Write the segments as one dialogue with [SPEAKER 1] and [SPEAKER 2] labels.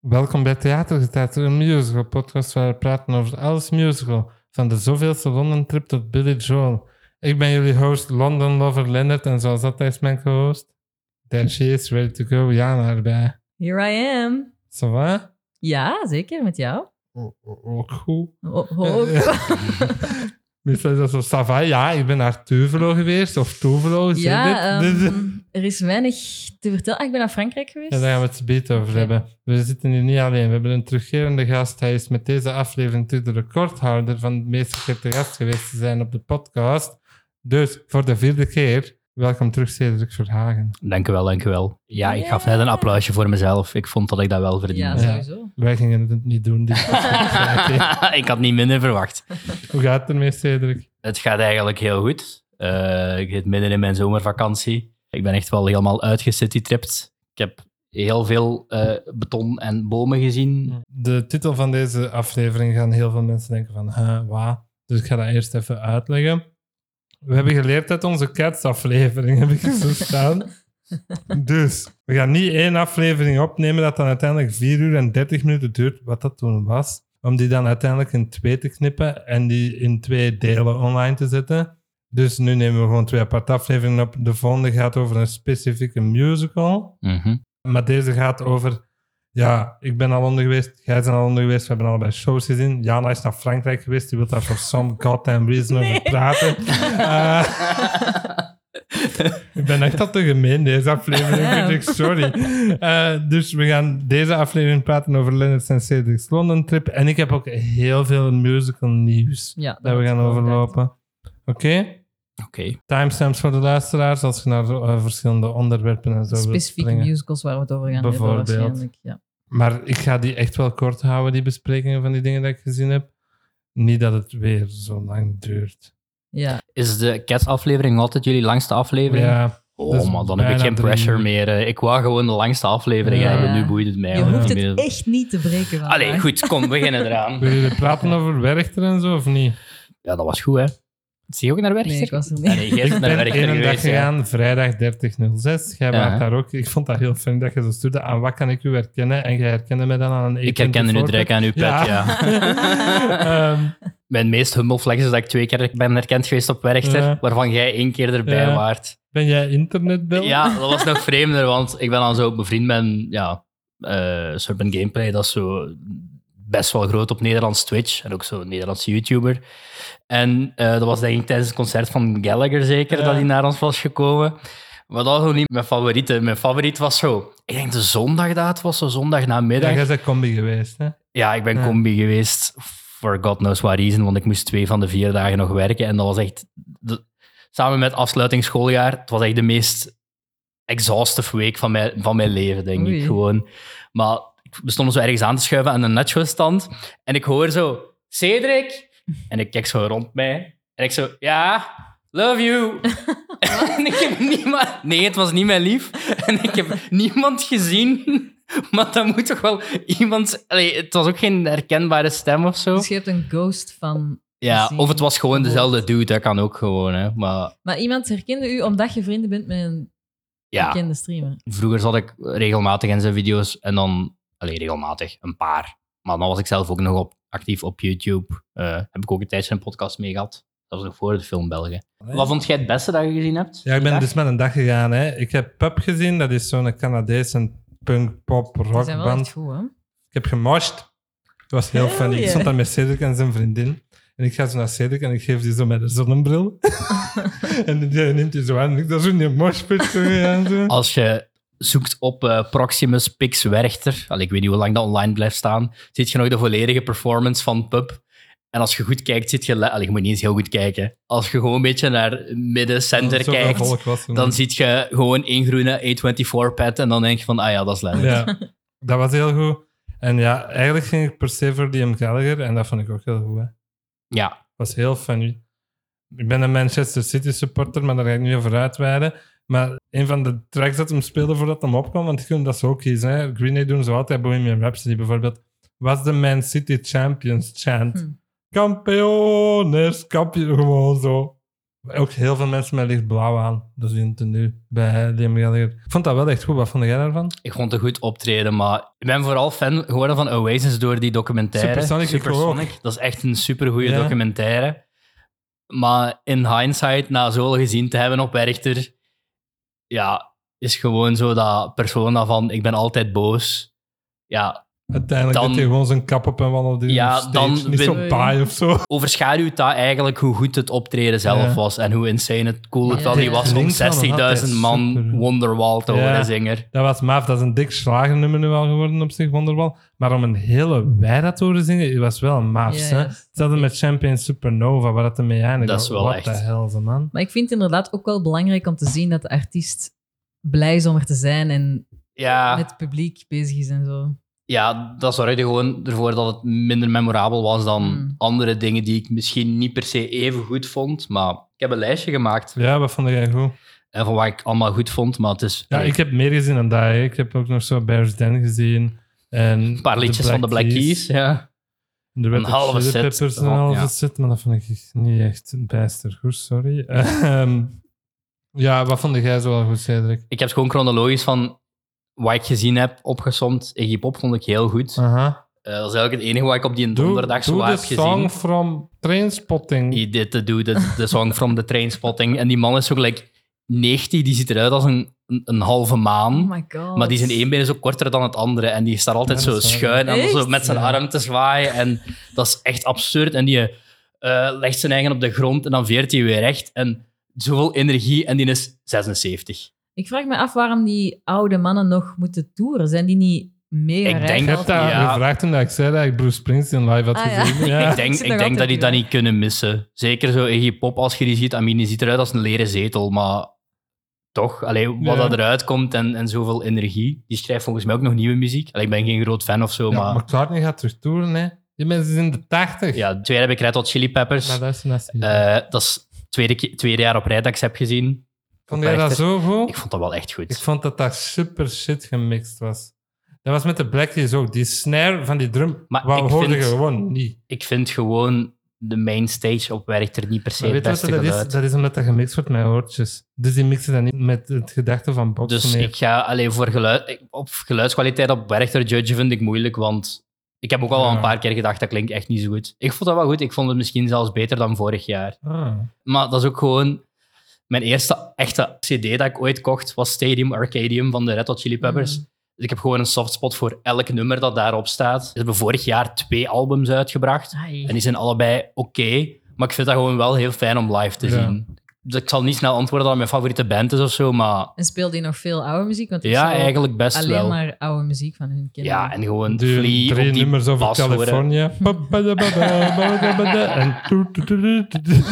[SPEAKER 1] Welkom bij Theatergeteater, een musical podcast waar we praten over alles musical. Van de zoveelste Londen-trip tot Billy Joel. Ik ben jullie host London Lover Leonard en zoals altijd is mijn co-host. There she is, ready to go, Jana erbij.
[SPEAKER 2] Here I am.
[SPEAKER 1] Ça va?
[SPEAKER 2] Ja, zeker met jou.
[SPEAKER 1] O- o- Ook goed.
[SPEAKER 2] O-
[SPEAKER 1] Eh,
[SPEAKER 2] ook.
[SPEAKER 1] Meestal is dat zo, ça va? Ja, ik ben naar Tuvelo geweest, of Tuvelo, is
[SPEAKER 2] ja,
[SPEAKER 1] dit? dit-
[SPEAKER 2] ehm, er is weinig te vertellen. Ah, ik ben naar Frankrijk geweest.
[SPEAKER 1] Ja, daar gaan we het zo beter over
[SPEAKER 2] Oké.
[SPEAKER 1] hebben. We zitten hier niet alleen. We hebben een terugkerende gast. Hij is met deze aflevering terug de recordhouder van de meest gekende gast geweest te zijn op de podcast. Dus voor de vierde keer, welkom terug, Cedric Verhagen.
[SPEAKER 3] Dank u wel, dank u wel. Ja, ik gaf net een applausje voor mezelf. Ik vond dat ik dat wel
[SPEAKER 2] Ja,
[SPEAKER 3] verdiende.
[SPEAKER 2] sowieso.
[SPEAKER 1] Wij gingen het niet doen. dit keer.
[SPEAKER 3] ik had niet minder verwacht.
[SPEAKER 1] Hoe gaat het ermee, Cedric?
[SPEAKER 3] Het gaat eigenlijk heel goed. Eh, ik zit midden in mijn zomervakantie. Ik ben echt wel helemaal uitgecitytripped. Ik heb heel veel eh, beton en bomen gezien.
[SPEAKER 1] De titel van deze aflevering gaan heel veel mensen denken van, huh, waar? Dus ik ga dat eerst even uitleggen. We hebben geleerd uit onze Cats-aflevering, heb ik zo staan. Dus, we gaan niet één aflevering opnemen dat dan uiteindelijk 4 uur en 30 minuten duurt, wat dat toen was. Om die dan uiteindelijk in twee te knippen en die in twee delen online te zetten. Dus nu nemen we gewoon twee aparte afleveringen op. De volgende gaat over een specifieke musical.
[SPEAKER 3] Mhm.
[SPEAKER 1] Maar deze gaat over. Ja, ik ben al onder geweest. Jij bent al onder geweest. We hebben allebei shows gezien. Jana is naar Frankrijk geweest. Die wil daar for some goddamn reason over praten. Eh, ik ben echt al te gemeen deze aflevering.
[SPEAKER 2] Ja.
[SPEAKER 1] vind ik, Sorry. Eh, dus we gaan deze aflevering praten over Leonard en Cedric's London trip. En ik heb ook heel veel musical nieuws
[SPEAKER 2] Ja,
[SPEAKER 1] dat we gaan
[SPEAKER 2] was wel
[SPEAKER 1] overlopen. Oké?
[SPEAKER 3] Oké.
[SPEAKER 1] Timestamps voor de luisteraars als je naar eh, verschillende onderwerpen en zo
[SPEAKER 2] duidelijk.
[SPEAKER 1] wilt
[SPEAKER 2] Specifieke
[SPEAKER 1] springen.
[SPEAKER 2] musicals waar we het over gaan hebben
[SPEAKER 1] Bijvoorbeeld.
[SPEAKER 2] waarschijnlijk. Ja.
[SPEAKER 1] Maar ik ga die echt wel kort houden, die besprekingen van die dingen dat ik gezien heb. Niet dat het weer zo lang duurt.
[SPEAKER 2] ja.
[SPEAKER 3] Is de Cats-aflevering altijd jullie langste aflevering?
[SPEAKER 1] Ja, dat is
[SPEAKER 3] Oh man, dan heb ik
[SPEAKER 1] bijna
[SPEAKER 3] geen
[SPEAKER 1] drie
[SPEAKER 3] pressure
[SPEAKER 1] uur.
[SPEAKER 3] meer. eh. Ik wou gewoon de langste aflevering
[SPEAKER 1] Ja.
[SPEAKER 3] hebben. Nu boeit het mij.
[SPEAKER 2] Je
[SPEAKER 3] al
[SPEAKER 2] hoeft
[SPEAKER 3] niet
[SPEAKER 2] het
[SPEAKER 3] meer.
[SPEAKER 2] echt niet te breken. vandaag.
[SPEAKER 3] Allee, goed, kom, we beginnen eraan.
[SPEAKER 1] willen jullie praten over Werchter en zo of niet?
[SPEAKER 3] Ja, dat was goed, hè? Zie je ook naar Werchter?
[SPEAKER 2] Nee, ik was er
[SPEAKER 3] Ah,
[SPEAKER 2] niet.
[SPEAKER 3] nee, jij bent naar Werchter
[SPEAKER 1] één dag
[SPEAKER 3] geweest, ja.
[SPEAKER 1] gegaan, vrijdag 30.06. Jij
[SPEAKER 3] Ja.
[SPEAKER 1] waart daar ook. Ik vond dat heel fijn dat je zo stuurde. Aan wat kan ik u herkennen? En jij herkende mij dan aan een
[SPEAKER 3] Ik herkende nu direct aan uw pet, ja.
[SPEAKER 1] Ehm,
[SPEAKER 3] Mijn meest humble flex is dat ik twee keer ben herkend geweest op Werchter,
[SPEAKER 1] Ja.
[SPEAKER 3] waarvan jij één keer erbij
[SPEAKER 1] Ja.
[SPEAKER 3] waart.
[SPEAKER 1] ben jij internetbel?
[SPEAKER 3] Ja, dat was nog vreemder, want ik ben dan zo bevriend met ja, eh Serpent Gameplay, dat is zo best wel groot op Nederlands Twitch en ook zo een Nederlandse YouTuber. En eh, dat was denk ik tijdens het concert van Gallagher zeker
[SPEAKER 1] Ja.
[SPEAKER 3] dat hij naar ons was gekomen. Maar dat was ook niet mijn favoriete. Mijn favoriet was zo, ik denk de zondag dat het was, zo zondag
[SPEAKER 1] Ja,
[SPEAKER 3] namiddag.
[SPEAKER 1] jij bent combi geweest. Hè?
[SPEAKER 3] Ja, ik ben
[SPEAKER 1] Ja.
[SPEAKER 3] combi geweest for god knows what reason, want ik moest twee van de vier dagen nog werken. En dat was echt, de- samen met afsluiting schooljaar, het was echt de meest exhaustive week van mijn, van mijn leven, denk
[SPEAKER 2] Oei.
[SPEAKER 3] ik gewoon. Maar ik- we stonden zo ergens aan te schuiven aan een nacho-stand en ik hoor zo, Cedric! En ik kijk zo rond mij en ik zo, ja, love you! en ik heb niemand... Nee, het was niet mijn lief. En ik heb niemand gezien... Maar dat moet toch wel iemand... Allee, het was ook geen herkenbare stem of zo.
[SPEAKER 2] Dus je hebt een ghost van...
[SPEAKER 3] Ja,
[SPEAKER 2] gezien,
[SPEAKER 3] of het was gewoon
[SPEAKER 2] gehoord.
[SPEAKER 3] dezelfde dude, dat kan ook gewoon. Hè. Maar
[SPEAKER 2] Maar iemand herkende u omdat je vrienden bent met een
[SPEAKER 3] ja,
[SPEAKER 2] bekende streamer.
[SPEAKER 3] vroeger zat ik regelmatig in zijn video's en dan... Allee, regelmatig, een paar. Maar dan was ik zelf ook nog op, actief op YouTube. Eh, heb ik ook een tijdje een podcast mee gehad. Dat was nog voor de film België. Wat vond jij het beste dat je gezien hebt?
[SPEAKER 1] Ja, ik ben
[SPEAKER 3] vandaag?
[SPEAKER 1] dus met een dag gegaan. Hè. Ik heb Pub gezien, dat is zo'n Canadese punk, pop,
[SPEAKER 2] Ze zijn wel
[SPEAKER 1] rockband.
[SPEAKER 2] echt goed, hè?
[SPEAKER 1] Ik heb gemorst. Het was heel
[SPEAKER 2] Hell
[SPEAKER 1] fijn. Ik
[SPEAKER 2] yeah.
[SPEAKER 1] stond daar met Cedric en zijn vriendin. En ik ga zo naar Cedric en ik geef die zo met een zonnebril. en die neemt die zo aan. En ik dat is zo'n morspit. zo aan doen.
[SPEAKER 3] Als je zoekt op eh, Proximus Pix Werchter, al ik weet niet hoe lang dat online blijft staan, ziet je nog de volledige performance van Pub. En als je goed kijkt, ziet je... le- Allee, je moet niet eens heel goed kijken. Als je gewoon een beetje naar midden-center
[SPEAKER 1] Zoveel
[SPEAKER 3] kijkt,
[SPEAKER 1] volk was er
[SPEAKER 3] dan
[SPEAKER 1] nog.
[SPEAKER 3] ziet je gewoon één groene A24-pad en dan denk je van, ah ja, dat is leuk.
[SPEAKER 1] Ja, dat was heel goed. En ja, eigenlijk ging ik per se voor die M. Gallagher. En dat vond ik ook heel goed. Hè.
[SPEAKER 3] Ja.
[SPEAKER 1] was heel funny. Ik ben een Manchester City supporter, maar daar ga ik niet over uitweiden. Maar een van de tracks dat hem speelde voordat hem opkwam, want die kunnen dat zo ook kiezen. Hè? Green Day doen zo altijd, Bohemian Rhapsody bijvoorbeeld, was de Man City Champions chant.
[SPEAKER 2] Hm.
[SPEAKER 1] Kampioeners, kampioen, gewoon zo. Ook heel veel mensen met lichtblauw aan. Dat is in tenue bij Liam Gallagher. Ik vond dat wel echt goed. Wat vond jij daarvan?
[SPEAKER 3] Ik vond het een goed optreden, maar ik ben vooral fan geworden van Oasis door die documentaire.
[SPEAKER 1] Supersonic, ik
[SPEAKER 3] Supersonic. Dat is echt een supergoeie
[SPEAKER 1] Ja.
[SPEAKER 3] documentaire. Maar in hindsight, na zo gezien te hebben op Werchter, ja, is gewoon zo dat persona van ik ben altijd boos. Ja,
[SPEAKER 1] Uiteindelijk
[SPEAKER 3] Dan-
[SPEAKER 1] deed hij gewoon zijn kap op en wandelde hij
[SPEAKER 3] Ja,
[SPEAKER 1] op stage.
[SPEAKER 3] dan
[SPEAKER 1] Niet zo
[SPEAKER 2] win-
[SPEAKER 1] paai of zo.
[SPEAKER 3] overschaduwt dat eigenlijk hoe goed het optreden zelf
[SPEAKER 1] Ja.
[SPEAKER 3] was en hoe insane het cool het
[SPEAKER 2] Ja.
[SPEAKER 3] wel niet was om
[SPEAKER 1] Klinkt wel nog
[SPEAKER 3] 60.000 man
[SPEAKER 1] altijd super.
[SPEAKER 3] Wonderwall te
[SPEAKER 1] Ja.
[SPEAKER 3] horen zingen.
[SPEAKER 1] Dat was maaf. Dat is een dik slagernummer nu wel geworden op zich, Wonderwall. Maar om een hele wijde te horen zingen, was wel een maaf.
[SPEAKER 2] Ja,
[SPEAKER 1] hè?
[SPEAKER 2] ja.
[SPEAKER 1] Hetzelfde met Champion Supernova, waar dat ermee eindigt.
[SPEAKER 3] Dat is wel
[SPEAKER 1] What
[SPEAKER 3] echt.
[SPEAKER 1] the hell, ze man.
[SPEAKER 2] Maar ik vind het inderdaad ook wel belangrijk om te zien dat de artiest blij is om er te zijn en
[SPEAKER 3] Ja.
[SPEAKER 2] met het publiek bezig is en zo.
[SPEAKER 3] Ja, dat zorgde gewoon ervoor dat het minder memorabel was dan
[SPEAKER 2] Hmm.
[SPEAKER 3] andere dingen die ik misschien niet per se even goed vond. Maar ik heb een lijstje gemaakt
[SPEAKER 1] Ja, wat vond jij goed?
[SPEAKER 3] eh, van wat ik allemaal goed vond. Maar het is
[SPEAKER 1] Ja, ik heb meer gezien dan dat. hè. Ik heb ook nog zo Bears Den gezien. En
[SPEAKER 3] een paar liedjes van de Black Keys. Ja.
[SPEAKER 1] De Red
[SPEAKER 3] Een
[SPEAKER 1] Hot
[SPEAKER 3] halve
[SPEAKER 1] Chili
[SPEAKER 3] set. Oh,
[SPEAKER 1] Peppers en een
[SPEAKER 3] Ja.
[SPEAKER 1] halve set, maar dat vond ik niet echt bijster goed, sorry. Ehm, ja, wat vond jij zo wel goed, Cedric?
[SPEAKER 3] Ik heb gewoon chronologisch van wat ik gezien heb opgesomd. Iggy Pop vond ik heel goed.
[SPEAKER 1] Aha.
[SPEAKER 3] Eh, dat is eigenlijk het enige wat ik op die
[SPEAKER 1] Doe-
[SPEAKER 3] donderdag zo
[SPEAKER 1] doe
[SPEAKER 3] heb
[SPEAKER 1] de song
[SPEAKER 3] gezien.
[SPEAKER 1] from Trainspotting.
[SPEAKER 3] He did the do the, the song from the Trainspotting. En die man is zo gelijk 90, die ziet eruit als een, een, een halve maan.
[SPEAKER 2] Oh my god.
[SPEAKER 3] Maar die zijn één been is ook korter dan het andere. En die staat altijd
[SPEAKER 1] Ja,
[SPEAKER 3] zo
[SPEAKER 1] dat is waar.
[SPEAKER 3] schuin en dan zo
[SPEAKER 2] Echt?
[SPEAKER 3] met zijn
[SPEAKER 1] Ja.
[SPEAKER 3] arm te zwaaien. En dat is echt absurd. En die eh, legt zijn eigen op de grond en dan veert hij weer recht. En zoveel energie en die is 76.
[SPEAKER 2] Ik vraag me af waarom die oude mannen nog moeten toeren. Zijn die niet mega
[SPEAKER 3] Ik
[SPEAKER 2] rijk
[SPEAKER 3] denk
[SPEAKER 1] Ik heb
[SPEAKER 2] al?
[SPEAKER 1] dat
[SPEAKER 3] Ja.
[SPEAKER 1] gevraagd toen ik zei dat ik Bruce Springsteen live had
[SPEAKER 2] Ah, ja.
[SPEAKER 1] gezien. Ja.
[SPEAKER 3] Ik denk,
[SPEAKER 2] zit
[SPEAKER 3] ik
[SPEAKER 2] nog
[SPEAKER 3] denk dat
[SPEAKER 2] altijd
[SPEAKER 3] die dat
[SPEAKER 2] bij.
[SPEAKER 3] niet kunnen missen. Zeker zo Iggy Pop, als je die ziet. I mean, die ziet eruit als een leren zetel, maar toch. Allee, wat
[SPEAKER 1] Ja.
[SPEAKER 3] dat eruit komt en, en zoveel energie. Die schrijft volgens mij ook nog nieuwe muziek. Allee, ik ben geen groot fan of zo,
[SPEAKER 1] Ja,
[SPEAKER 3] maar...
[SPEAKER 1] McCartney gaat terug toeren, hè. Die mensen zijn in de tachtig.
[SPEAKER 3] Ja, twee heb ik Red Hot Chili Peppers.
[SPEAKER 1] Maar dat is een
[SPEAKER 3] Eh, dat is het tweede, ke- tweede jaar op rij dat ik ze heb gezien.
[SPEAKER 1] Vond jij dat
[SPEAKER 3] Echter.
[SPEAKER 1] zo goed?
[SPEAKER 3] Ik vond dat wel echt goed.
[SPEAKER 1] Ik vond dat dat super shit gemixt was. Dat was met de Black Keys ook. Die snare van die drum,
[SPEAKER 3] Maar
[SPEAKER 1] wat
[SPEAKER 3] ik
[SPEAKER 1] hoorde
[SPEAKER 3] vind-
[SPEAKER 1] je gewoon niet.
[SPEAKER 3] Ik vind gewoon de main stage op werkt er niet per se
[SPEAKER 1] Maar
[SPEAKER 3] het
[SPEAKER 1] weet je wat
[SPEAKER 3] beste
[SPEAKER 1] dat is?
[SPEAKER 3] geluid.
[SPEAKER 1] Dat is omdat dat gemixt wordt met oortjes. Dus die mixen dat niet met het gedachte van boxen.
[SPEAKER 3] Dus
[SPEAKER 1] nee.
[SPEAKER 3] ik ga alleen voor geluid, ik- op geluidskwaliteit op Werchter judgen vind ik moeilijk, want ik heb ook al
[SPEAKER 1] Ja.
[SPEAKER 3] een paar keer gedacht dat klinkt echt niet zo goed. Ik vond dat wel goed. Ik vond het misschien zelfs beter dan vorig jaar.
[SPEAKER 1] Ah.
[SPEAKER 3] Maar dat is ook gewoon mijn eerste echte CD dat ik ooit kocht was Stadium Arcadium van de Red Hot Chili Peppers.
[SPEAKER 2] Mm.
[SPEAKER 3] Dus ik heb gewoon een softspot voor elk nummer dat daarop staat. Ze hebben vorig jaar twee albums uitgebracht.
[SPEAKER 2] Ai.
[SPEAKER 3] En die zijn allebei oké. maar ik vind dat gewoon wel heel fijn om live te
[SPEAKER 1] Ja.
[SPEAKER 3] zien. Dus ik zal niet snel antwoorden dat het mijn favoriete band is of zo. Maar
[SPEAKER 2] En speelde die nog veel oude muziek? Want ik
[SPEAKER 3] ja,
[SPEAKER 2] zou
[SPEAKER 3] eigenlijk best
[SPEAKER 2] alleen
[SPEAKER 3] wel.
[SPEAKER 2] maar oude muziek van hun kinderen.
[SPEAKER 3] Ja, en gewoon
[SPEAKER 1] Die
[SPEAKER 3] Flea op
[SPEAKER 1] drie
[SPEAKER 3] die
[SPEAKER 1] nummers over
[SPEAKER 3] bas horen.
[SPEAKER 1] Californië. Ba-ba-da-ba-da-ba-da-ba-da. En toet, toet, toet, toet, toet.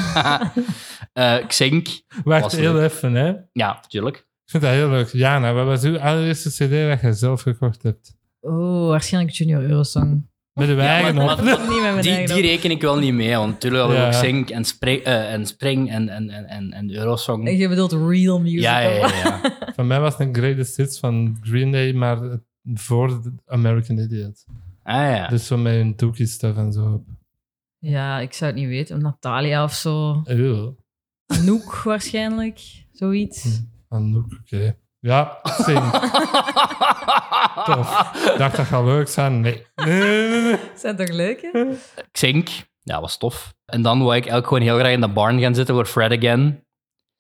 [SPEAKER 3] Eh, Xink.
[SPEAKER 1] Wacht
[SPEAKER 3] Was
[SPEAKER 1] heel
[SPEAKER 3] leuk.
[SPEAKER 1] even, hè.
[SPEAKER 3] Ja, natuurlijk.
[SPEAKER 1] Ik vind dat heel leuk. Jana, wat was uw allereerste cd dat je zelf gekocht hebt?
[SPEAKER 2] Oh, waarschijnlijk Junior Eurosong.
[SPEAKER 1] Met uw eigen
[SPEAKER 3] maar-
[SPEAKER 1] op.
[SPEAKER 3] maar-
[SPEAKER 2] Dat komt niet met mijn
[SPEAKER 3] Die,
[SPEAKER 2] eigen
[SPEAKER 3] die
[SPEAKER 2] op.
[SPEAKER 3] reken ik wel niet mee, want natuurlijk hadden we
[SPEAKER 1] Ja.
[SPEAKER 3] ook Xink en, Spring- eh, en Spring en, en, en, en, en Eurosong.
[SPEAKER 2] Je bedoelt real music.
[SPEAKER 3] Ja, ja, ja. ja.
[SPEAKER 1] Van mij was het een greatest hits van Green Day, maar het- voor de American Idiot.
[SPEAKER 3] Ah ja.
[SPEAKER 1] Dus zo met hun doekie stuff en zo.
[SPEAKER 2] Ja, ik zou het niet weten. Natalia of zo.
[SPEAKER 1] Ew.
[SPEAKER 2] Noek waarschijnlijk. Zoiets.
[SPEAKER 3] Hmm.
[SPEAKER 1] Anouk, oké. Ja, zing. Tof. Ik dacht dat gaat leuk zijn. Nee. Nee, nee, nee.
[SPEAKER 2] Zijn toch leuk, hè?
[SPEAKER 3] Xink. Ja, was tof. En dan wou ik eigenlijk gewoon heel graag in de barn gaan zitten voor Fred Again.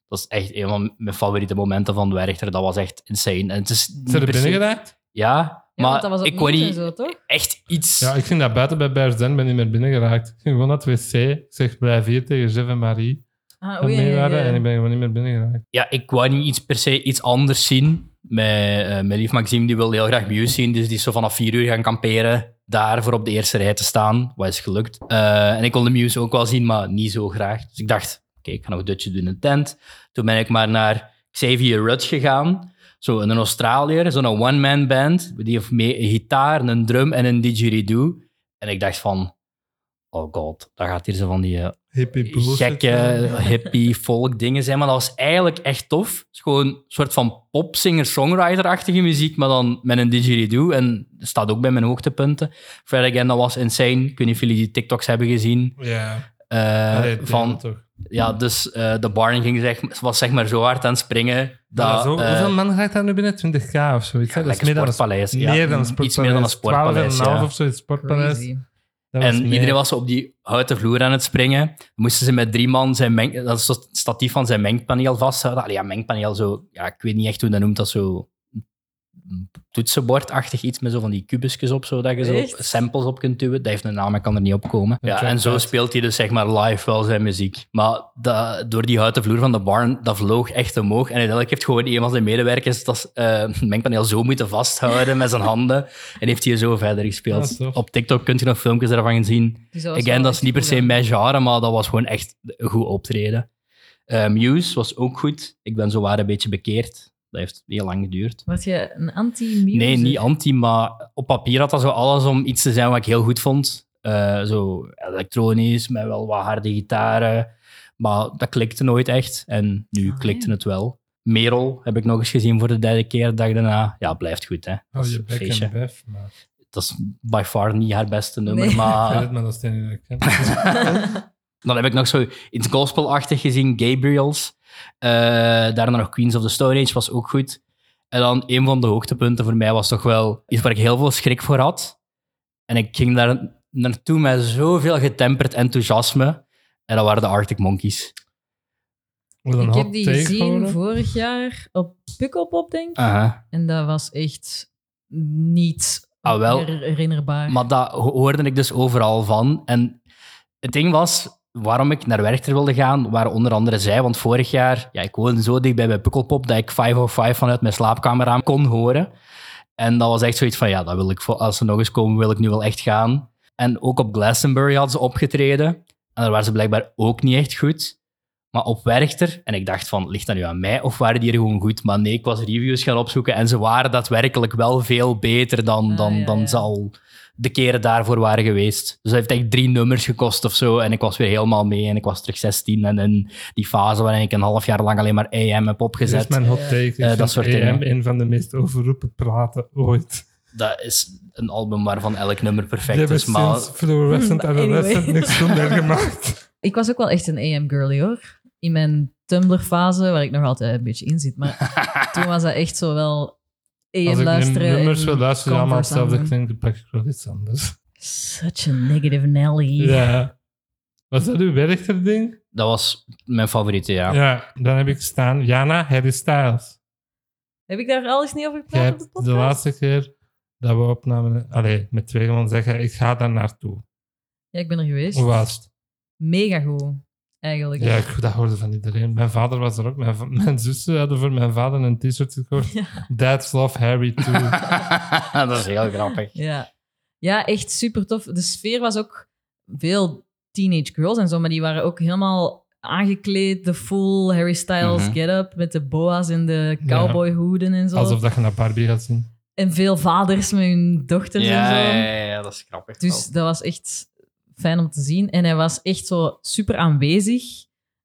[SPEAKER 3] Dat is echt een van mijn favoriete momenten van de Werchter. Dat was echt insane. En het is niet
[SPEAKER 1] Zijn er
[SPEAKER 3] per se-
[SPEAKER 1] binnen geraakt?
[SPEAKER 3] Ja,
[SPEAKER 2] Ja,
[SPEAKER 3] maar
[SPEAKER 2] want dat was
[SPEAKER 3] ik
[SPEAKER 2] opnieuw
[SPEAKER 3] kon
[SPEAKER 2] en
[SPEAKER 3] niet
[SPEAKER 2] zo, toch?
[SPEAKER 3] echt iets...
[SPEAKER 1] Ja, ik ging dat buiten bij Bears Den, ben niet meer binnen geraakt. Ik ging gewoon naar het wc. Ik zeg blijf hier tegen Jeff en Marie.
[SPEAKER 2] Ah,
[SPEAKER 1] En
[SPEAKER 2] oei, ja,
[SPEAKER 1] mee
[SPEAKER 2] ja,
[SPEAKER 1] waren,
[SPEAKER 2] ja.
[SPEAKER 1] En ik ben gewoon niet meer binnen geraakt.
[SPEAKER 3] ja, ik wou niet iets per se iets anders zien. Mijn, eh, mijn lief Maxime die wil heel graag Muse zien, dus die is zo vanaf vier uur gaan kamperen. Daar voor op de eerste rij te staan, wat is gelukt. Eh, en ik kon de Muse ook wel zien, maar niet zo graag. Dus ik dacht, oké, ik ga nog een dutje doen in een tent. Toen ben ik maar naar Xavier Rudd gegaan. Zo een Australiër, zo'n one-man band. Die heeft mee een gitaar, een drum en een didgeridoo. En ik dacht van, oh god, daar gaat hier zo van die eh,
[SPEAKER 1] Hippie bullshit.
[SPEAKER 3] gekke hippie folk dingen zijn. Maar dat was eigenlijk echt tof. Het is gewoon een soort van popsinger-songwriter-achtige muziek, maar dan met een didgeridoo. En dat staat ook bij mijn hoogtepunten. Fred Again, dat was insane. Ik weet niet of jullie die TikToks hebben gezien.
[SPEAKER 1] Ja.
[SPEAKER 3] eh,
[SPEAKER 1] Allee, het
[SPEAKER 3] van,
[SPEAKER 1] deel toch.
[SPEAKER 3] ja, dus eh, de Barney ging zeg, was zeg maar zo hard aan het springen. Dat,
[SPEAKER 1] Ja, zo,
[SPEAKER 3] eh,
[SPEAKER 1] hoeveel man gaat daar nu binnen? 20k of zoiets? hè?
[SPEAKER 3] ja,
[SPEAKER 1] dat is
[SPEAKER 3] lekker
[SPEAKER 1] meer dan een
[SPEAKER 3] sportpaleis. ja.
[SPEAKER 1] Meer dan een
[SPEAKER 3] Iets meer dan een sportpaleis.
[SPEAKER 1] 12,5
[SPEAKER 3] ja.
[SPEAKER 1] of zoiets, sportpaleis.
[SPEAKER 2] Crazy.
[SPEAKER 1] Dat was
[SPEAKER 3] En
[SPEAKER 1] meer.
[SPEAKER 3] iedereen was zo op die houten vloer aan het springen. Dan moesten ze met drie man zijn meng, dat is het statief van zijn mengpaneel vasthouden. Allee, ja, mengpaneel, zo, ja, ik weet niet echt hoe dat noemt, dat zo toetsenbordachtig iets met zo van die kubusjes op, zo, dat je zo
[SPEAKER 2] Echt?
[SPEAKER 3] samples op kunt duwen. Dat heeft een naam, ik kan er niet op komen.
[SPEAKER 1] Een
[SPEAKER 3] Ja, en zo
[SPEAKER 1] trackpad.
[SPEAKER 3] speelt hij dus zeg maar live wel zijn muziek. Maar dat, door die houten vloer van de barn, dat vloog echt omhoog. En uiteindelijk heeft gewoon een van zijn medewerkers dat eh, mengpaneel zo moeten vasthouden met zijn handen. En heeft hij zo verder gespeeld.
[SPEAKER 1] Ja, tof.
[SPEAKER 3] op TikTok kunt je nog filmpjes daarvan zien.
[SPEAKER 2] Dus was wel
[SPEAKER 3] Again, dat is
[SPEAKER 2] echt
[SPEAKER 3] niet per
[SPEAKER 2] cool,
[SPEAKER 3] se
[SPEAKER 2] hè.
[SPEAKER 3] mijn genre, maar dat was gewoon echt een goed optreden. Eh, Muse was ook goed. Ik ben zowaar een beetje bekeerd. Dat heeft heel lang geduurd.
[SPEAKER 2] Word je een anti-muse?
[SPEAKER 3] Nee, niet anti, maar op papier had dat zo alles om iets te zijn wat ik heel goed vond. Eh, zo elektronisch, met wel wat harde gitaren. Maar dat klikte nooit echt. En nu
[SPEAKER 2] Ah,
[SPEAKER 3] klikte
[SPEAKER 2] ja.
[SPEAKER 3] het wel. Merel heb ik nog eens gezien voor de derde keer. De dag daarna, ja, blijft goed, hè. Dat
[SPEAKER 1] Oh,
[SPEAKER 3] is
[SPEAKER 1] je
[SPEAKER 3] een
[SPEAKER 1] bek
[SPEAKER 3] feestje.
[SPEAKER 1] en bef. Maar
[SPEAKER 3] Dat is by far niet haar beste nummer,
[SPEAKER 2] Nee.
[SPEAKER 1] ik weet
[SPEAKER 3] maar
[SPEAKER 1] het, maar dat is het enige dat ik ken.
[SPEAKER 3] Dan heb ik nog zo iets gospelachtig gezien, Gabriels. Eh, daarna nog Queens of the Stone Age was ook goed. En dan een van de hoogtepunten voor mij was toch wel iets waar ik heel veel schrik voor had. En ik ging daar naartoe met zoveel getemperd enthousiasme. En dat waren de Arctic Monkeys.
[SPEAKER 1] Wil een
[SPEAKER 2] Ik
[SPEAKER 1] hot
[SPEAKER 2] heb die
[SPEAKER 1] take
[SPEAKER 2] gezien
[SPEAKER 1] horen?
[SPEAKER 2] vorig jaar op Pukkelpop, denk ik.
[SPEAKER 3] Aha.
[SPEAKER 2] En dat was echt niet
[SPEAKER 3] Ah, wel.
[SPEAKER 2] her- herinnerbaar.
[SPEAKER 3] Maar dat ho- hoorde ik dus overal van. En het ding was, waarom ik naar Werchter wilde gaan, waren onder andere zij. Want vorig jaar, ja, ik woonde zo dichtbij bij Pukkelpop dat ik 505 vanuit mijn slaapkamer aan kon horen. En dat was echt zoiets van, ja, dat wil ik, voor- als ze nog eens komen, wil ik nu wel echt gaan. En ook op Glastonbury hadden ze opgetreden. En daar waren ze blijkbaar ook niet echt goed. Maar op Werchter, en ik dacht van, ligt dat nu aan mij of waren die er gewoon goed? Maar nee, ik was reviews gaan opzoeken en ze waren daadwerkelijk wel veel beter dan,
[SPEAKER 2] Ah,
[SPEAKER 3] dan,
[SPEAKER 2] ja,
[SPEAKER 3] dan
[SPEAKER 2] ja.
[SPEAKER 3] ze al de keren daarvoor waren geweest. Dus dat heeft echt drie nummers gekost of zo. En ik was weer helemaal mee en ik was terug 16. En in die fase waarin ik een half jaar lang alleen maar AM heb
[SPEAKER 1] Dit is
[SPEAKER 3] opgezet.
[SPEAKER 1] mijn hot
[SPEAKER 2] Eh,
[SPEAKER 1] take. Ik
[SPEAKER 3] dat
[SPEAKER 1] vind
[SPEAKER 3] soort
[SPEAKER 1] AM
[SPEAKER 3] dingen.
[SPEAKER 1] een van de meest overroepen praten ooit.
[SPEAKER 3] Dat is een album waarvan elk nummer
[SPEAKER 1] Die
[SPEAKER 3] perfect
[SPEAKER 1] hebben
[SPEAKER 3] is. Maar
[SPEAKER 1] sinds fluorescent
[SPEAKER 2] Maar anyway.
[SPEAKER 1] adolescent niks zonder gemaakt.
[SPEAKER 2] Ik was ook wel echt een AM-girly, hoor. In mijn Tumblr-fase, waar ik nog altijd een beetje in zit. Maar toen was dat echt zo wel
[SPEAKER 1] Als
[SPEAKER 2] AM
[SPEAKER 1] ik nu
[SPEAKER 2] luisteren.
[SPEAKER 1] nummers
[SPEAKER 2] en
[SPEAKER 1] wil luisteren, die allemaal
[SPEAKER 2] covers
[SPEAKER 1] hetzelfde
[SPEAKER 2] aan-
[SPEAKER 1] klinkt, dan pak ik wel iets anders.
[SPEAKER 2] Such a negative Nelly.
[SPEAKER 1] Ja. Was dat uw werchter ding?
[SPEAKER 3] dat was mijn favoriete, ja.
[SPEAKER 1] Ja, dan heb ik staan Jana Harry Styles.
[SPEAKER 2] Heb ik daar alles niet over
[SPEAKER 1] Jij
[SPEAKER 2] gepraat op de
[SPEAKER 1] hebt de
[SPEAKER 2] podcast?
[SPEAKER 1] laatste keer dat we opnamen, allee, met twee man zeggen, ik ga daar naartoe.
[SPEAKER 2] Ja, ik ben er geweest.
[SPEAKER 1] Hoe was het?
[SPEAKER 2] Mega goed, eigenlijk.
[SPEAKER 1] Ja, ik, dat hoorde van iedereen. Mijn vader was er ook. Mijn, va- mijn zussen hadden voor mijn vader een t-shirt gekocht.
[SPEAKER 2] Ja.
[SPEAKER 1] Dads love Harry too.
[SPEAKER 3] dat is heel grappig.
[SPEAKER 2] Ja. Ja, echt super tof. De sfeer was ook veel teenage girls en zo, maar die waren ook helemaal aangekleed, de full Harry Styles
[SPEAKER 3] Mhm.
[SPEAKER 2] get-up met de boa's en de cowboyhoeden en zo.
[SPEAKER 1] Alsof dat je naar Barbie gaat zien.
[SPEAKER 2] En veel vaders met hun dochters en
[SPEAKER 3] Ja,
[SPEAKER 2] zo.
[SPEAKER 3] ja, ja, dat is grappig.
[SPEAKER 2] Dus dat was echt fijn om te zien. En hij was echt zo super aanwezig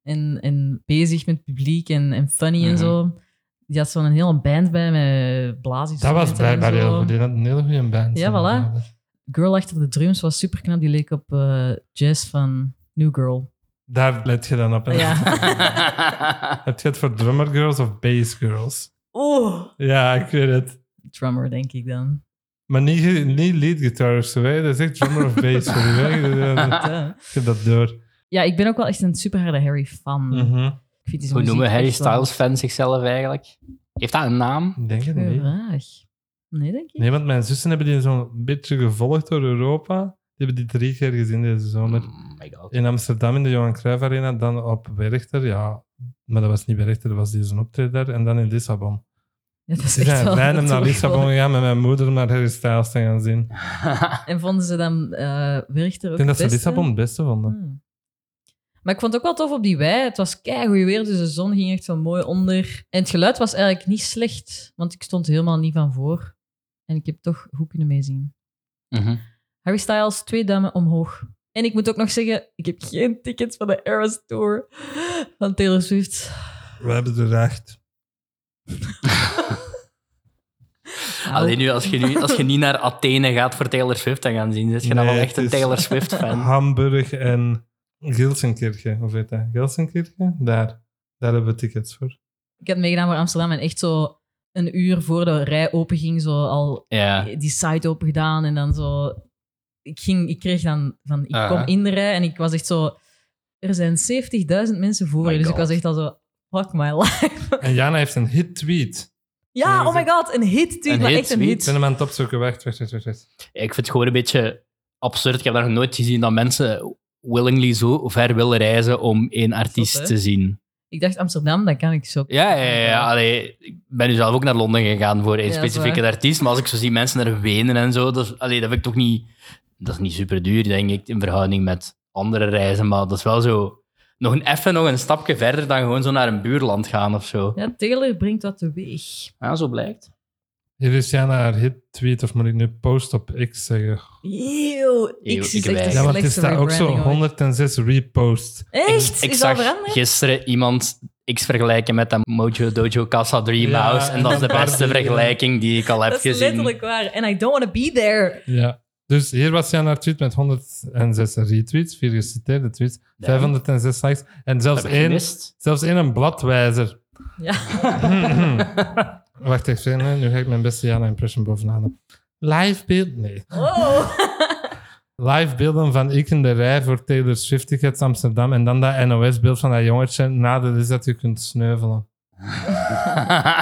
[SPEAKER 2] en, en bezig met het publiek en, en funny en
[SPEAKER 3] Mhm.
[SPEAKER 2] zo. Die had zo'n hele band bij met blaasjes.
[SPEAKER 1] Dat was blijkbaar heel goed. Die had een hele goede band.
[SPEAKER 2] Ja, voilà. Girl achter de drums was super knap. Die leek op eh Jess van New Girl.
[SPEAKER 1] Daar let je dan op. En
[SPEAKER 2] Ja.
[SPEAKER 3] wel.
[SPEAKER 1] Heb je het voor drummer girls of bass girls?
[SPEAKER 2] Oeh.
[SPEAKER 1] Ja, ik weet het.
[SPEAKER 2] Drummer, denk ik dan.
[SPEAKER 1] Maar niet, niet lead guitarist, hè? dat is echt drummer of bass. voor u, hè.
[SPEAKER 2] Ja.
[SPEAKER 1] Ik heb dat door.
[SPEAKER 2] Ja, ik ben ook wel echt een super harde Harry-fan.
[SPEAKER 1] Mhm.
[SPEAKER 2] Ik vind die
[SPEAKER 3] Hoe
[SPEAKER 2] muziek
[SPEAKER 3] noemen Harry
[SPEAKER 2] echt wel-
[SPEAKER 3] Styles fans zichzelf eigenlijk? Heeft dat een naam?
[SPEAKER 1] Ik denk het
[SPEAKER 2] Goeie
[SPEAKER 1] niet.
[SPEAKER 2] vraag. Nee, denk ik.
[SPEAKER 1] Nee, want mijn zussen hebben die zo'n beetje gevolgd door Europa. Die hebben die drie keer gezien deze zomer.
[SPEAKER 3] Oh my god.
[SPEAKER 1] In Amsterdam in de Johan Cruijff Arena, dan op Werchter, ja. Maar dat was niet Werchter, dat was die zijn optreden daar. En dan in Lissabon.
[SPEAKER 2] Ja, dat is
[SPEAKER 1] Ze
[SPEAKER 2] echt
[SPEAKER 1] zijn
[SPEAKER 2] wel
[SPEAKER 1] random naar
[SPEAKER 2] naartoe
[SPEAKER 1] Lissabon
[SPEAKER 2] gekomen.
[SPEAKER 1] gegaan met mijn moeder om naar Harry Styles te gaan zien.
[SPEAKER 2] En vonden ze dan eh Werchter
[SPEAKER 1] Ik denk
[SPEAKER 2] ook
[SPEAKER 1] dat
[SPEAKER 2] het
[SPEAKER 1] ze
[SPEAKER 2] beste?
[SPEAKER 1] Lissabon het beste vonden.
[SPEAKER 2] Hmm. Maar ik vond het ook wel tof op die wei. Het was keigoed weer, dus de zon ging echt zo mooi onder. En het geluid was eigenlijk niet slecht, want ik stond helemaal niet van voor. En ik heb toch goed kunnen meezien.
[SPEAKER 3] Mhm.
[SPEAKER 2] Harry Styles, twee duimen omhoog. En ik moet ook nog zeggen, ik heb geen tickets van de Eras Tour van Taylor Swift.
[SPEAKER 1] We hebben er echt.
[SPEAKER 3] Alleen nu als, je nu, als je niet naar Athene gaat voor Taylor Swift te gaan zien, zit je dan
[SPEAKER 1] Nee,
[SPEAKER 3] wel echt
[SPEAKER 1] het
[SPEAKER 3] een
[SPEAKER 1] is-
[SPEAKER 3] Taylor Swift fan.
[SPEAKER 1] Hamburg en Gilsenkirchen, of heet dat? Gelsenkirchen? Daar. Daar hebben we tickets voor.
[SPEAKER 2] Ik heb meegedaan voor Amsterdam en echt zo een uur voor de rij open ging, zo al
[SPEAKER 3] Ja.
[SPEAKER 2] die site open gedaan en dan zo. Ik, ging, ik kreeg dan van, ik
[SPEAKER 3] Aha.
[SPEAKER 2] kom in de rij en ik was echt zo. Er zijn 70.000 mensen voor
[SPEAKER 3] My
[SPEAKER 2] je, dus ik
[SPEAKER 3] God.
[SPEAKER 2] was echt al zo. Fuck my life.
[SPEAKER 1] En Jana heeft een hit tweet.
[SPEAKER 2] ja,
[SPEAKER 1] Sorry,
[SPEAKER 2] oh my god, een hit,
[SPEAKER 3] Een
[SPEAKER 2] dude, maar
[SPEAKER 3] hit,
[SPEAKER 2] echt een
[SPEAKER 3] sweet.
[SPEAKER 1] Ik
[SPEAKER 2] hit.
[SPEAKER 1] ben hem aan het opzoeken. Wacht, wacht, wacht, wacht, wacht.
[SPEAKER 3] Ik vind het gewoon een beetje absurd. Ik heb daar nog nooit gezien dat mensen willingly zo ver willen reizen om één artiest
[SPEAKER 2] hè?
[SPEAKER 3] te zien.
[SPEAKER 2] Ik dacht Amsterdam, dan kan ik zo.
[SPEAKER 3] Ja, ja, ja. ja. Allee, ik ben nu zelf ook naar Londen gegaan voor een
[SPEAKER 2] Ja, dat is
[SPEAKER 3] specifieke
[SPEAKER 2] waar.
[SPEAKER 3] artiest. Maar als ik zo zie mensen er wenen en zo, dat, is- allee, dat vind ik toch niet... Dat is niet super duur, denk ik, in verhouding met andere reizen. Maar dat is wel zo... Nog een, even nog een stapje verder dan gewoon zo naar een buurland gaan of zo.
[SPEAKER 2] Ja, Taylor brengt dat teweeg.
[SPEAKER 3] Ja, zo blijkt.
[SPEAKER 1] Hier is Jana haar hit tweet, of moet ik nu post op X zeggen?
[SPEAKER 2] Eeuw,
[SPEAKER 3] Eeuw,
[SPEAKER 2] ik zie
[SPEAKER 3] ik
[SPEAKER 2] echt
[SPEAKER 3] weet.
[SPEAKER 2] de
[SPEAKER 1] Ja, want er
[SPEAKER 2] slechtste
[SPEAKER 1] staat ook zo
[SPEAKER 2] rebranding ooit.
[SPEAKER 1] 106 reposts.
[SPEAKER 2] Echt? is
[SPEAKER 3] Ik
[SPEAKER 2] dat
[SPEAKER 3] zag
[SPEAKER 2] veranderd?
[SPEAKER 3] gisteren iemand X vergelijken met dat Mojo Dojo Casa Dream
[SPEAKER 1] Ja,
[SPEAKER 3] House. En dat is de
[SPEAKER 1] inderdaad.
[SPEAKER 3] beste vergelijking die ik al heb
[SPEAKER 2] Dat is
[SPEAKER 3] gezien.
[SPEAKER 2] letterlijk waar. And I don't want to be there.
[SPEAKER 1] Ja. Dus hier was Jana haar tweet met 106 retweets, vier geciteerde tweets, 506 likes en zelfs
[SPEAKER 3] Heb ik
[SPEAKER 1] één,
[SPEAKER 3] gemist?
[SPEAKER 1] zelfs één een bladwijzer.
[SPEAKER 2] Ja.
[SPEAKER 1] Wacht even, hè. nu ga ik mijn beste Jana impression bovenaan. Live beeld? Nee.
[SPEAKER 2] Oh.
[SPEAKER 1] Live beelden van ik in de rij voor Taylor Swift tickets Amsterdam en dan dat NOS-beeld van dat jongetje na de is dat je kunt sneuvelen.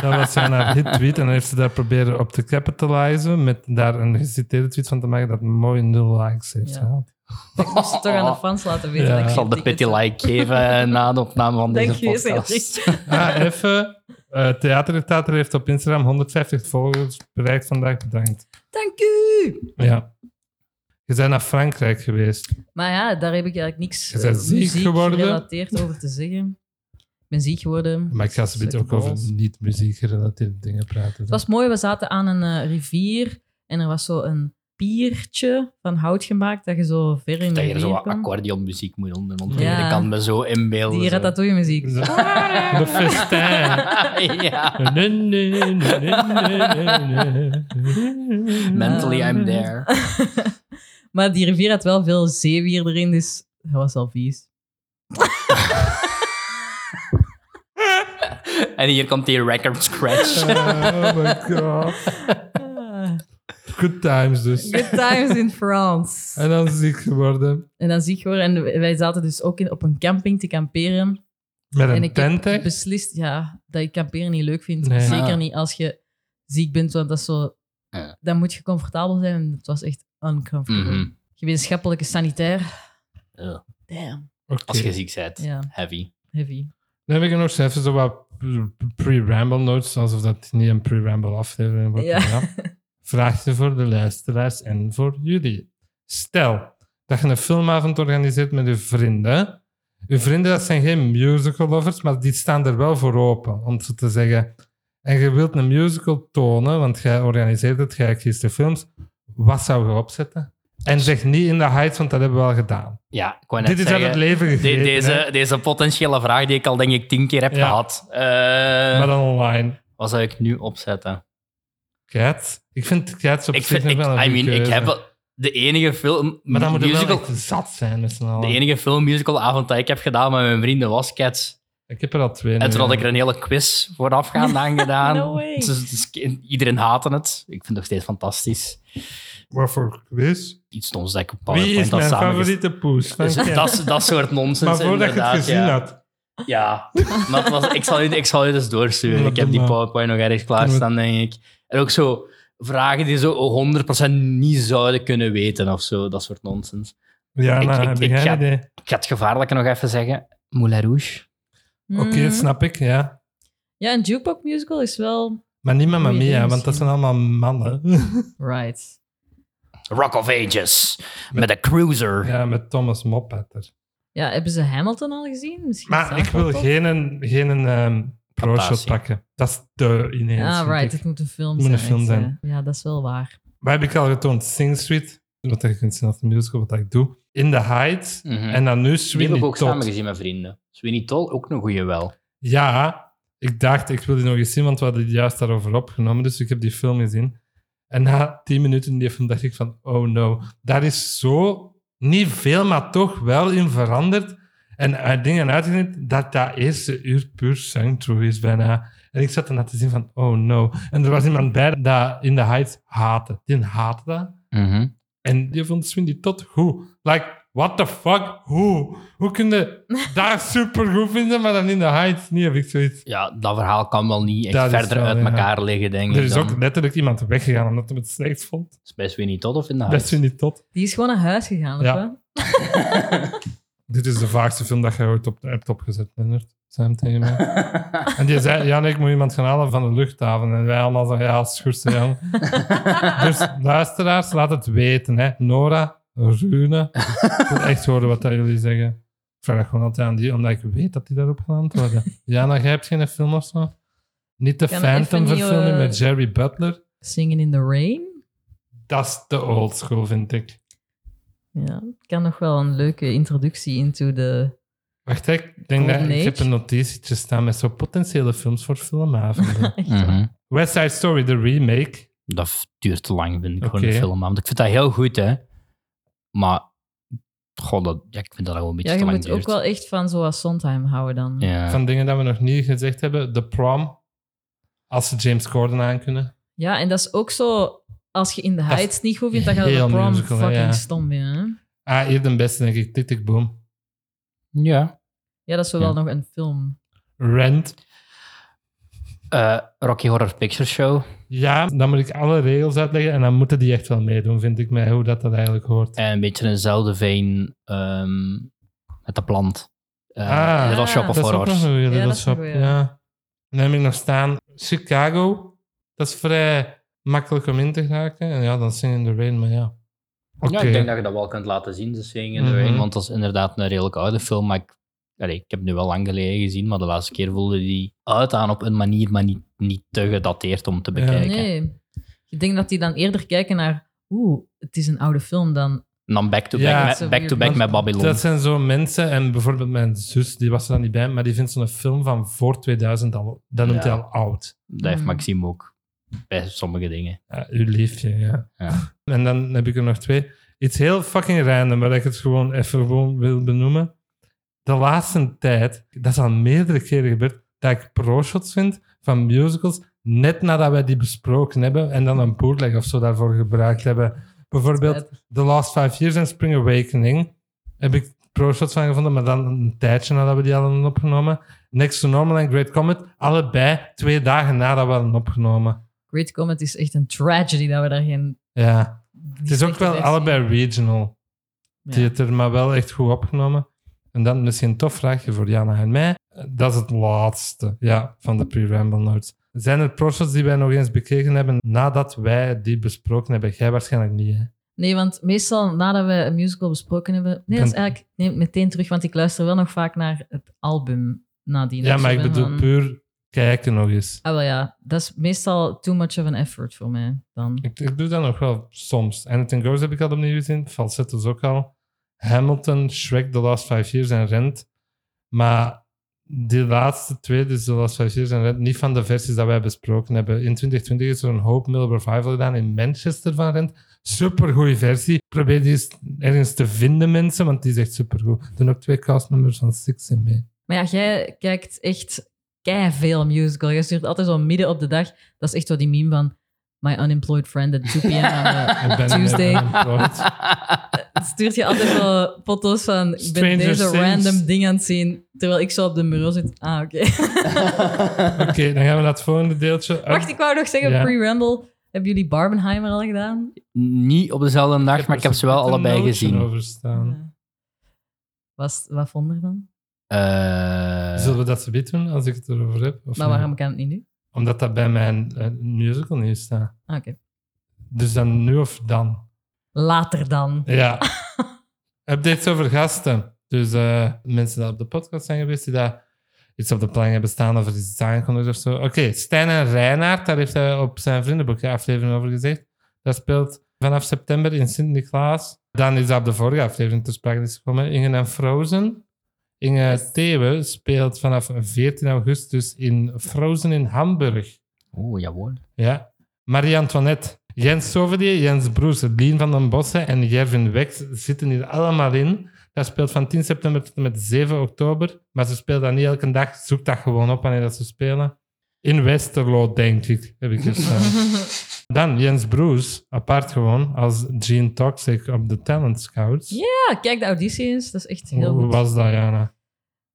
[SPEAKER 1] Dat was zijn haar hit tweet en dan heeft ze daar proberen op te capitalizen met daar een geciteerde tweet van te maken dat mooi nul likes heeft
[SPEAKER 2] Ja.
[SPEAKER 1] gehaald.
[SPEAKER 2] Ik moest het toch aan de fans laten weten.
[SPEAKER 1] Ja.
[SPEAKER 2] dat
[SPEAKER 3] Ik zal de
[SPEAKER 2] tickets
[SPEAKER 3] pity
[SPEAKER 2] had.
[SPEAKER 3] like geven eh, na de opname van
[SPEAKER 2] Dank
[SPEAKER 3] deze
[SPEAKER 2] je,
[SPEAKER 3] podcast.
[SPEAKER 2] Cedric.
[SPEAKER 1] Ah, even. eh Theater Theater heeft op Instagram 150 volgers bereikt vandaag. Bedankt.
[SPEAKER 2] Dank u.
[SPEAKER 1] Ja. Je bent naar Frankrijk geweest.
[SPEAKER 2] Maar ja, daar heb ik eigenlijk niks
[SPEAKER 1] Je bent
[SPEAKER 2] eh,
[SPEAKER 1] ziek
[SPEAKER 2] muziek
[SPEAKER 1] geworden.
[SPEAKER 2] gerelateerd over te zeggen. Ik ben ziek geworden.
[SPEAKER 1] Maar ik ga ze beetje ook
[SPEAKER 2] Slechte
[SPEAKER 1] over
[SPEAKER 2] balls.
[SPEAKER 1] niet-muziek-gerelateerde dingen praten.
[SPEAKER 2] Het was mooi, we zaten aan een eh, rivier en er was zo een piertje van hout gemaakt dat je zo ver in de
[SPEAKER 3] Dat je er zo
[SPEAKER 2] rivier
[SPEAKER 3] wat
[SPEAKER 2] kon.
[SPEAKER 3] accordeonmuziek moet onder
[SPEAKER 2] Ja.
[SPEAKER 3] ontwikkelen. Ik kan me zo inbeelden.
[SPEAKER 2] Die
[SPEAKER 3] zo.
[SPEAKER 2] ratatouille muziek.
[SPEAKER 1] Zo. De festijn.
[SPEAKER 3] Ah, ja.
[SPEAKER 1] Nee, nee, nee, nee, nee, nee.
[SPEAKER 3] Mentally,
[SPEAKER 2] Ehm.
[SPEAKER 3] I'm there.
[SPEAKER 2] Maar die rivier had wel veel zeewier erin, dus dat was al vies.
[SPEAKER 3] en hier komt die record scratch.
[SPEAKER 1] Oh my god.
[SPEAKER 2] Ah,
[SPEAKER 1] Good times dus.
[SPEAKER 2] Good times in France.
[SPEAKER 1] En dan ziek geworden.
[SPEAKER 2] En dan zie ik hoor, en wij zaten dus ook in, op een camping te kamperen.
[SPEAKER 1] Met
[SPEAKER 2] en
[SPEAKER 1] een
[SPEAKER 2] ik
[SPEAKER 1] tent, hè?
[SPEAKER 2] heb beslist ja, dat ik kamperen niet leuk vind.
[SPEAKER 1] Nee.
[SPEAKER 2] Zeker
[SPEAKER 3] Ah.
[SPEAKER 2] niet als je ziek bent, want dat is zo,
[SPEAKER 3] Ja.
[SPEAKER 2] dan moet je comfortabel zijn. En het was echt uncomfortable.
[SPEAKER 3] Mhm.
[SPEAKER 2] Gemeenschappelijke sanitair.
[SPEAKER 3] Ugh.
[SPEAKER 2] Damn.
[SPEAKER 1] Oké.
[SPEAKER 3] Als je ziek bent.
[SPEAKER 2] Ja,
[SPEAKER 3] Heavy.
[SPEAKER 2] heavy.
[SPEAKER 1] Dan heb ik nog even zo wat pre-ramble notes, alsof dat niet een pre-ramble aflevering wordt.
[SPEAKER 2] Ja.
[SPEAKER 1] maar ja. Vraagje voor de luisteraars en voor jullie. Stel dat je een filmavond organiseert met je vrienden. Je vrienden, dat zijn geen musical lovers, maar die staan er wel voor open, om zo te zeggen. En je wilt een musical tonen, want jij organiseert het, jij kiest de films. Wat zou je opzetten? En zeg niet in de heights, want dat hebben we al gedaan.
[SPEAKER 3] Ja, ik wou net
[SPEAKER 1] Dit is uit
[SPEAKER 3] zeggen,
[SPEAKER 1] het leven
[SPEAKER 3] de-
[SPEAKER 1] gegeven.
[SPEAKER 3] deze, deze potentiële vraag die ik al denk ik tien keer heb
[SPEAKER 1] Ja.
[SPEAKER 3] gehad. Eh,
[SPEAKER 1] Maar dan online.
[SPEAKER 3] Wat zou ik nu opzetten?
[SPEAKER 1] Cats? Ik vind Cats op
[SPEAKER 3] ik
[SPEAKER 1] zich
[SPEAKER 3] vind, ik,
[SPEAKER 1] nog wel een
[SPEAKER 3] I mean,
[SPEAKER 1] goede
[SPEAKER 3] ik heb
[SPEAKER 1] keuze.
[SPEAKER 3] wel- de enige film
[SPEAKER 1] Maar dan moet je wel
[SPEAKER 3] musical,
[SPEAKER 1] echt zat zijn met z'n allen.
[SPEAKER 3] de enige film musical avond dat ik heb gedaan met mijn vrienden was Cats.
[SPEAKER 1] Ik heb er al twee.
[SPEAKER 3] En toen had ik er
[SPEAKER 1] er
[SPEAKER 3] een hele quiz voorafgaand aan gedaan.
[SPEAKER 2] No way.
[SPEAKER 3] Dus- dus iedereen haatte het. Ik vind het nog steeds fantastisch.
[SPEAKER 1] Waarvoor quiz?
[SPEAKER 3] Iets stoms dat ik op
[SPEAKER 1] Wie is
[SPEAKER 3] PowerPoint had
[SPEAKER 1] mijn
[SPEAKER 3] samengesteld.
[SPEAKER 1] favoriete poes? Van
[SPEAKER 3] Dus
[SPEAKER 1] Cats?
[SPEAKER 3] dat, dat soort nonsens
[SPEAKER 1] maar voordat je het
[SPEAKER 3] inderdaad,
[SPEAKER 1] gezien
[SPEAKER 3] ja.
[SPEAKER 1] had.
[SPEAKER 3] Ja, maar het was, ik, zal u, ik zal u dus doorsturen.
[SPEAKER 1] Ja,
[SPEAKER 3] Ik heb
[SPEAKER 1] doe
[SPEAKER 3] die
[SPEAKER 1] maar.
[SPEAKER 3] PowerPoint nog ergens klaarstaan, denk ik. En ook zo vragen die zo 100% niet zouden kunnen weten of zo. Dat soort nonsens.
[SPEAKER 1] Ja,
[SPEAKER 3] Ik-
[SPEAKER 1] nou,
[SPEAKER 3] ik-
[SPEAKER 1] heb
[SPEAKER 3] ik
[SPEAKER 1] ik geen
[SPEAKER 3] ga-
[SPEAKER 1] idee.
[SPEAKER 3] Ik ga het gevaarlijke nog even zeggen. Moulin Rouge.
[SPEAKER 1] Oké,
[SPEAKER 2] Mm.
[SPEAKER 1] dat snap ik, ja.
[SPEAKER 2] Ja, een jukebox musical is wel...
[SPEAKER 1] Maar niet met
[SPEAKER 2] Goeie
[SPEAKER 1] Mia,
[SPEAKER 2] idee
[SPEAKER 1] want dat
[SPEAKER 2] misschien.
[SPEAKER 1] zijn allemaal mannen.
[SPEAKER 2] Right.
[SPEAKER 3] Rock of Ages. Met een cruiser.
[SPEAKER 1] ja, met Thomas Moppetter.
[SPEAKER 2] Ja, hebben ze Hamilton al gezien? Misschien is
[SPEAKER 1] Maar
[SPEAKER 2] dat
[SPEAKER 1] ik wil
[SPEAKER 2] wel
[SPEAKER 1] geen, geen ehm pro-shot
[SPEAKER 3] Fantasie.
[SPEAKER 1] pakken. Dat is te ineens.
[SPEAKER 2] Ah,
[SPEAKER 1] vind
[SPEAKER 2] right.
[SPEAKER 1] ik.
[SPEAKER 2] Het moet een film
[SPEAKER 1] Het moet
[SPEAKER 2] zijn.
[SPEAKER 1] een film
[SPEAKER 2] echt,
[SPEAKER 1] zijn.
[SPEAKER 2] hè. Ja, dat is wel waar.
[SPEAKER 1] Wat heb ik al getoond? Sing Street, wat je kunt zien als een musical, wat ik doe. In the Heights.
[SPEAKER 3] Mhm.
[SPEAKER 1] En dan nu
[SPEAKER 3] die heb
[SPEAKER 1] Sweeney
[SPEAKER 3] ik ook samen
[SPEAKER 1] Todd.
[SPEAKER 3] gezien met vrienden. Sweeney Todd, ook een goeie wel.
[SPEAKER 1] Ja, ik dacht, ik wil die nog eens zien, want we hadden die juist daarover opgenomen. Dus ik heb die film gezien. En na tien minuten in die film dacht ik van, oh no. Daar is zo niet veel, maar toch wel in veranderd. En uit dingen uitgeknipt dat dat eerste uur puur zangtrue is bijna. En ik zat dan net te zien van, oh no. En er was iemand bij dat in de Heights haatte. Die haatte dat.
[SPEAKER 3] Mhm.
[SPEAKER 1] En die vond Swindy tot goed. Like, what the fuck? Hoe? Hoe kun je daar super goed vinden, maar dan in de Heights niet? Heb ik zoiets.
[SPEAKER 3] Ja, dat verhaal kan wel niet echt
[SPEAKER 1] Dat is
[SPEAKER 3] verder
[SPEAKER 1] wel,
[SPEAKER 3] uit
[SPEAKER 1] ja.
[SPEAKER 3] elkaar liggen, denk ik.
[SPEAKER 1] Er is
[SPEAKER 3] dan.
[SPEAKER 1] ook letterlijk iemand weggegaan omdat hij het slecht vond.
[SPEAKER 3] is bij Sweeney Todd of in de
[SPEAKER 1] Dat
[SPEAKER 3] huis?
[SPEAKER 1] is Swindy tot.
[SPEAKER 2] Die is gewoon naar huis gegaan, of
[SPEAKER 1] Ja.
[SPEAKER 2] wat?
[SPEAKER 1] Dit is de vaagste film dat jij ooit op, hebt opgezet, Leonard. Zei hem tegen mij. En die zei, ja, nee, ik moet iemand gaan halen van de luchthaven. En wij allemaal zo, ja, schurste Jan. dus luisteraars, laat het weten. Hè. Nora, Rune. Ik wil echt horen wat dat jullie zeggen. Ik vraag dat gewoon altijd aan die, omdat ik weet dat die daarop gaan antwoorden. Jana, jij hebt geen film of zo? Niet de
[SPEAKER 2] Kan
[SPEAKER 1] Phantom
[SPEAKER 2] even niet,
[SPEAKER 1] verfilming
[SPEAKER 2] eh,
[SPEAKER 1] met Jerry Butler?
[SPEAKER 2] Singing in the Rain.
[SPEAKER 1] Dat is te old school, vind ik.
[SPEAKER 2] Ja, ik kan nog wel een leuke introductie into de...
[SPEAKER 1] Wacht, hè, ik denk dat
[SPEAKER 2] Golden
[SPEAKER 1] ik heb
[SPEAKER 2] Age?
[SPEAKER 1] een notitietje staan met zo potentiële films voor filmavonden.
[SPEAKER 3] Mhm.
[SPEAKER 1] West Side Story, de remake.
[SPEAKER 3] Dat v- duurt te lang, vind ik,
[SPEAKER 1] Oké.
[SPEAKER 3] gewoon een film. Want ik vind dat heel goed, hè. Maar, god, dat, ja, ik vind dat gewoon een beetje
[SPEAKER 2] Ja,
[SPEAKER 3] te
[SPEAKER 2] je
[SPEAKER 3] lang
[SPEAKER 2] moet ook
[SPEAKER 3] duurt.
[SPEAKER 2] wel echt van zoals Sondheim houden dan.
[SPEAKER 3] Ja.
[SPEAKER 1] Van dingen dat we nog niet gezegd hebben. The Prom. Als ze James Corden aankunnen.
[SPEAKER 2] Ja, en dat is ook zo... Als je in de
[SPEAKER 1] is
[SPEAKER 2] Heights niet goed vindt, dan gaat
[SPEAKER 1] heel
[SPEAKER 2] de prom
[SPEAKER 1] musical, hè,
[SPEAKER 2] fucking
[SPEAKER 1] ja.
[SPEAKER 2] stom binnen. hè?
[SPEAKER 1] Ah, hier de beste, denk ik. Tick, tick, boom.
[SPEAKER 3] ja.
[SPEAKER 2] Ja, dat is zo
[SPEAKER 3] Ja.
[SPEAKER 2] wel nog een film.
[SPEAKER 1] Rent.
[SPEAKER 3] Eh, Rocky Horror Picture Show.
[SPEAKER 1] Ja, dan moet ik alle regels uitleggen. En dan moeten die echt wel meedoen, vind ik, met hoe dat, dat eigenlijk hoort.
[SPEAKER 3] En Eh, een beetje in dezelfde veen ehm, met de plant. Eh,
[SPEAKER 1] Ah.
[SPEAKER 3] Little Shop of
[SPEAKER 1] dat is ook nog
[SPEAKER 3] Horrors.
[SPEAKER 1] een goeie, Little
[SPEAKER 2] dat is een
[SPEAKER 1] Shop.
[SPEAKER 2] goeie.
[SPEAKER 1] Ja. Dan heb ik nog staan Chicago. Dat is vrij makkelijk om in te geraken. En ja, dan Sing in the Rain, maar ja. Oké.
[SPEAKER 3] Ja, ik denk dat je dat wel kunt laten zien, de Singing in the Rain,
[SPEAKER 1] Mhm.
[SPEAKER 3] Want dat is inderdaad een redelijk oude film. Maar ik, allee, ik heb hem nu wel lang geleden gezien, maar de laatste keer voelde die uit aan op een manier, maar niet, niet te gedateerd om te
[SPEAKER 1] Ja.
[SPEAKER 3] bekijken.
[SPEAKER 2] Nee. Ik denk dat die dan eerder kijken naar... Oeh, het is een oude film dan...
[SPEAKER 3] En dan back-to-back
[SPEAKER 1] Ja.
[SPEAKER 3] met, back to back
[SPEAKER 2] Dat-
[SPEAKER 3] met Babylon.
[SPEAKER 1] Dat zijn zo mensen, en bijvoorbeeld mijn zus, die was er dan niet bij, maar die vindt zo'n film van voor 2000 al, dat noemt
[SPEAKER 3] Ja.
[SPEAKER 1] hij al oud.
[SPEAKER 3] Dat heeft
[SPEAKER 2] Mm.
[SPEAKER 3] Maxime ook bij sommige dingen.
[SPEAKER 1] Ja, uw liefje, ja.
[SPEAKER 3] Ja.
[SPEAKER 1] En dan heb ik er nog twee. Iets heel fucking random, waar ik het gewoon even gewoon wil benoemen. De laatste tijd, dat is al meerdere keren gebeurd, dat ik pro-shots vind van musicals, net nadat wij die besproken hebben en dan een bootleg of zo daarvoor gebruikt hebben. Bijvoorbeeld The Last Five Years en Spring Awakening heb ik pro-shots van gevonden, maar dan een tijdje nadat we die hadden opgenomen. Next to Normal en Great Comet, allebei twee dagen nadat we hadden opgenomen.
[SPEAKER 2] Great Comet is echt een tragedy dat we daar geen...
[SPEAKER 1] Ja, het is ook wel allebei regional
[SPEAKER 2] Ja.
[SPEAKER 1] theater, maar wel echt goed opgenomen. En dan misschien een tof vraagje voor Jana en mij. Dat is het laatste, ja, van de pre-ramble notes. Zijn er pro-shots die wij nog eens bekeken hebben nadat wij die besproken hebben? Jij waarschijnlijk niet, hè?
[SPEAKER 2] Nee, want meestal nadat we een musical besproken hebben... Nee, dat is
[SPEAKER 1] Ben-
[SPEAKER 2] eigenlijk... Neem het meteen terug, want ik luister wel nog vaak naar het album nadien.
[SPEAKER 1] Ja,
[SPEAKER 2] Dus
[SPEAKER 1] maar ik
[SPEAKER 2] ben
[SPEAKER 1] bedoel
[SPEAKER 2] dan-
[SPEAKER 1] puur kijken nog eens.
[SPEAKER 2] Ah, wel ja. Dat is meestal too much of an effort voor mij dan.
[SPEAKER 1] Ik, ik doe dat nog wel soms. Anything Goes heb ik al opnieuw gezien. Falsetto's ook al. Hamilton, Shrek, The Last Five Years en Rent. Maar die laatste twee, dus The Last Five Years en Rent, niet van de versies dat wij besproken hebben. In 2020 is er een Hope Mill Revival gedaan in Manchester van Rent. Supergoeie versie. Probeer die eens ergens te vinden, mensen, want die is echt supergoed. Er doen ook twee castnummers van Six in mee.
[SPEAKER 2] Maar ja, jij kijkt echt veel musical. Je stuurt altijd zo midden op de dag. Dat is echt zo die meme van... My unemployed friend at 2 p.m. on a-
[SPEAKER 1] Ik ben
[SPEAKER 2] Tuesday.
[SPEAKER 1] unemployed.
[SPEAKER 2] eh, stuurt je altijd zo foto's van... Ik ben
[SPEAKER 1] Stranger
[SPEAKER 2] deze
[SPEAKER 1] Things.
[SPEAKER 2] random ding aan het zien. Terwijl ik zo op de bureau zit. Ah, oké.
[SPEAKER 1] Oké, dan gaan we naar het volgende deeltje.
[SPEAKER 2] Wacht, ik wou nog zeggen,
[SPEAKER 1] Oh. Ja.
[SPEAKER 2] pre-ramble. Hebben jullie Barbenheimer al gedaan?
[SPEAKER 3] Niet op dezelfde dag, maar
[SPEAKER 1] er
[SPEAKER 3] ik
[SPEAKER 1] zo'n
[SPEAKER 3] heb ze wel
[SPEAKER 1] witte
[SPEAKER 3] allebei
[SPEAKER 1] nootje
[SPEAKER 3] gezien.
[SPEAKER 1] over staan.
[SPEAKER 2] Ja. Was, wat vond je ervan?
[SPEAKER 3] Eh,
[SPEAKER 1] Zullen we dat zo doen als ik het erover heb? Of
[SPEAKER 2] Maar
[SPEAKER 1] niet?
[SPEAKER 2] Nou, waarom kan het niet nu?
[SPEAKER 1] Omdat dat bij mijn eh, musical nu staat.
[SPEAKER 2] Ah, Oké.
[SPEAKER 1] Dus dan nu of dan?
[SPEAKER 2] Later dan.
[SPEAKER 1] Ja. Updates over gasten. Dus eh, mensen die op de podcast zijn geweest, die daar iets op de planning hebben staan of er is iets aangekondigd of zo. Oké, Stijn en Reinaert, daar heeft hij op zijn vriendenboekje aflevering over gezegd. Dat speelt vanaf september in Sint-Niklaas. Dan is dat op de vorige aflevering ter sprake is gekomen. Inge en Frozen. Inge Thewe speelt vanaf 14 augustus in Frozen in Hamburg.
[SPEAKER 3] Oeh, jawohl.
[SPEAKER 2] Eh,
[SPEAKER 1] Ja. Marie-Antoinette Jens Sovelier, Jens Broers, Lien van den Bossen en Gervin Wex zitten hier allemaal in. Dat speelt van 10 september tot en met 7 oktober. Maar ze spelen dat niet elke dag. Zoek dat gewoon op wanneer dat ze spelen. In Westerlo, denk ik, heb ik hier staan. Dan Jens Broers, apart gewoon, als Gene Toxic op de Talent Scouts.
[SPEAKER 2] ja, kijk de auditie eens. Dat is echt heel
[SPEAKER 1] Hoe
[SPEAKER 2] goed.
[SPEAKER 1] was dat, Jana?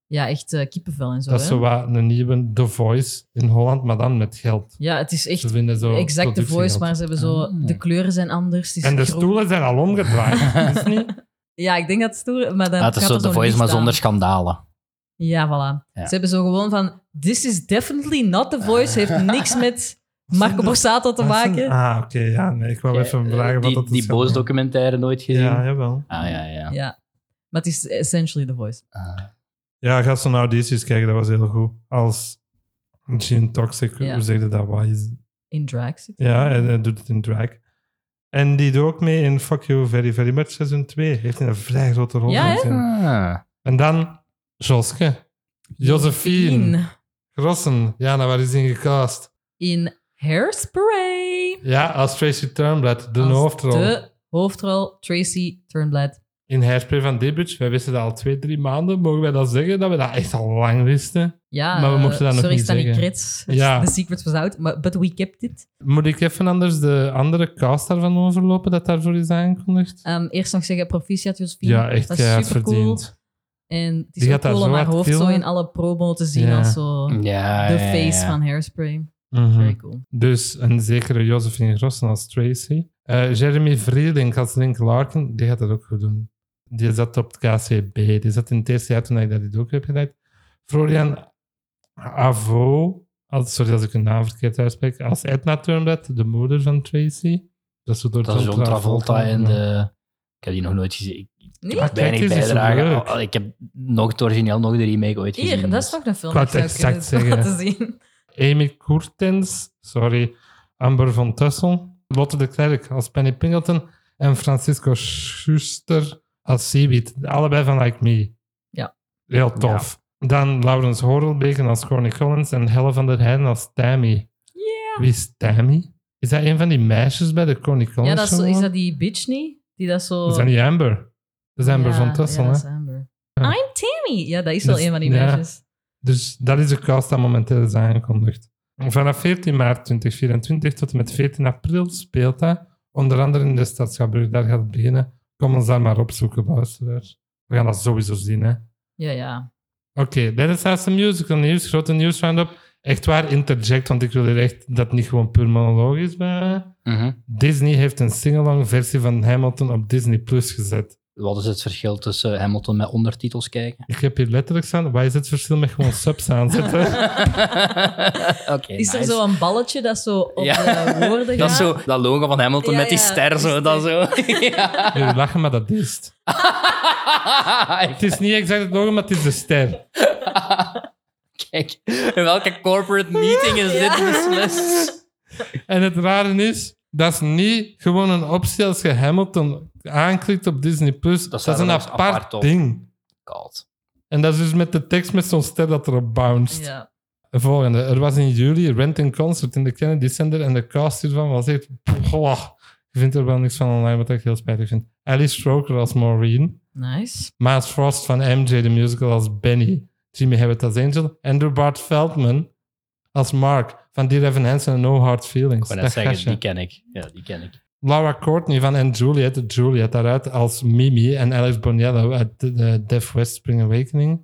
[SPEAKER 2] Ja, echt eh, kippenvel en zo.
[SPEAKER 1] Dat is
[SPEAKER 2] hè?
[SPEAKER 1] zo wat een nieuwe The Voice in Holland, maar dan met geld.
[SPEAKER 2] Ja, het is echt
[SPEAKER 1] Ze vinden zo
[SPEAKER 2] exact de voice,
[SPEAKER 1] productiegeld.
[SPEAKER 2] maar ze hebben zo...
[SPEAKER 3] Ah.
[SPEAKER 2] De kleuren zijn anders. het is
[SPEAKER 1] En de
[SPEAKER 2] groen.
[SPEAKER 1] stoelen zijn al omgedraaid. is het niet?
[SPEAKER 2] Ja, ik denk dat het stoer... Maar dan
[SPEAKER 3] Ja, Ah, het is
[SPEAKER 2] gaat
[SPEAKER 3] zo
[SPEAKER 2] er
[SPEAKER 3] de
[SPEAKER 2] zo'n
[SPEAKER 3] voice,
[SPEAKER 2] licht
[SPEAKER 3] maar
[SPEAKER 2] aan.
[SPEAKER 3] zonder schandalen.
[SPEAKER 2] Ja, voilà.
[SPEAKER 3] Ja.
[SPEAKER 2] Ze hebben zo gewoon van... This is definitely not the voice. Heeft niks met Marco Borsato te maken.
[SPEAKER 1] Ah, oké. ja, nee, ik wou
[SPEAKER 2] Eh,
[SPEAKER 1] even vragen wat
[SPEAKER 3] eh, die
[SPEAKER 1] dat is.
[SPEAKER 3] die boos documentaire nooit gezien?
[SPEAKER 1] Ja, jawel.
[SPEAKER 3] Ah, ja, ja.
[SPEAKER 2] Ja. Maar het is essentially the voice.
[SPEAKER 3] Ah.
[SPEAKER 1] Ja, ga zo naar audities kijken, dat was heel goed. Als Gene Toxic,
[SPEAKER 2] Ja.
[SPEAKER 1] hoe zeg je dat? Wat is-
[SPEAKER 2] In drag zit
[SPEAKER 1] Ja, hij, hij doet het in drag. En die doet ook mee in Fuck You Very Very Much seizoen 2. Heeft hij een vrij grote rol
[SPEAKER 2] Ja, hè?
[SPEAKER 1] gezien. En dan Joske. Josephine.
[SPEAKER 2] In,
[SPEAKER 1] Grossen. Ja, nou waar is hij gecast?
[SPEAKER 2] in Hairspray.
[SPEAKER 1] Ja, als Tracy Turnblad, de
[SPEAKER 2] Als
[SPEAKER 1] hoofdrol.
[SPEAKER 2] De hoofdrol, Tracy Turnblad.
[SPEAKER 1] In Hairspray van Debutch. Wij wisten dat al twee, drie maanden. Mogen wij dat zeggen? Dat we dat echt al lang wisten.
[SPEAKER 2] Ja,
[SPEAKER 1] Maar we
[SPEAKER 2] eh,
[SPEAKER 1] mochten dat nog
[SPEAKER 2] sorry,
[SPEAKER 1] niet
[SPEAKER 2] Stanley
[SPEAKER 1] zeggen.
[SPEAKER 2] Krits.
[SPEAKER 1] Ja.
[SPEAKER 2] The secret was out, maar- but we kept it.
[SPEAKER 1] Moet ik even anders de andere cast daarvan overlopen dat daarvoor is aangekondigd?
[SPEAKER 2] Ehm, eerst nog zeggen, proficiat Josephine.
[SPEAKER 1] ja, echt
[SPEAKER 2] dat is
[SPEAKER 1] keihard
[SPEAKER 2] supercool.
[SPEAKER 1] verdiend.
[SPEAKER 2] En het is
[SPEAKER 1] Die
[SPEAKER 2] ook
[SPEAKER 1] gaat daar
[SPEAKER 2] cool
[SPEAKER 1] zo
[SPEAKER 2] om haar
[SPEAKER 1] hard
[SPEAKER 2] hoofd zo
[SPEAKER 1] killen.
[SPEAKER 2] in alle promo te zien
[SPEAKER 1] Ja.
[SPEAKER 2] als zo de
[SPEAKER 3] Ja, ja, ja,
[SPEAKER 2] face
[SPEAKER 3] ja.
[SPEAKER 2] van Hairspray.
[SPEAKER 3] Ah,
[SPEAKER 1] Mhm.
[SPEAKER 2] Very cool.
[SPEAKER 1] Dus een zekere Josephine Grossen als Tracy. Eh, Jeremy Vrielink als Link Larkin, die gaat dat ook goed doen. Die zat op het KCB. Die zat in het eerste jaar toen ik dat ook heb gedaan. Florian Avo, als, sorry als ik hun naam verkeerd uitspreek, als Edna Turnblad, de moeder van Tracy. Dat is zo door
[SPEAKER 3] Dat is
[SPEAKER 1] John
[SPEAKER 3] John Travolta en
[SPEAKER 1] ja.
[SPEAKER 3] de... Ik heb die nog nooit gezien. Ik
[SPEAKER 2] Nee,
[SPEAKER 1] Ah,
[SPEAKER 3] heb weinig
[SPEAKER 1] kijk eens, dat is
[SPEAKER 3] bijdrage.
[SPEAKER 1] leuk.
[SPEAKER 3] Oh, Ik heb nog het origineel, nog de remake ooit gezien. dus-
[SPEAKER 2] hier, dat is toch een film
[SPEAKER 1] Ik wou
[SPEAKER 2] die ik
[SPEAKER 1] het
[SPEAKER 2] zou
[SPEAKER 1] exact
[SPEAKER 2] kunnen laten
[SPEAKER 1] zeggen.
[SPEAKER 2] zien.
[SPEAKER 1] Amy Courtens, sorry, Amber van Tussel, Lotte de Klerk als Penny Pingleton en Francisco Schuster als Seaweed. Allebei van Like Me.
[SPEAKER 2] Ja.
[SPEAKER 1] Heel tof. Dan Laurens Horelbeken als Corny Collins en Helle van der Heijden als Tammy.
[SPEAKER 2] Yeah.
[SPEAKER 1] Wie is Tammy? Is dat een van die meisjes bij de Corny Collins?
[SPEAKER 2] Ja, dat is, zo-
[SPEAKER 1] show?
[SPEAKER 2] is dat die bitch niet? Die dat zo...
[SPEAKER 1] Dat is niet Amber. Dat is Amber
[SPEAKER 2] Ja,
[SPEAKER 1] van Tussel,
[SPEAKER 2] ja,
[SPEAKER 1] hè?
[SPEAKER 2] dat is Amber.
[SPEAKER 1] Ja.
[SPEAKER 2] I'm Tammy. Ja, dat is wel
[SPEAKER 1] Dus-
[SPEAKER 2] een van die
[SPEAKER 1] ja.
[SPEAKER 2] meisjes.
[SPEAKER 1] Dus dat is de cast dat momenteel is aangekondigd. Vanaf 14 maart 2024 tot en met 14 april speelt dat. Onder andere in de stad Schouwburg, daar gaat het beginnen. Kom ons daar maar opzoeken, luisteraars. We gaan dat sowieso zien, hè.
[SPEAKER 2] Ja, ja.
[SPEAKER 1] Oké, dit is laatste musical nieuws, grote nieuws roundup. Echt waar, interject, want ik wil hier echt dat het niet gewoon puur monoloog is. Maar... eh,
[SPEAKER 3] Mhm.
[SPEAKER 1] Disney heeft een singalong versie van Hamilton op Disney Plus gezet.
[SPEAKER 3] Wat is het verschil tussen Hamilton met ondertitels kijken?
[SPEAKER 1] Ik heb hier letterlijk staan, wat is het verschil met gewoon subs aanzetten?
[SPEAKER 3] Oké,
[SPEAKER 2] Is er
[SPEAKER 3] nice.
[SPEAKER 2] zo een balletje dat zo op
[SPEAKER 3] Ja.
[SPEAKER 2] de woorden gaat?
[SPEAKER 3] Dat is zo, dat logo van Hamilton
[SPEAKER 2] Ja,
[SPEAKER 3] met die
[SPEAKER 2] ja,
[SPEAKER 3] ster, zo,
[SPEAKER 2] die
[SPEAKER 3] dat zo. ja.
[SPEAKER 1] Jullie lachen, maar dat is het. Het is niet exact het logo, maar het is de ster.
[SPEAKER 3] Kijk, in welke corporate meeting is dit beslist?
[SPEAKER 1] En het rare is, dat is niet gewoon een optie als je Hamilton aanklikt op Disney+. Plus. Dat,
[SPEAKER 3] staat
[SPEAKER 1] is een
[SPEAKER 3] er als
[SPEAKER 1] apart,
[SPEAKER 3] apart op.
[SPEAKER 1] ding.
[SPEAKER 3] God.
[SPEAKER 1] En dat is dus met de tekst met zo'n ster dat erop bounced.
[SPEAKER 2] Ja.
[SPEAKER 1] De Volgende. Er was in juli Rent in Concert in de Kennedy Center en de cast hiervan was echt... Goh, je vindt er wel niks van online, wat ik heel spijtig vind. Alice Stroker als Maureen.
[SPEAKER 2] Nice.
[SPEAKER 1] Miles Frost van MJ the Musical als Benny. Jimmy Hewitt als Angel. Andrew Bart Feldman als Mark. Van Dear Evan Hansen en No Hard
[SPEAKER 3] Ik
[SPEAKER 1] Feelings.
[SPEAKER 3] wou net
[SPEAKER 1] Dat
[SPEAKER 3] zeggen,
[SPEAKER 1] gastje.
[SPEAKER 3] die ken ik. Ja, die ken ik.
[SPEAKER 1] Laura Courtney van And Juliet. Juliet daaruit als Mimi. En Alex Bonello uit de, de Deaf West Spring Awakening.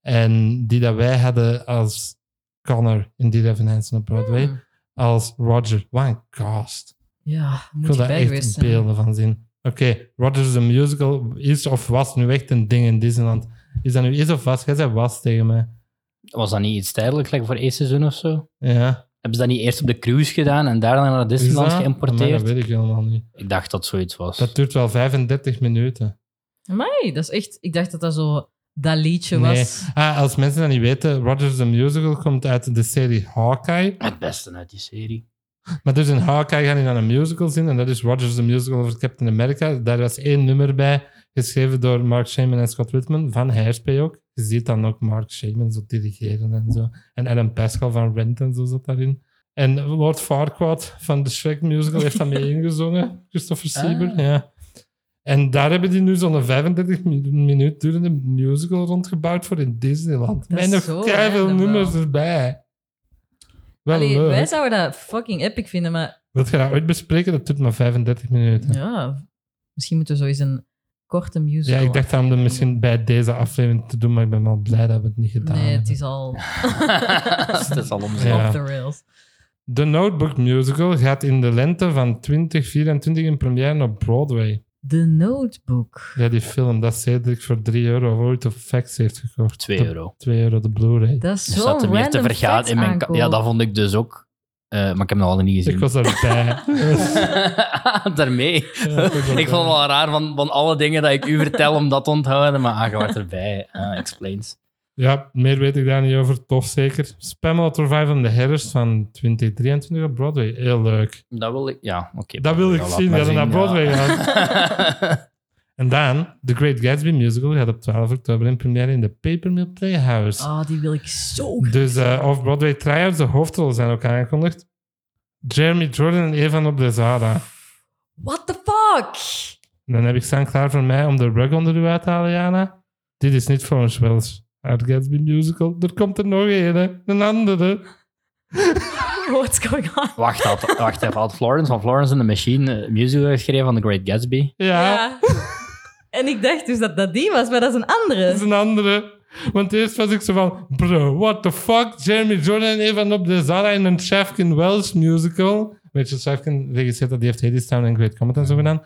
[SPEAKER 1] En die dat wij hadden als Connor in Dear Evan Hansen op Broadway.
[SPEAKER 2] Hmm.
[SPEAKER 1] Als Roger. Wat een cast.
[SPEAKER 2] Ja,
[SPEAKER 1] Ik
[SPEAKER 2] moet
[SPEAKER 1] wil
[SPEAKER 2] je
[SPEAKER 1] daar
[SPEAKER 2] bij geweest
[SPEAKER 1] echt
[SPEAKER 2] zijn.
[SPEAKER 1] beelden van zien. Oké, Rogers the Musical is of was nu echt een ding in Disneyland. Is dat nu is of was? Jij zei was tegen mij.
[SPEAKER 3] Was dat niet iets tijdelijk, gelijk voor één seizoen of zo?
[SPEAKER 1] Ja.
[SPEAKER 3] Hebben ze dat niet eerst op de cruise gedaan en daarna naar Disneyland
[SPEAKER 1] Is dat? Amai,
[SPEAKER 3] geïmporteerd?
[SPEAKER 1] Dat weet ik helemaal niet.
[SPEAKER 3] Ik dacht dat zoiets was.
[SPEAKER 1] Dat duurt wel 35 minuten.
[SPEAKER 2] Amai, dat is echt... Ik dacht dat dat zo dat liedje was.
[SPEAKER 1] Ah, als mensen dat niet weten, Rogers the Musical komt uit de serie Hawkeye.
[SPEAKER 3] Het beste uit die serie.
[SPEAKER 1] Maar dus in Hawkeye gaan die dan een musical zien. En dat is Rogers the Musical over Captain America. Daar was één nummer bij, geschreven door Mark Shaman en Scott Whitman. Van Hairspray ook. Je ziet dan ook Mark Shaman zo dirigeren en zo. En Adam Pascal van Rent en zo zat daarin. En Lord Farquaad van de Shrek musical heeft dat mee ingezongen, Christopher
[SPEAKER 3] Ah.
[SPEAKER 1] Sieber. Ja. En daar hebben die nu zo'n 35 mi- minuut durende musical rondgebouwd voor in Disneyland.
[SPEAKER 2] Dat
[SPEAKER 1] Met
[SPEAKER 2] is
[SPEAKER 1] nog
[SPEAKER 2] zo
[SPEAKER 1] veel
[SPEAKER 2] random
[SPEAKER 1] nummers
[SPEAKER 2] wel.
[SPEAKER 1] erbij. Wel
[SPEAKER 2] Allee,
[SPEAKER 1] leuk.
[SPEAKER 2] wij zouden dat fucking epic vinden, maar
[SPEAKER 1] Wilt je dat ooit bespreken? Dat duurt maar 35 minuten. Ja,
[SPEAKER 2] ja, misschien moeten we zo eens een korte musical.
[SPEAKER 1] ik dacht aan hem misschien bij deze aflevering te doen, maar ik ben wel blij dat we het niet gedaan
[SPEAKER 2] Nee, het
[SPEAKER 1] hebben.
[SPEAKER 2] is al
[SPEAKER 3] Het Dus is al om
[SPEAKER 1] Ja.
[SPEAKER 2] off the rails.
[SPEAKER 1] The Notebook Musical gaat in de lente van 2024 in première op Broadway.
[SPEAKER 2] The Notebook.
[SPEAKER 1] Ja, die film, dat Cedric voor 3 euro voor ooit op fax heeft gekocht.
[SPEAKER 3] 2 euro. Dus
[SPEAKER 1] 2 euro de Blu-ray.
[SPEAKER 2] Dat is
[SPEAKER 3] Er
[SPEAKER 2] zo
[SPEAKER 3] zaten meer
[SPEAKER 2] random
[SPEAKER 3] te vergaan
[SPEAKER 2] facts
[SPEAKER 3] in mijn... ka-
[SPEAKER 2] aankoop.
[SPEAKER 3] Ja, dat vond ik dus ook. Eh, maar ik heb nog altijd niet
[SPEAKER 1] Ik
[SPEAKER 3] gezien.
[SPEAKER 1] was daarbij.
[SPEAKER 3] Daarmee.
[SPEAKER 1] Ja, ik was
[SPEAKER 3] ik vond
[SPEAKER 1] daarbij.
[SPEAKER 3] het wel raar van, van alle dingen dat ik u vertel om dat te onthouden, maar ah, je was erbij. Ah, explains.
[SPEAKER 1] Ja, meer weet ik daar niet over. Tof zeker. Spamel Revival in de herfst van 2023 op Broadway. Heel leuk.
[SPEAKER 3] Dat wil ik... Ja, oké.
[SPEAKER 1] Dat wil ik
[SPEAKER 3] Ja, laat
[SPEAKER 1] zien,
[SPEAKER 3] maar
[SPEAKER 1] dat het naar Broadway
[SPEAKER 3] ja.
[SPEAKER 1] En dan, The Great Gatsby Musical gaat op 12 oktober in première in de Papermill Playhouse.
[SPEAKER 2] Ah, die wil ik zo
[SPEAKER 1] Dus eh off-Broadway tryouts, de hoofdrollen zijn ook aangekondigd. Jeremy Jordan en Evan op de Zara.
[SPEAKER 2] What the fuck?
[SPEAKER 1] Dan heb ik staan klaar voor mij om de rug onder u uit te halen, Jana. Dit is niet Florence Wells uit Gatsby Musical. Er komt er nog een, hè. een andere.
[SPEAKER 2] What's going on?
[SPEAKER 3] wacht, had, wacht even. Had Florence van Florence and the Machine eh, musical geschreven van The Great Gatsby?
[SPEAKER 1] Ja,
[SPEAKER 2] en ik dacht dus dat dat die was, maar dat is een
[SPEAKER 1] dat is
[SPEAKER 2] andere.
[SPEAKER 1] een andere. Want eerst was ik zo van, bro, what the fuck? Jeremy Jordan even op de Zara in een Shafkin Wells musical. Rachel Shafkin regisseert dat, die heeft Hadestown en Great Comet en zo gedaan.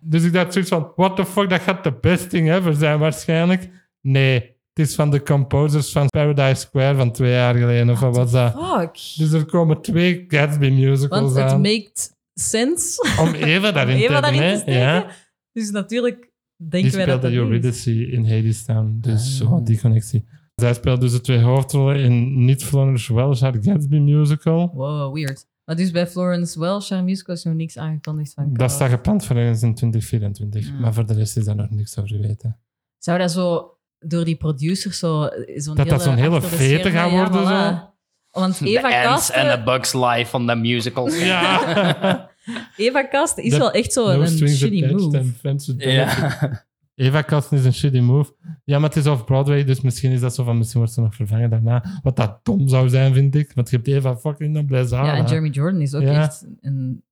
[SPEAKER 1] Dus ik dacht zoiets van, what the fuck, dat gaat de best thing ever zijn waarschijnlijk. Nee, het is van de composers van Paradise Square van twee jaar geleden, of wat was dat?
[SPEAKER 2] Fuck.
[SPEAKER 1] Dus er komen twee Gatsby musicals
[SPEAKER 2] Want het
[SPEAKER 1] aan.
[SPEAKER 2] maakt sense
[SPEAKER 1] Om Eva
[SPEAKER 2] om
[SPEAKER 1] daarin
[SPEAKER 2] Eva
[SPEAKER 1] te hebben.
[SPEAKER 2] daarin te
[SPEAKER 1] hè?
[SPEAKER 2] steken.
[SPEAKER 1] ja.
[SPEAKER 2] Dus natuurlijk denken
[SPEAKER 1] Die
[SPEAKER 2] wij dat
[SPEAKER 1] speelde
[SPEAKER 2] dat niet is. Ah.
[SPEAKER 1] Eurydice in Hadestown. Dus zo, die connectie. Zij speelt dus de twee hoofdrollen in niet Florence Welsh haar Gatsby musical.
[SPEAKER 2] Wow, weird. Maar dus bij Florence Welsh, haar musical, is nog niks aangekondigd van.
[SPEAKER 1] Dat
[SPEAKER 2] Cars.
[SPEAKER 1] staat gepland voor ergens in 2024.
[SPEAKER 2] Mm.
[SPEAKER 1] Maar voor de rest is daar nog niks over geweten.
[SPEAKER 2] Zou dat zo door die producers zo... eh, Zo'n
[SPEAKER 1] Dat dat zo'n hele
[SPEAKER 2] achter de
[SPEAKER 1] vete
[SPEAKER 2] schermen,
[SPEAKER 1] gaat
[SPEAKER 2] ja,
[SPEAKER 1] worden,
[SPEAKER 2] voilà. Want
[SPEAKER 3] The
[SPEAKER 2] Eva
[SPEAKER 3] Ants and the
[SPEAKER 2] Kasten,
[SPEAKER 3] Bugs Life van the musical.
[SPEAKER 1] Ja.
[SPEAKER 2] Eva Kasten is
[SPEAKER 1] The-
[SPEAKER 2] wel echt zo
[SPEAKER 1] no
[SPEAKER 2] Oh, een
[SPEAKER 1] strings
[SPEAKER 2] shitty
[SPEAKER 1] attached
[SPEAKER 2] move.
[SPEAKER 1] and friends with benefits.
[SPEAKER 3] ja.
[SPEAKER 1] Eva Kasten is een shitty move. Ja, maar het is off-Broadway, dus misschien is dat zo van misschien wordt ze nog vervangen daarna. Wat dat dom zou zijn, vind ik. Want je hebt Eva fucking op Blazara.
[SPEAKER 2] Ja, en Jeremy Jordan is ook
[SPEAKER 1] Ah, Ja.
[SPEAKER 2] echt een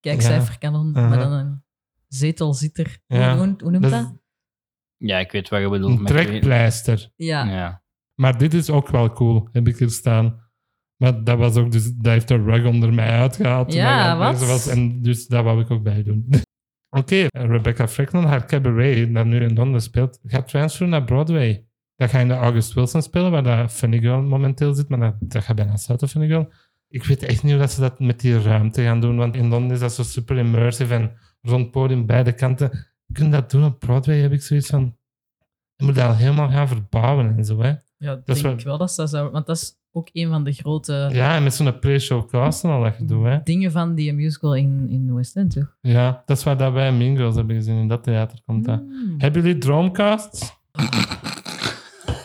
[SPEAKER 2] kijkcijferkanon,
[SPEAKER 1] Ja.
[SPEAKER 2] maar dan een zetelzitter.
[SPEAKER 1] Ja.
[SPEAKER 2] Hoe, hoe noemt
[SPEAKER 1] Dat
[SPEAKER 2] dat?
[SPEAKER 1] is
[SPEAKER 3] Ja, ik weet wat je bedoelt.
[SPEAKER 1] een
[SPEAKER 3] maar ik weet-
[SPEAKER 1] trekpleister.
[SPEAKER 2] Ja.
[SPEAKER 3] Ja.
[SPEAKER 1] Maar dit is ook wel cool, heb ik hier staan. Maar dat was ook, dus dat heeft de rug onder mij uitgehaald. toen
[SPEAKER 2] Ja,
[SPEAKER 1] ik aan het
[SPEAKER 2] wat?
[SPEAKER 1] lezen Was, en dus daar wou ik ook bij doen. Oké, Rebecca Franklin, haar cabaret, dat nu in Londen speelt, gaat transferen naar Broadway. Dat ga je in de August Wilson spelen, waar dat Funny Girl momenteel zit, maar dat, dat gaat bijna sluiten, Funny Girl. Ik weet echt niet hoe dat ze dat met die ruimte gaan doen, want in Londen is dat zo super immersive en rond het podium beide kanten. Kun je dat doen op Broadway? Heb ik zoiets van. Je moet dat helemaal gaan verbouwen en zo, hè?
[SPEAKER 2] Ja, ik
[SPEAKER 1] Dat
[SPEAKER 2] denk
[SPEAKER 1] is wel-
[SPEAKER 2] ik wel dat ze dat zou... Want dat is ook een van de grote
[SPEAKER 1] Ja, en met zo'n pre-show cast en al dat gedoe, hè.
[SPEAKER 2] dingen van die musical in, in West End, toch?
[SPEAKER 1] Ja, dat is waar dat wij Mean Girls hebben gezien. In dat theater komt dat.
[SPEAKER 2] Hmm.
[SPEAKER 1] Hebben jullie Droomcasts?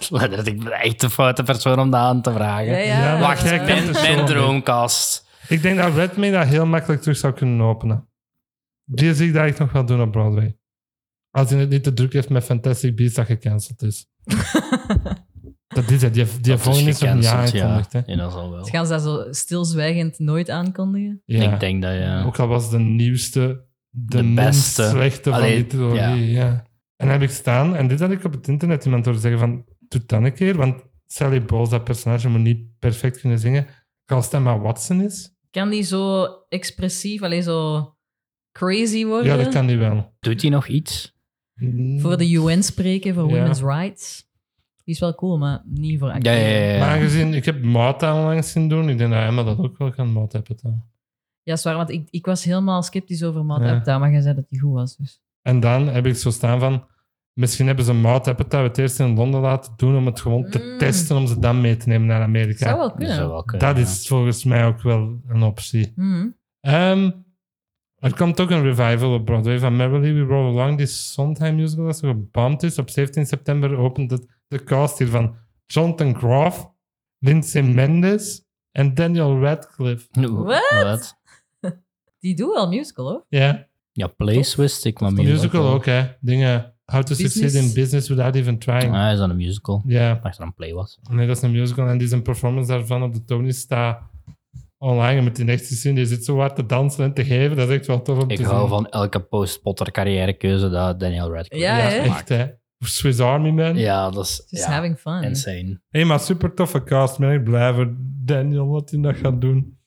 [SPEAKER 3] Dat ik ben echt de foute persoon om dat aan te vragen.
[SPEAKER 2] Ja, ja.
[SPEAKER 1] Ja, maar
[SPEAKER 3] Wacht,
[SPEAKER 1] jij
[SPEAKER 2] eh,
[SPEAKER 1] kent
[SPEAKER 3] mijn,
[SPEAKER 1] het zo
[SPEAKER 3] mijn
[SPEAKER 1] niet.
[SPEAKER 3] droomkast.
[SPEAKER 1] Ik denk dat Redmayne dat heel makkelijk terug zou kunnen openen. Die zie ik dat echt nog wel doen op Broadway. Als hij het niet te druk heeft met Fantastic Beasts dat gecanceld is. dat is het. Die, die
[SPEAKER 3] Dat is
[SPEAKER 1] volgende is nog niet
[SPEAKER 3] gecanceld, ja.
[SPEAKER 1] aangekondigd, hè.
[SPEAKER 3] Ja, dat zal wel.
[SPEAKER 2] Dus gaan ze dat zo stilzwijgend nooit aankondigen?
[SPEAKER 1] Ja.
[SPEAKER 3] Ik denk dat, ja.
[SPEAKER 1] Ook al was de nieuwste, de,
[SPEAKER 3] De
[SPEAKER 1] minst
[SPEAKER 3] beste.
[SPEAKER 1] slechte
[SPEAKER 3] Allee,
[SPEAKER 1] van die trilogie. Ja. En dan heb ik staan, en dit had ik op het internet iemand horen zeggen van, doe dat een keer, want Sally Bowles, dat personage, moet niet perfect kunnen zingen. Als dat maar Watson is,
[SPEAKER 2] Kan die zo expressief, alleen zo crazy worden?
[SPEAKER 1] ja, dat kan die wel.
[SPEAKER 3] Doet hij nog iets?
[SPEAKER 2] Oh, Voor de UN spreken, voor
[SPEAKER 1] Ja.
[SPEAKER 2] women's rights. Die is wel cool, maar niet voor
[SPEAKER 3] Ja, ja, ja.
[SPEAKER 1] Maar
[SPEAKER 3] ja.
[SPEAKER 1] aangezien, ik heb Martha onlangs zien doen, ik denk dat Emma dat ook wel kan, Martha Petto.
[SPEAKER 2] Ja, zwaar, want ik, ik was helemaal sceptisch over Matt
[SPEAKER 1] Ja.
[SPEAKER 2] Apta, maar jij zei dat hij goed was. Dus.
[SPEAKER 1] En dan heb ik zo staan van, misschien hebben ze Martha Petto het eerst in Londen laten doen om het gewoon te
[SPEAKER 2] Mm.
[SPEAKER 1] testen, om ze dan mee te nemen naar Amerika.
[SPEAKER 2] Zou wel
[SPEAKER 3] Dat
[SPEAKER 2] kunnen.
[SPEAKER 3] zou wel eh, kunnen,
[SPEAKER 1] Dat
[SPEAKER 3] ja.
[SPEAKER 1] is volgens mij ook wel een optie.
[SPEAKER 2] Hmm.
[SPEAKER 1] Ehm, er komt ook een revival op Broadway van Merrily We Roll Along, die Sondheim musical dat zo gebomd is. Op 17 september opent het de cast hiervan Jonathan Groff, Lindsay Mendes, En Daniel Radcliffe.
[SPEAKER 2] What? Die doen wel musical, hoor.
[SPEAKER 1] Ja,
[SPEAKER 3] Ja, Place wist ik, maar
[SPEAKER 1] de musical ook, hè. Dingen. How to succeed
[SPEAKER 2] Business.
[SPEAKER 1] in business without even trying. Ja,
[SPEAKER 3] Ah, is dat een musical? Ik dacht dat een play was.
[SPEAKER 1] nee, dat is een musical. En die is een performance daarvan op de Tony staat online. Je moet die echt eens zien. Die zit zo hard te dansen en te geven. Dat is echt wel tof om
[SPEAKER 3] Ik
[SPEAKER 1] te
[SPEAKER 3] hou
[SPEAKER 1] zien.
[SPEAKER 3] van elke post-Potter carrièrekeuze dat Daniel Radcliffe
[SPEAKER 2] Ja,
[SPEAKER 3] heeft
[SPEAKER 2] hè?
[SPEAKER 1] Echt,
[SPEAKER 3] gemaakt.
[SPEAKER 1] hè. Swiss Army Man.
[SPEAKER 3] Ja, dat is
[SPEAKER 2] Just
[SPEAKER 3] ja,
[SPEAKER 2] having fun.
[SPEAKER 3] insane.
[SPEAKER 1] Hey, maar super toffe cast. Ben ik blij voor Daniel wat hij dat gaat doen.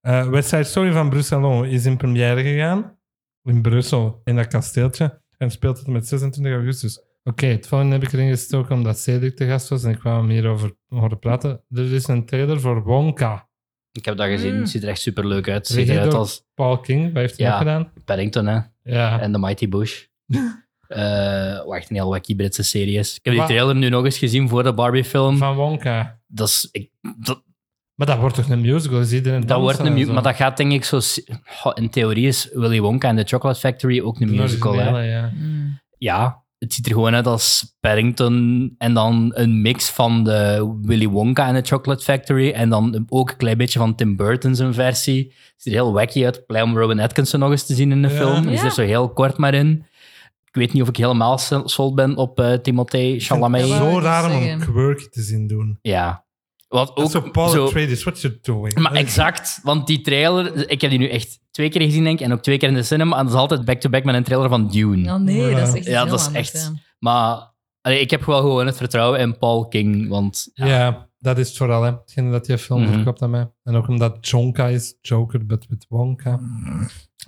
[SPEAKER 1] Eh West Side Story van Bruxelles is in première gegaan. In Brussel, in dat kasteeltje. En speelt het met 26 augustus. Oké, het volgende heb ik erin gestoken omdat Cedric te gast was en ik kwam hem hierover horen praten. Er is een trailer voor Wonka.
[SPEAKER 3] Ik heb dat gezien.
[SPEAKER 2] Mm.
[SPEAKER 3] Ziet er echt super leuk uit. Ziet
[SPEAKER 1] Regie
[SPEAKER 3] eruit
[SPEAKER 1] door-
[SPEAKER 3] als
[SPEAKER 1] Paul King, wat heeft hij
[SPEAKER 3] Ja.
[SPEAKER 1] nog gedaan?
[SPEAKER 3] Paddington, hè?
[SPEAKER 1] Ja.
[SPEAKER 3] En The Mighty Bush. Eh, wacht, een heel wacky Britse serie is. Ik heb die
[SPEAKER 1] Wa-
[SPEAKER 3] trailer nu nog eens gezien voor de Barbie-film.
[SPEAKER 1] Van Wonka.
[SPEAKER 3] Dat, is, ik, dat,
[SPEAKER 1] Maar dat wordt toch een musical? Is iedereen
[SPEAKER 3] dat
[SPEAKER 1] dansen
[SPEAKER 3] wordt een
[SPEAKER 1] en
[SPEAKER 3] musical.
[SPEAKER 1] zo?
[SPEAKER 3] Maar dat gaat denk ik zo... se- Goh, in theorie is Willy Wonka en The Chocolate Factory ook een
[SPEAKER 1] De
[SPEAKER 3] musical, hè?
[SPEAKER 1] originele, ja.
[SPEAKER 2] Mm.
[SPEAKER 3] Ja. Het ziet er gewoon uit als Paddington en dan een mix van de Willy Wonka en The Chocolate Factory en dan ook een klein beetje van Tim Burton's versie. Het ziet er heel wacky uit. Play om Robin Atkinson nog eens te zien in de
[SPEAKER 1] Ja.
[SPEAKER 3] film. Is
[SPEAKER 2] Ja.
[SPEAKER 3] er zo heel kort maar in. Ik weet niet of ik helemaal sol- sold ben op eh Timothée Chalamet.
[SPEAKER 2] Ja, maar-
[SPEAKER 1] Zo
[SPEAKER 2] ik
[SPEAKER 1] raar om hem
[SPEAKER 2] zeggen.
[SPEAKER 1] quirky te zien doen.
[SPEAKER 3] Ja. Wat
[SPEAKER 1] Ook
[SPEAKER 3] ook
[SPEAKER 1] zo Paul
[SPEAKER 3] zo-
[SPEAKER 1] Atreides, what you doing?
[SPEAKER 3] Maar exact, want die trailer, ik heb die nu echt twee keer gezien, denk ik, en ook twee keer in de cinema. En dat is altijd back-to-back met een trailer van Dune.
[SPEAKER 2] Oh nee,
[SPEAKER 1] Ja.
[SPEAKER 2] dat is echt
[SPEAKER 3] Ja,
[SPEAKER 2] iets
[SPEAKER 3] dat is
[SPEAKER 2] heel anders,
[SPEAKER 3] echt-
[SPEAKER 2] hè.
[SPEAKER 3] Maar allee, ik heb wel gewoon het vertrouwen in Paul King, want
[SPEAKER 1] Ja, dat is het vooral. hè. Hetgeen dat je film
[SPEAKER 3] Mhm.
[SPEAKER 1] verkoopt aan mij. En ook omdat Jonka is Joker, but with Wonka.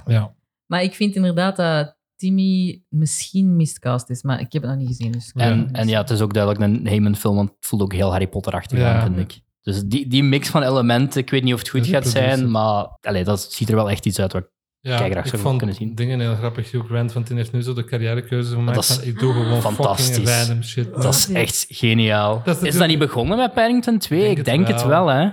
[SPEAKER 1] Ja.
[SPEAKER 2] Maar ik vind inderdaad dat Timmy misschien miscast is, maar ik heb het nog niet gezien. Dus
[SPEAKER 3] En, en ja, het is ook duidelijk een Heyman-film, want het voelt ook heel Harry Potter-achtig
[SPEAKER 1] Ja.
[SPEAKER 3] aan, vind ik. Dus die, die mix van elementen, ik weet niet of het goed
[SPEAKER 1] Dus
[SPEAKER 3] gaat zijn,
[SPEAKER 1] producer.
[SPEAKER 3] maar allee, dat ziet er wel echt iets uit. Wat,
[SPEAKER 1] ja
[SPEAKER 3] Kijk, graag
[SPEAKER 1] ik
[SPEAKER 3] zou
[SPEAKER 1] vond
[SPEAKER 3] kunnen zien.
[SPEAKER 1] dingen heel grappig. Hugh Grant, want die heeft nu zo de carrièrekeuze gemaakt.
[SPEAKER 3] Dat is
[SPEAKER 1] van, ik doe gewoon fucking
[SPEAKER 3] fantastisch.
[SPEAKER 1] random shit.
[SPEAKER 3] dat is
[SPEAKER 2] Ja.
[SPEAKER 3] echt geniaal.
[SPEAKER 1] Dat is
[SPEAKER 3] is dat
[SPEAKER 1] natuurlijk-
[SPEAKER 3] niet begonnen met Paddington 2?
[SPEAKER 1] Denk
[SPEAKER 3] ik
[SPEAKER 1] het
[SPEAKER 3] denk het
[SPEAKER 1] wel.
[SPEAKER 3] wel, hè?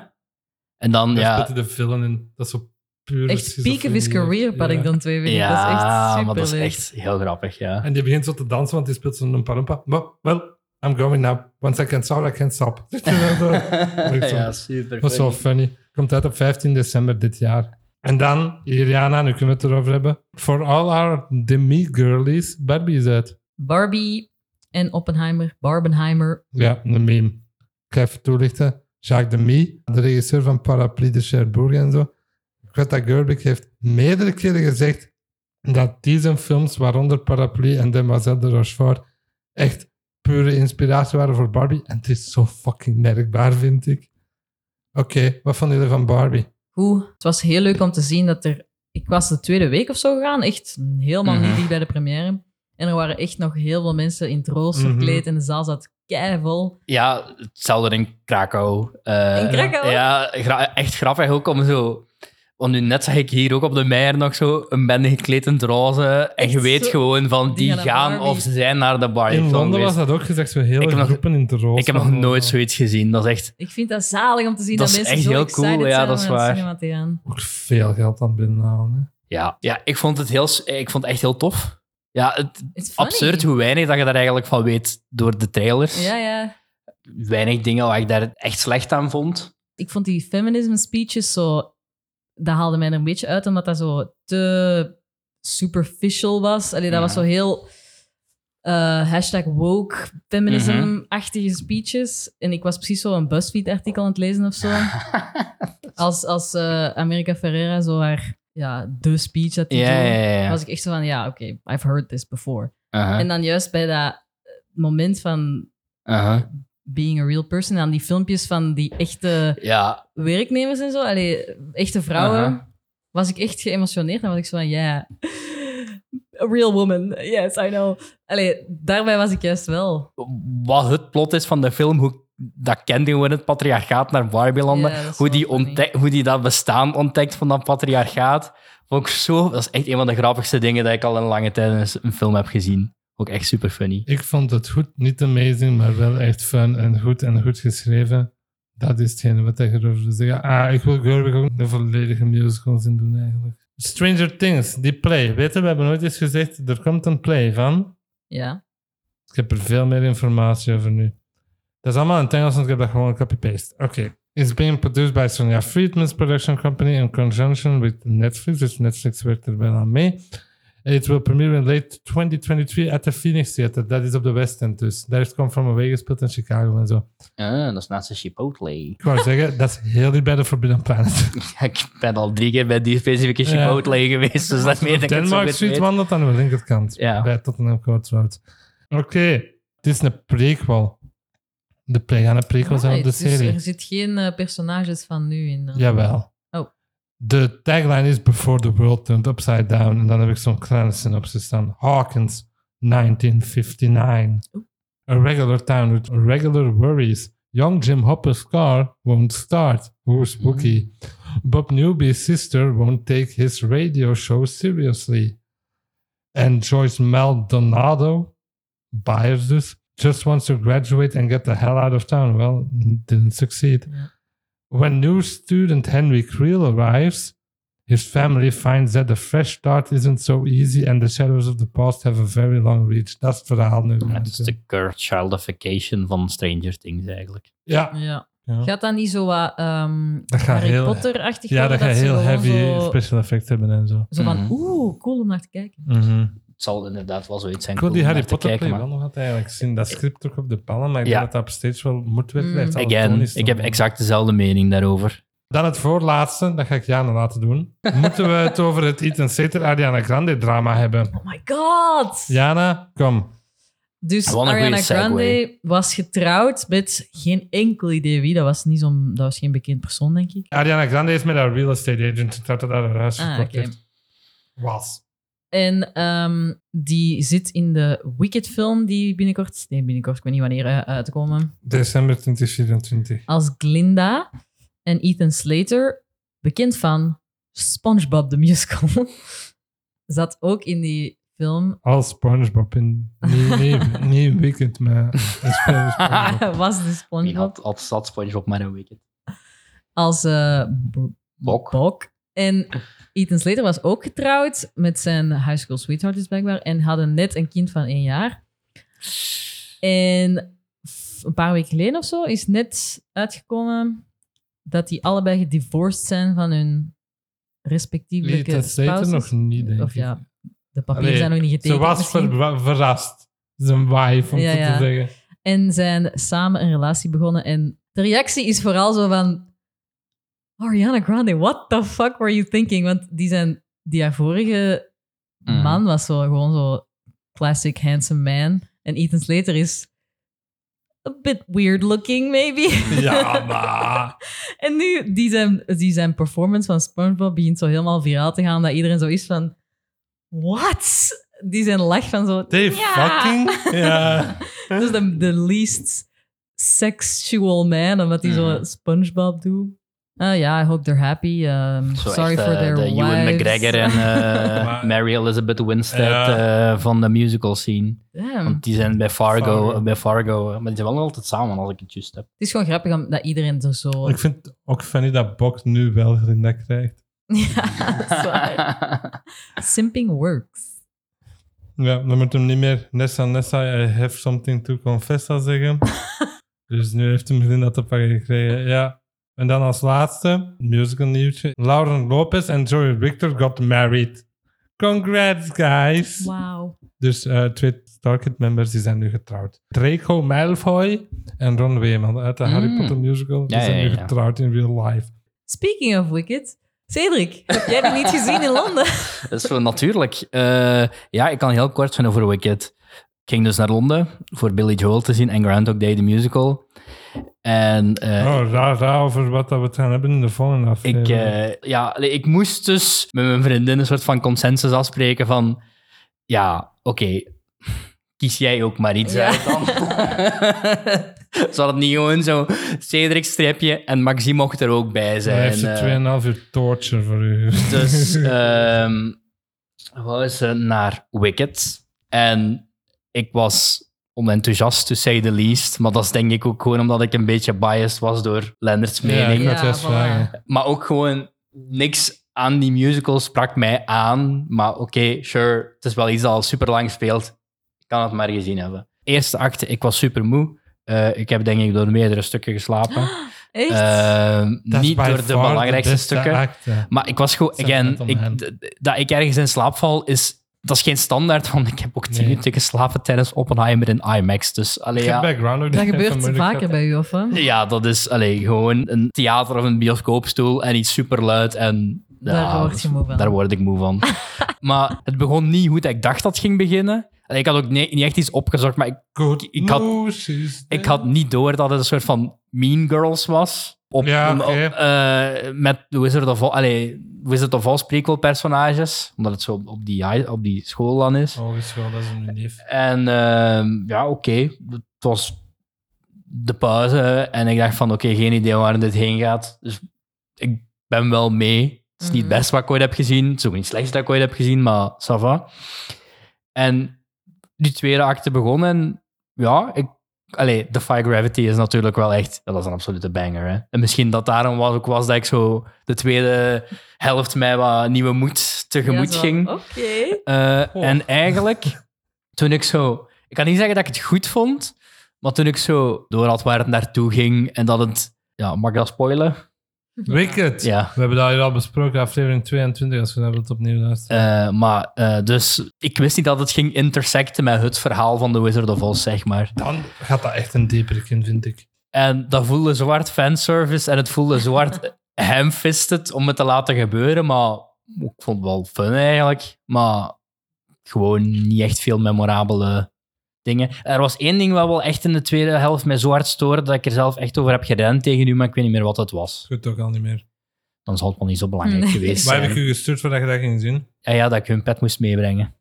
[SPEAKER 3] En dan,
[SPEAKER 1] Daar
[SPEAKER 3] ja,
[SPEAKER 1] zitten de film in. Dat is zo puur...
[SPEAKER 2] Echt peak of his career,
[SPEAKER 1] maar
[SPEAKER 2] Paddington dan twee vind ik. dat is echt
[SPEAKER 3] ja,
[SPEAKER 2] super
[SPEAKER 3] maar dat is echt heel grappig, ja.
[SPEAKER 1] En die begint zo te dansen, want die speelt zo'n parumpa. Maar, well, I'm going now. Once I can stop, I can stop.
[SPEAKER 3] ja, super.
[SPEAKER 1] Dat is wel
[SPEAKER 3] funny.
[SPEAKER 1] funny. Komt uit op 15 december dit jaar. En dan, Iriana, nu kunnen we het erover hebben. For all our demi girlies, Barbie is uit.
[SPEAKER 2] Barbie en Oppenheimer, Barbenheimer.
[SPEAKER 1] Ja, een meme. Ik ga even toelichten. Jacques Demy, de regisseur van Parapluie de Cherbourg en zo. Greta Gerwig heeft meerdere keren gezegd dat deze films, waaronder Parapluie en Demoiselle de Rochefort, echt pure inspiratie waren voor Barbie. En het is zo fucking merkbaar, vind ik. Oké, wat vonden jullie van Barbie?
[SPEAKER 2] Hoe? Het was heel leuk om te zien dat er... Ik was de tweede week of zo gegaan, echt helemaal
[SPEAKER 3] Mhm.
[SPEAKER 2] niet dicht bij de première. En er waren echt nog heel veel mensen in het roos
[SPEAKER 1] Mhm.
[SPEAKER 2] gekleed en de zaal zat keivol.
[SPEAKER 3] Ja, hetzelfde in Krakau. Eh,
[SPEAKER 2] In Krakau?
[SPEAKER 3] Ja, gra- echt grappig ook om zo... Want nu net zag ik hier ook op de Meijer nog zo een bende gekleed in het roze. En
[SPEAKER 2] Echt
[SPEAKER 3] je weet
[SPEAKER 2] zo-
[SPEAKER 3] gewoon van,
[SPEAKER 2] die
[SPEAKER 3] die
[SPEAKER 2] gaan naar
[SPEAKER 3] gaan
[SPEAKER 2] Barbie.
[SPEAKER 3] of ze zijn naar de bar.
[SPEAKER 1] In Londen was dat ook gezegd, zo heel
[SPEAKER 3] Ik heb nog-
[SPEAKER 1] groepen in het roze.
[SPEAKER 3] Ik heb nog nooit
[SPEAKER 1] eh,
[SPEAKER 3] zoiets gezien. Dat is echt...
[SPEAKER 2] Ik vind dat zalig om te zien
[SPEAKER 3] Dat
[SPEAKER 2] dat,
[SPEAKER 3] is
[SPEAKER 2] mensen
[SPEAKER 3] echt
[SPEAKER 2] zo
[SPEAKER 3] heel
[SPEAKER 2] excited
[SPEAKER 3] cool, ja,
[SPEAKER 2] zijn om
[SPEAKER 3] dat is
[SPEAKER 2] naar het
[SPEAKER 3] waar.
[SPEAKER 2] cinema te gaan.
[SPEAKER 1] Ook veel geld aan het binnenhalen. hè.
[SPEAKER 3] Ja, ja ik, vond het heel, s- ik vond het echt heel tof. Ja, het,
[SPEAKER 2] It's funny.
[SPEAKER 3] absurd hoe weinig dat je daar eigenlijk van weet door de trailers.
[SPEAKER 2] Ja, ja.
[SPEAKER 3] Weinig dingen waar ik daar echt slecht aan vond.
[SPEAKER 2] ik vond die feminism speeches zo. Dat haalde mij er een beetje uit, omdat dat zo te superficial was. Allee, dat
[SPEAKER 3] Ja.
[SPEAKER 2] was zo heel eh, hashtag woke feminism-achtige
[SPEAKER 3] Mhm.
[SPEAKER 2] speeches. En ik was precies zo een BuzzFeed-artikel aan het lezen of zo. als als eh, America Ferrera zo haar, ja, de speech dat die
[SPEAKER 3] Ja,
[SPEAKER 2] doen,
[SPEAKER 3] ja, ja. Uh-huh,
[SPEAKER 2] was ik echt zo van, ja, oké, I've heard this before.
[SPEAKER 3] Aha,
[SPEAKER 2] En dan juist bij dat moment van
[SPEAKER 3] aha.
[SPEAKER 2] being a real person, aan die filmpjes van die echte
[SPEAKER 3] Ja,
[SPEAKER 2] werknemers en zo, allee, echte vrouwen,
[SPEAKER 3] Aha.
[SPEAKER 2] was ik echt geëmotioneerd. En was ik zo van, ja, a real woman, yes, I know. Allee, daarbij was ik juist wel.
[SPEAKER 3] wat het plot is van de film, hoe dat kent gewoon het patriarchaat naar Barbielanden.
[SPEAKER 2] Ja, dat is
[SPEAKER 3] hoe,
[SPEAKER 2] wel
[SPEAKER 3] die
[SPEAKER 2] funny.
[SPEAKER 3] ontdek- hoe die dat bestaan ontdekt van dat patriarchaat. Vond ik zo... Dat is echt een van de grappigste dingen dat ik al in lange tijd in een s- een film heb gezien. Ook echt super funny.
[SPEAKER 1] Ik vond het goed, niet amazing, maar wel echt fun en goed en goed geschreven. Dat is hetgene wat ik erover wil zeggen. Ah, ik wil Gerwig ook een volledige musical zien doen eigenlijk. Stranger Things, die play. Weet je, we hebben nooit eens gezegd, er komt een play van.
[SPEAKER 2] Ja.
[SPEAKER 1] Ik heb er veel meer informatie over nu. Dat is allemaal in het Engels, want ik heb dat gewoon copy-paste. Oké. It's being produced by Sonia Friedman's production company in conjunction with Netflix. Dus Netflix werkt er wel aan mee. It will premiere in late 2023 at the Phoenix Theater. Dat is op de West End dus. Daar heeft Come From Away gespeeld in Chicago en zo.
[SPEAKER 3] Ah, dat is naast de Chipotle.
[SPEAKER 1] Ik wou zeggen, dat is heel niet bij de Forbidden Planet.
[SPEAKER 3] Ja, ik ben al drie keer bij die specifieke
[SPEAKER 1] Ja.
[SPEAKER 3] Chipotle geweest, dus dat meen ik het zo
[SPEAKER 1] Denmark
[SPEAKER 3] goed
[SPEAKER 1] Street
[SPEAKER 3] weet.
[SPEAKER 1] wandelt aan de linkerkant.
[SPEAKER 3] Ja.
[SPEAKER 1] Bij Tottenham Court Road. Oké, dit is een prequel. De pre gaan een prequel zijn op de
[SPEAKER 2] Alright, dus
[SPEAKER 1] serie.
[SPEAKER 2] er zit geen eh, personages van nu in. dan.
[SPEAKER 1] Jawel.
[SPEAKER 2] Oh.
[SPEAKER 1] De tagline is Before the World Turned Upside Down. En dan heb ik zo'n kleine synopsis staan. Hawkins, 1959.
[SPEAKER 2] Oeh.
[SPEAKER 1] A regular town with regular worries. Young Jim Hopper's car won't start. Ooh,
[SPEAKER 2] Mm-hmm.
[SPEAKER 1] spooky. Bob Newby's sister won't take his radio show seriously. And Joyce Maldonado, buyers dus, just wants to graduate and get the hell out of town. Well, didn't succeed.
[SPEAKER 2] Ja.
[SPEAKER 1] When new student Henry Creel arrives, his family finds that a fresh start isn't so easy and the shadows of the past have a very long reach. Dat is het verhaal nu.
[SPEAKER 3] Ja, Het is de cur- childification van Stranger Things eigenlijk.
[SPEAKER 1] Ja,
[SPEAKER 2] Ja.
[SPEAKER 1] Ja.
[SPEAKER 2] Gaat dat niet zo wat ehm
[SPEAKER 1] dat gaat
[SPEAKER 2] Harry
[SPEAKER 1] heel,
[SPEAKER 2] Potter-achtig
[SPEAKER 1] ja, dat
[SPEAKER 2] worden,
[SPEAKER 1] gaat
[SPEAKER 2] ze
[SPEAKER 1] heel
[SPEAKER 2] gewoon
[SPEAKER 1] heavy
[SPEAKER 2] Zo,
[SPEAKER 1] special effects hebben en zo.
[SPEAKER 2] zo van,
[SPEAKER 3] Mhm.
[SPEAKER 2] oeh, cool om naar te kijken.
[SPEAKER 1] Mhm.
[SPEAKER 3] Het zal inderdaad wel zoiets zijn.
[SPEAKER 1] Ik wil die
[SPEAKER 3] cool om
[SPEAKER 1] Harry
[SPEAKER 3] naar te
[SPEAKER 1] Potter
[SPEAKER 3] kijken,
[SPEAKER 1] play
[SPEAKER 3] maar-
[SPEAKER 1] wel nog altijd eigenlijk zien. Dat script ook op de pannen, maar ik
[SPEAKER 3] Ja.
[SPEAKER 1] denk dat dat op stage wel moet
[SPEAKER 2] Mm.
[SPEAKER 1] worden.
[SPEAKER 3] Again, ik heb exact dezelfde mening daarover.
[SPEAKER 1] Dan het voorlaatste, dat ga ik Jana laten doen. Moeten we het over het Ethan Sater Ariana Grande drama hebben?
[SPEAKER 2] Oh my god!
[SPEAKER 1] Jana, kom.
[SPEAKER 2] Dus
[SPEAKER 3] Wat een goeie
[SPEAKER 2] Ariana
[SPEAKER 3] segue.
[SPEAKER 2] Grande was getrouwd met geen enkel idee wie. Dat was, niet zo'n- dat was geen bekend persoon, denk ik.
[SPEAKER 1] Ariana Grande is met haar real estate agent getrouwd dat haar huis
[SPEAKER 2] Ah,
[SPEAKER 1] gekocht
[SPEAKER 2] oké.
[SPEAKER 1] heeft. Was.
[SPEAKER 2] En ehm, die zit in de Wicked-film die binnenkort... Nee, binnenkort, ik weet niet wanneer eh, uitkomen.
[SPEAKER 1] December 2024.
[SPEAKER 2] als Glinda en Ethan Slater, bekend van SpongeBob the Musical, zat ook in die film.
[SPEAKER 1] Als Spongebob in... Nee, nee, nee weekend, maar... een spel- Spongebob.
[SPEAKER 2] Was de
[SPEAKER 3] Wie
[SPEAKER 2] SpongeBob
[SPEAKER 3] had had zat SpongeBob maar een weekend?
[SPEAKER 2] als eh, b-
[SPEAKER 3] Bok.
[SPEAKER 2] Bok. En Ethan Slater was ook getrouwd met zijn high school sweetheart, dus blijkbaar. En hadden net een kind van één jaar. En f- een paar weken geleden of zo is net uitgekomen dat die allebei gedivorced zijn van hun respectievelijke
[SPEAKER 1] Ethan Slater
[SPEAKER 2] spouses.
[SPEAKER 1] nog niet, denk
[SPEAKER 2] Of
[SPEAKER 1] ik.
[SPEAKER 2] ja, de papieren
[SPEAKER 1] Allee,
[SPEAKER 2] zijn nog niet
[SPEAKER 1] Ze
[SPEAKER 2] getekend.
[SPEAKER 1] was
[SPEAKER 2] misschien.
[SPEAKER 1] ver- verrast. Zijn wife, om
[SPEAKER 2] Ja,
[SPEAKER 1] zo
[SPEAKER 2] ja.
[SPEAKER 1] te zeggen.
[SPEAKER 2] En zijn samen een relatie begonnen. En de reactie is vooral zo van... Ariana Grande, what the fuck were you thinking? Want die, zijn, die haar vorige
[SPEAKER 3] Mhm.
[SPEAKER 2] man was zo, gewoon zo classic handsome man. En Ethan Slater is a bit weird looking, maybe.
[SPEAKER 1] Ja, maar...
[SPEAKER 2] en nu, die zijn, die zijn performance van SpongeBob begint zo helemaal viraal te gaan. Dat iedereen zo is van... What? Die zijn lach van zo...
[SPEAKER 1] They
[SPEAKER 2] "Ja."
[SPEAKER 1] fucking... Ja.
[SPEAKER 2] Dat is de, de least sexual man, omdat hij zo
[SPEAKER 3] Mhm.
[SPEAKER 2] SpongeBob doet. Ah ja, I hope they're happy. Um,
[SPEAKER 3] Zo
[SPEAKER 2] sorry
[SPEAKER 3] echt, eh,
[SPEAKER 2] for their
[SPEAKER 3] de
[SPEAKER 2] wives.
[SPEAKER 3] Ewan McGregor en eh,
[SPEAKER 1] Maar-
[SPEAKER 3] Mary Elizabeth Winstead
[SPEAKER 1] Ja.
[SPEAKER 3] eh, van de musical scene.
[SPEAKER 2] Damn.
[SPEAKER 3] Want die zijn bij Fargo,
[SPEAKER 1] Fargo.
[SPEAKER 3] Bij Fargo eh, maar die zijn wel nog altijd samen als ik het juist heb.
[SPEAKER 2] Het is gewoon grappig om- dat iedereen er zo...
[SPEAKER 1] Ik vind het ook funny dat Bok nu wel Glinda krijgt.
[SPEAKER 2] ja, dat is waar. Simping works.
[SPEAKER 1] Ja, dan moet hem niet meer Nessa, Nessa, I have something to confess al zeggen. dus nu heeft hem Glinda te pakken gekregen, ja. En dan als laatste, musical nieuwtje. Lauren Lopez en Joey Victor got married. Congrats, guys!
[SPEAKER 2] Wauw.
[SPEAKER 1] Dus eh, twee Starkid members die zijn nu getrouwd. Draco Malfoy en Ron Weeman uit de Harry
[SPEAKER 3] Mm.
[SPEAKER 1] Potter musical. Die
[SPEAKER 3] Ja,
[SPEAKER 1] zijn
[SPEAKER 3] ja,
[SPEAKER 1] nu
[SPEAKER 3] ja.
[SPEAKER 1] getrouwd in real life.
[SPEAKER 2] Speaking of Wicked... Cedric, heb jij die niet gezien in Londen?
[SPEAKER 3] Dat is zo natuurlijk. Eh, ja, ik kan heel kort zijn over Wicked. Ik ging dus naar Londen voor Billy Joel te zien en Groundhog Day, de musical. En eh,
[SPEAKER 1] Oh, raar, raar over wat dat we het gaan hebben in de volgende aflevering.
[SPEAKER 3] Ik, eh, ja, allee, ik moest dus met mijn vriendin een soort van consensus afspreken van... Ja, oké, kies jij ook maar iets
[SPEAKER 2] Ja.
[SPEAKER 3] uit dan. Zal het niet gewoon zo... Cedric streepje en Maxi mocht er ook bij
[SPEAKER 1] Dan
[SPEAKER 3] zijn.
[SPEAKER 1] heeft ze
[SPEAKER 3] eh.
[SPEAKER 1] 2,5 uur torture voor u.
[SPEAKER 3] Dus ehm wou ze naar Wicked. En ik was onenthousiast, to say the least. Maar dat is denk ik ook gewoon omdat ik een beetje biased was door Lendert's
[SPEAKER 1] ja,
[SPEAKER 3] mening.
[SPEAKER 1] ik had
[SPEAKER 2] Ja,
[SPEAKER 1] juist
[SPEAKER 2] voilà.
[SPEAKER 1] vragen.
[SPEAKER 3] Maar ook gewoon niks aan die musical sprak mij aan. Maar oké, sure, het is wel iets dat al super lang speelt. Ik kan het maar gezien hebben. Eerste acte, ik was super moe. Eh, ik heb denk ik door meerdere stukken geslapen.
[SPEAKER 2] Echt?
[SPEAKER 3] Ehm,
[SPEAKER 1] Dat is
[SPEAKER 3] niet
[SPEAKER 1] by
[SPEAKER 3] door de
[SPEAKER 1] far
[SPEAKER 3] belangrijkste
[SPEAKER 1] beste
[SPEAKER 3] stukken.
[SPEAKER 1] acte.
[SPEAKER 3] Maar ik was gewoon,
[SPEAKER 1] Zet
[SPEAKER 3] again,
[SPEAKER 1] het om
[SPEAKER 3] ik-
[SPEAKER 1] hen.
[SPEAKER 3] d- d- dat ik ergens in slaap val, is, dat is geen standaard, want ik heb ook tien
[SPEAKER 1] Nee.
[SPEAKER 3] minuten geslapen tijdens Oppenheimer in IMAX. Dus allee,
[SPEAKER 1] Ik heb
[SPEAKER 3] ja,
[SPEAKER 1] bij Groundhog
[SPEAKER 2] dat
[SPEAKER 1] Day even
[SPEAKER 2] gebeurt
[SPEAKER 1] moeilijk
[SPEAKER 2] vaker
[SPEAKER 1] gehad.
[SPEAKER 2] bij u, of wat?
[SPEAKER 3] ja, dat is allee, gewoon een theater of een bioscoopstoel en iets superluid en... ja,
[SPEAKER 2] Daar word je moe van.
[SPEAKER 3] Daar word ik moe van. maar het begon niet hoe dat ik dacht dat het ging beginnen. Allee, ik had ook nee- niet echt iets opgezocht, maar ik,
[SPEAKER 1] Good
[SPEAKER 3] Ik had-
[SPEAKER 1] news is
[SPEAKER 3] ik had niet door dat het een soort van Mean Girls was. Op,
[SPEAKER 1] Ja, oké.
[SPEAKER 3] op- eh, met Wizard of Oz, allee, Wizard of Oz prequel personages, omdat het zo op, op die, high- op die school dan is.
[SPEAKER 1] Oh, is wel, dat is een neef.
[SPEAKER 3] En ehm, ja, oké, het was de pauze en ik dacht van oké, geen idee waar dit heen gaat. Dus ik ben wel mee. Het is niet
[SPEAKER 2] Mhm.
[SPEAKER 3] het beste wat ik ooit heb gezien. Het is ook niet het slechtste dat ik ooit heb gezien, maar ça va. En die tweede acte begon en ja, ik... Allee, Defy Gravity is natuurlijk wel echt... Dat is een absolute banger, hè. En misschien dat daarom was, ook was dat ik zo de tweede helft mij wat nieuwe moed
[SPEAKER 2] Ja,
[SPEAKER 3] tegemoet
[SPEAKER 2] zo. Oh.
[SPEAKER 3] ging.
[SPEAKER 2] Oké.
[SPEAKER 3] Eh,
[SPEAKER 1] Oh.
[SPEAKER 3] En eigenlijk, toen ik zo... Ik kan niet zeggen dat ik het goed vond, maar toen ik zo door had waar het naartoe ging en dat het... Ja, mag ik dat spoilen?
[SPEAKER 1] Wicked.
[SPEAKER 3] Ja.
[SPEAKER 1] We hebben dat hier al besproken, aflevering 22, als we dat opnieuw luisteren.
[SPEAKER 3] Eh, maar eh, dus ik wist niet dat het ging intersecten met het verhaal van The Wizard of Oz, zeg maar.
[SPEAKER 1] Dan gaat dat echt een dieper in, vind ik.
[SPEAKER 3] En dat voelde zwart fanservice en het voelde zwart hamfisted om het te laten gebeuren. Maar ik vond het wel fun eigenlijk. Maar gewoon niet echt veel memorabele dingen. Er was één ding wat wel echt in de tweede helft mij zo hard stoorde dat ik er zelf echt over heb gerend tegen u, maar ik weet niet meer wat dat was.
[SPEAKER 1] Goed ook al niet meer.
[SPEAKER 3] Dan zal het wel niet zo belangrijk
[SPEAKER 2] Nee.
[SPEAKER 3] geweest
[SPEAKER 1] Waar heb
[SPEAKER 3] zijn.
[SPEAKER 1] ik u gestuurd voordat je dat ging zien?
[SPEAKER 3] Ja, ja, dat ik hun pet moest meebrengen.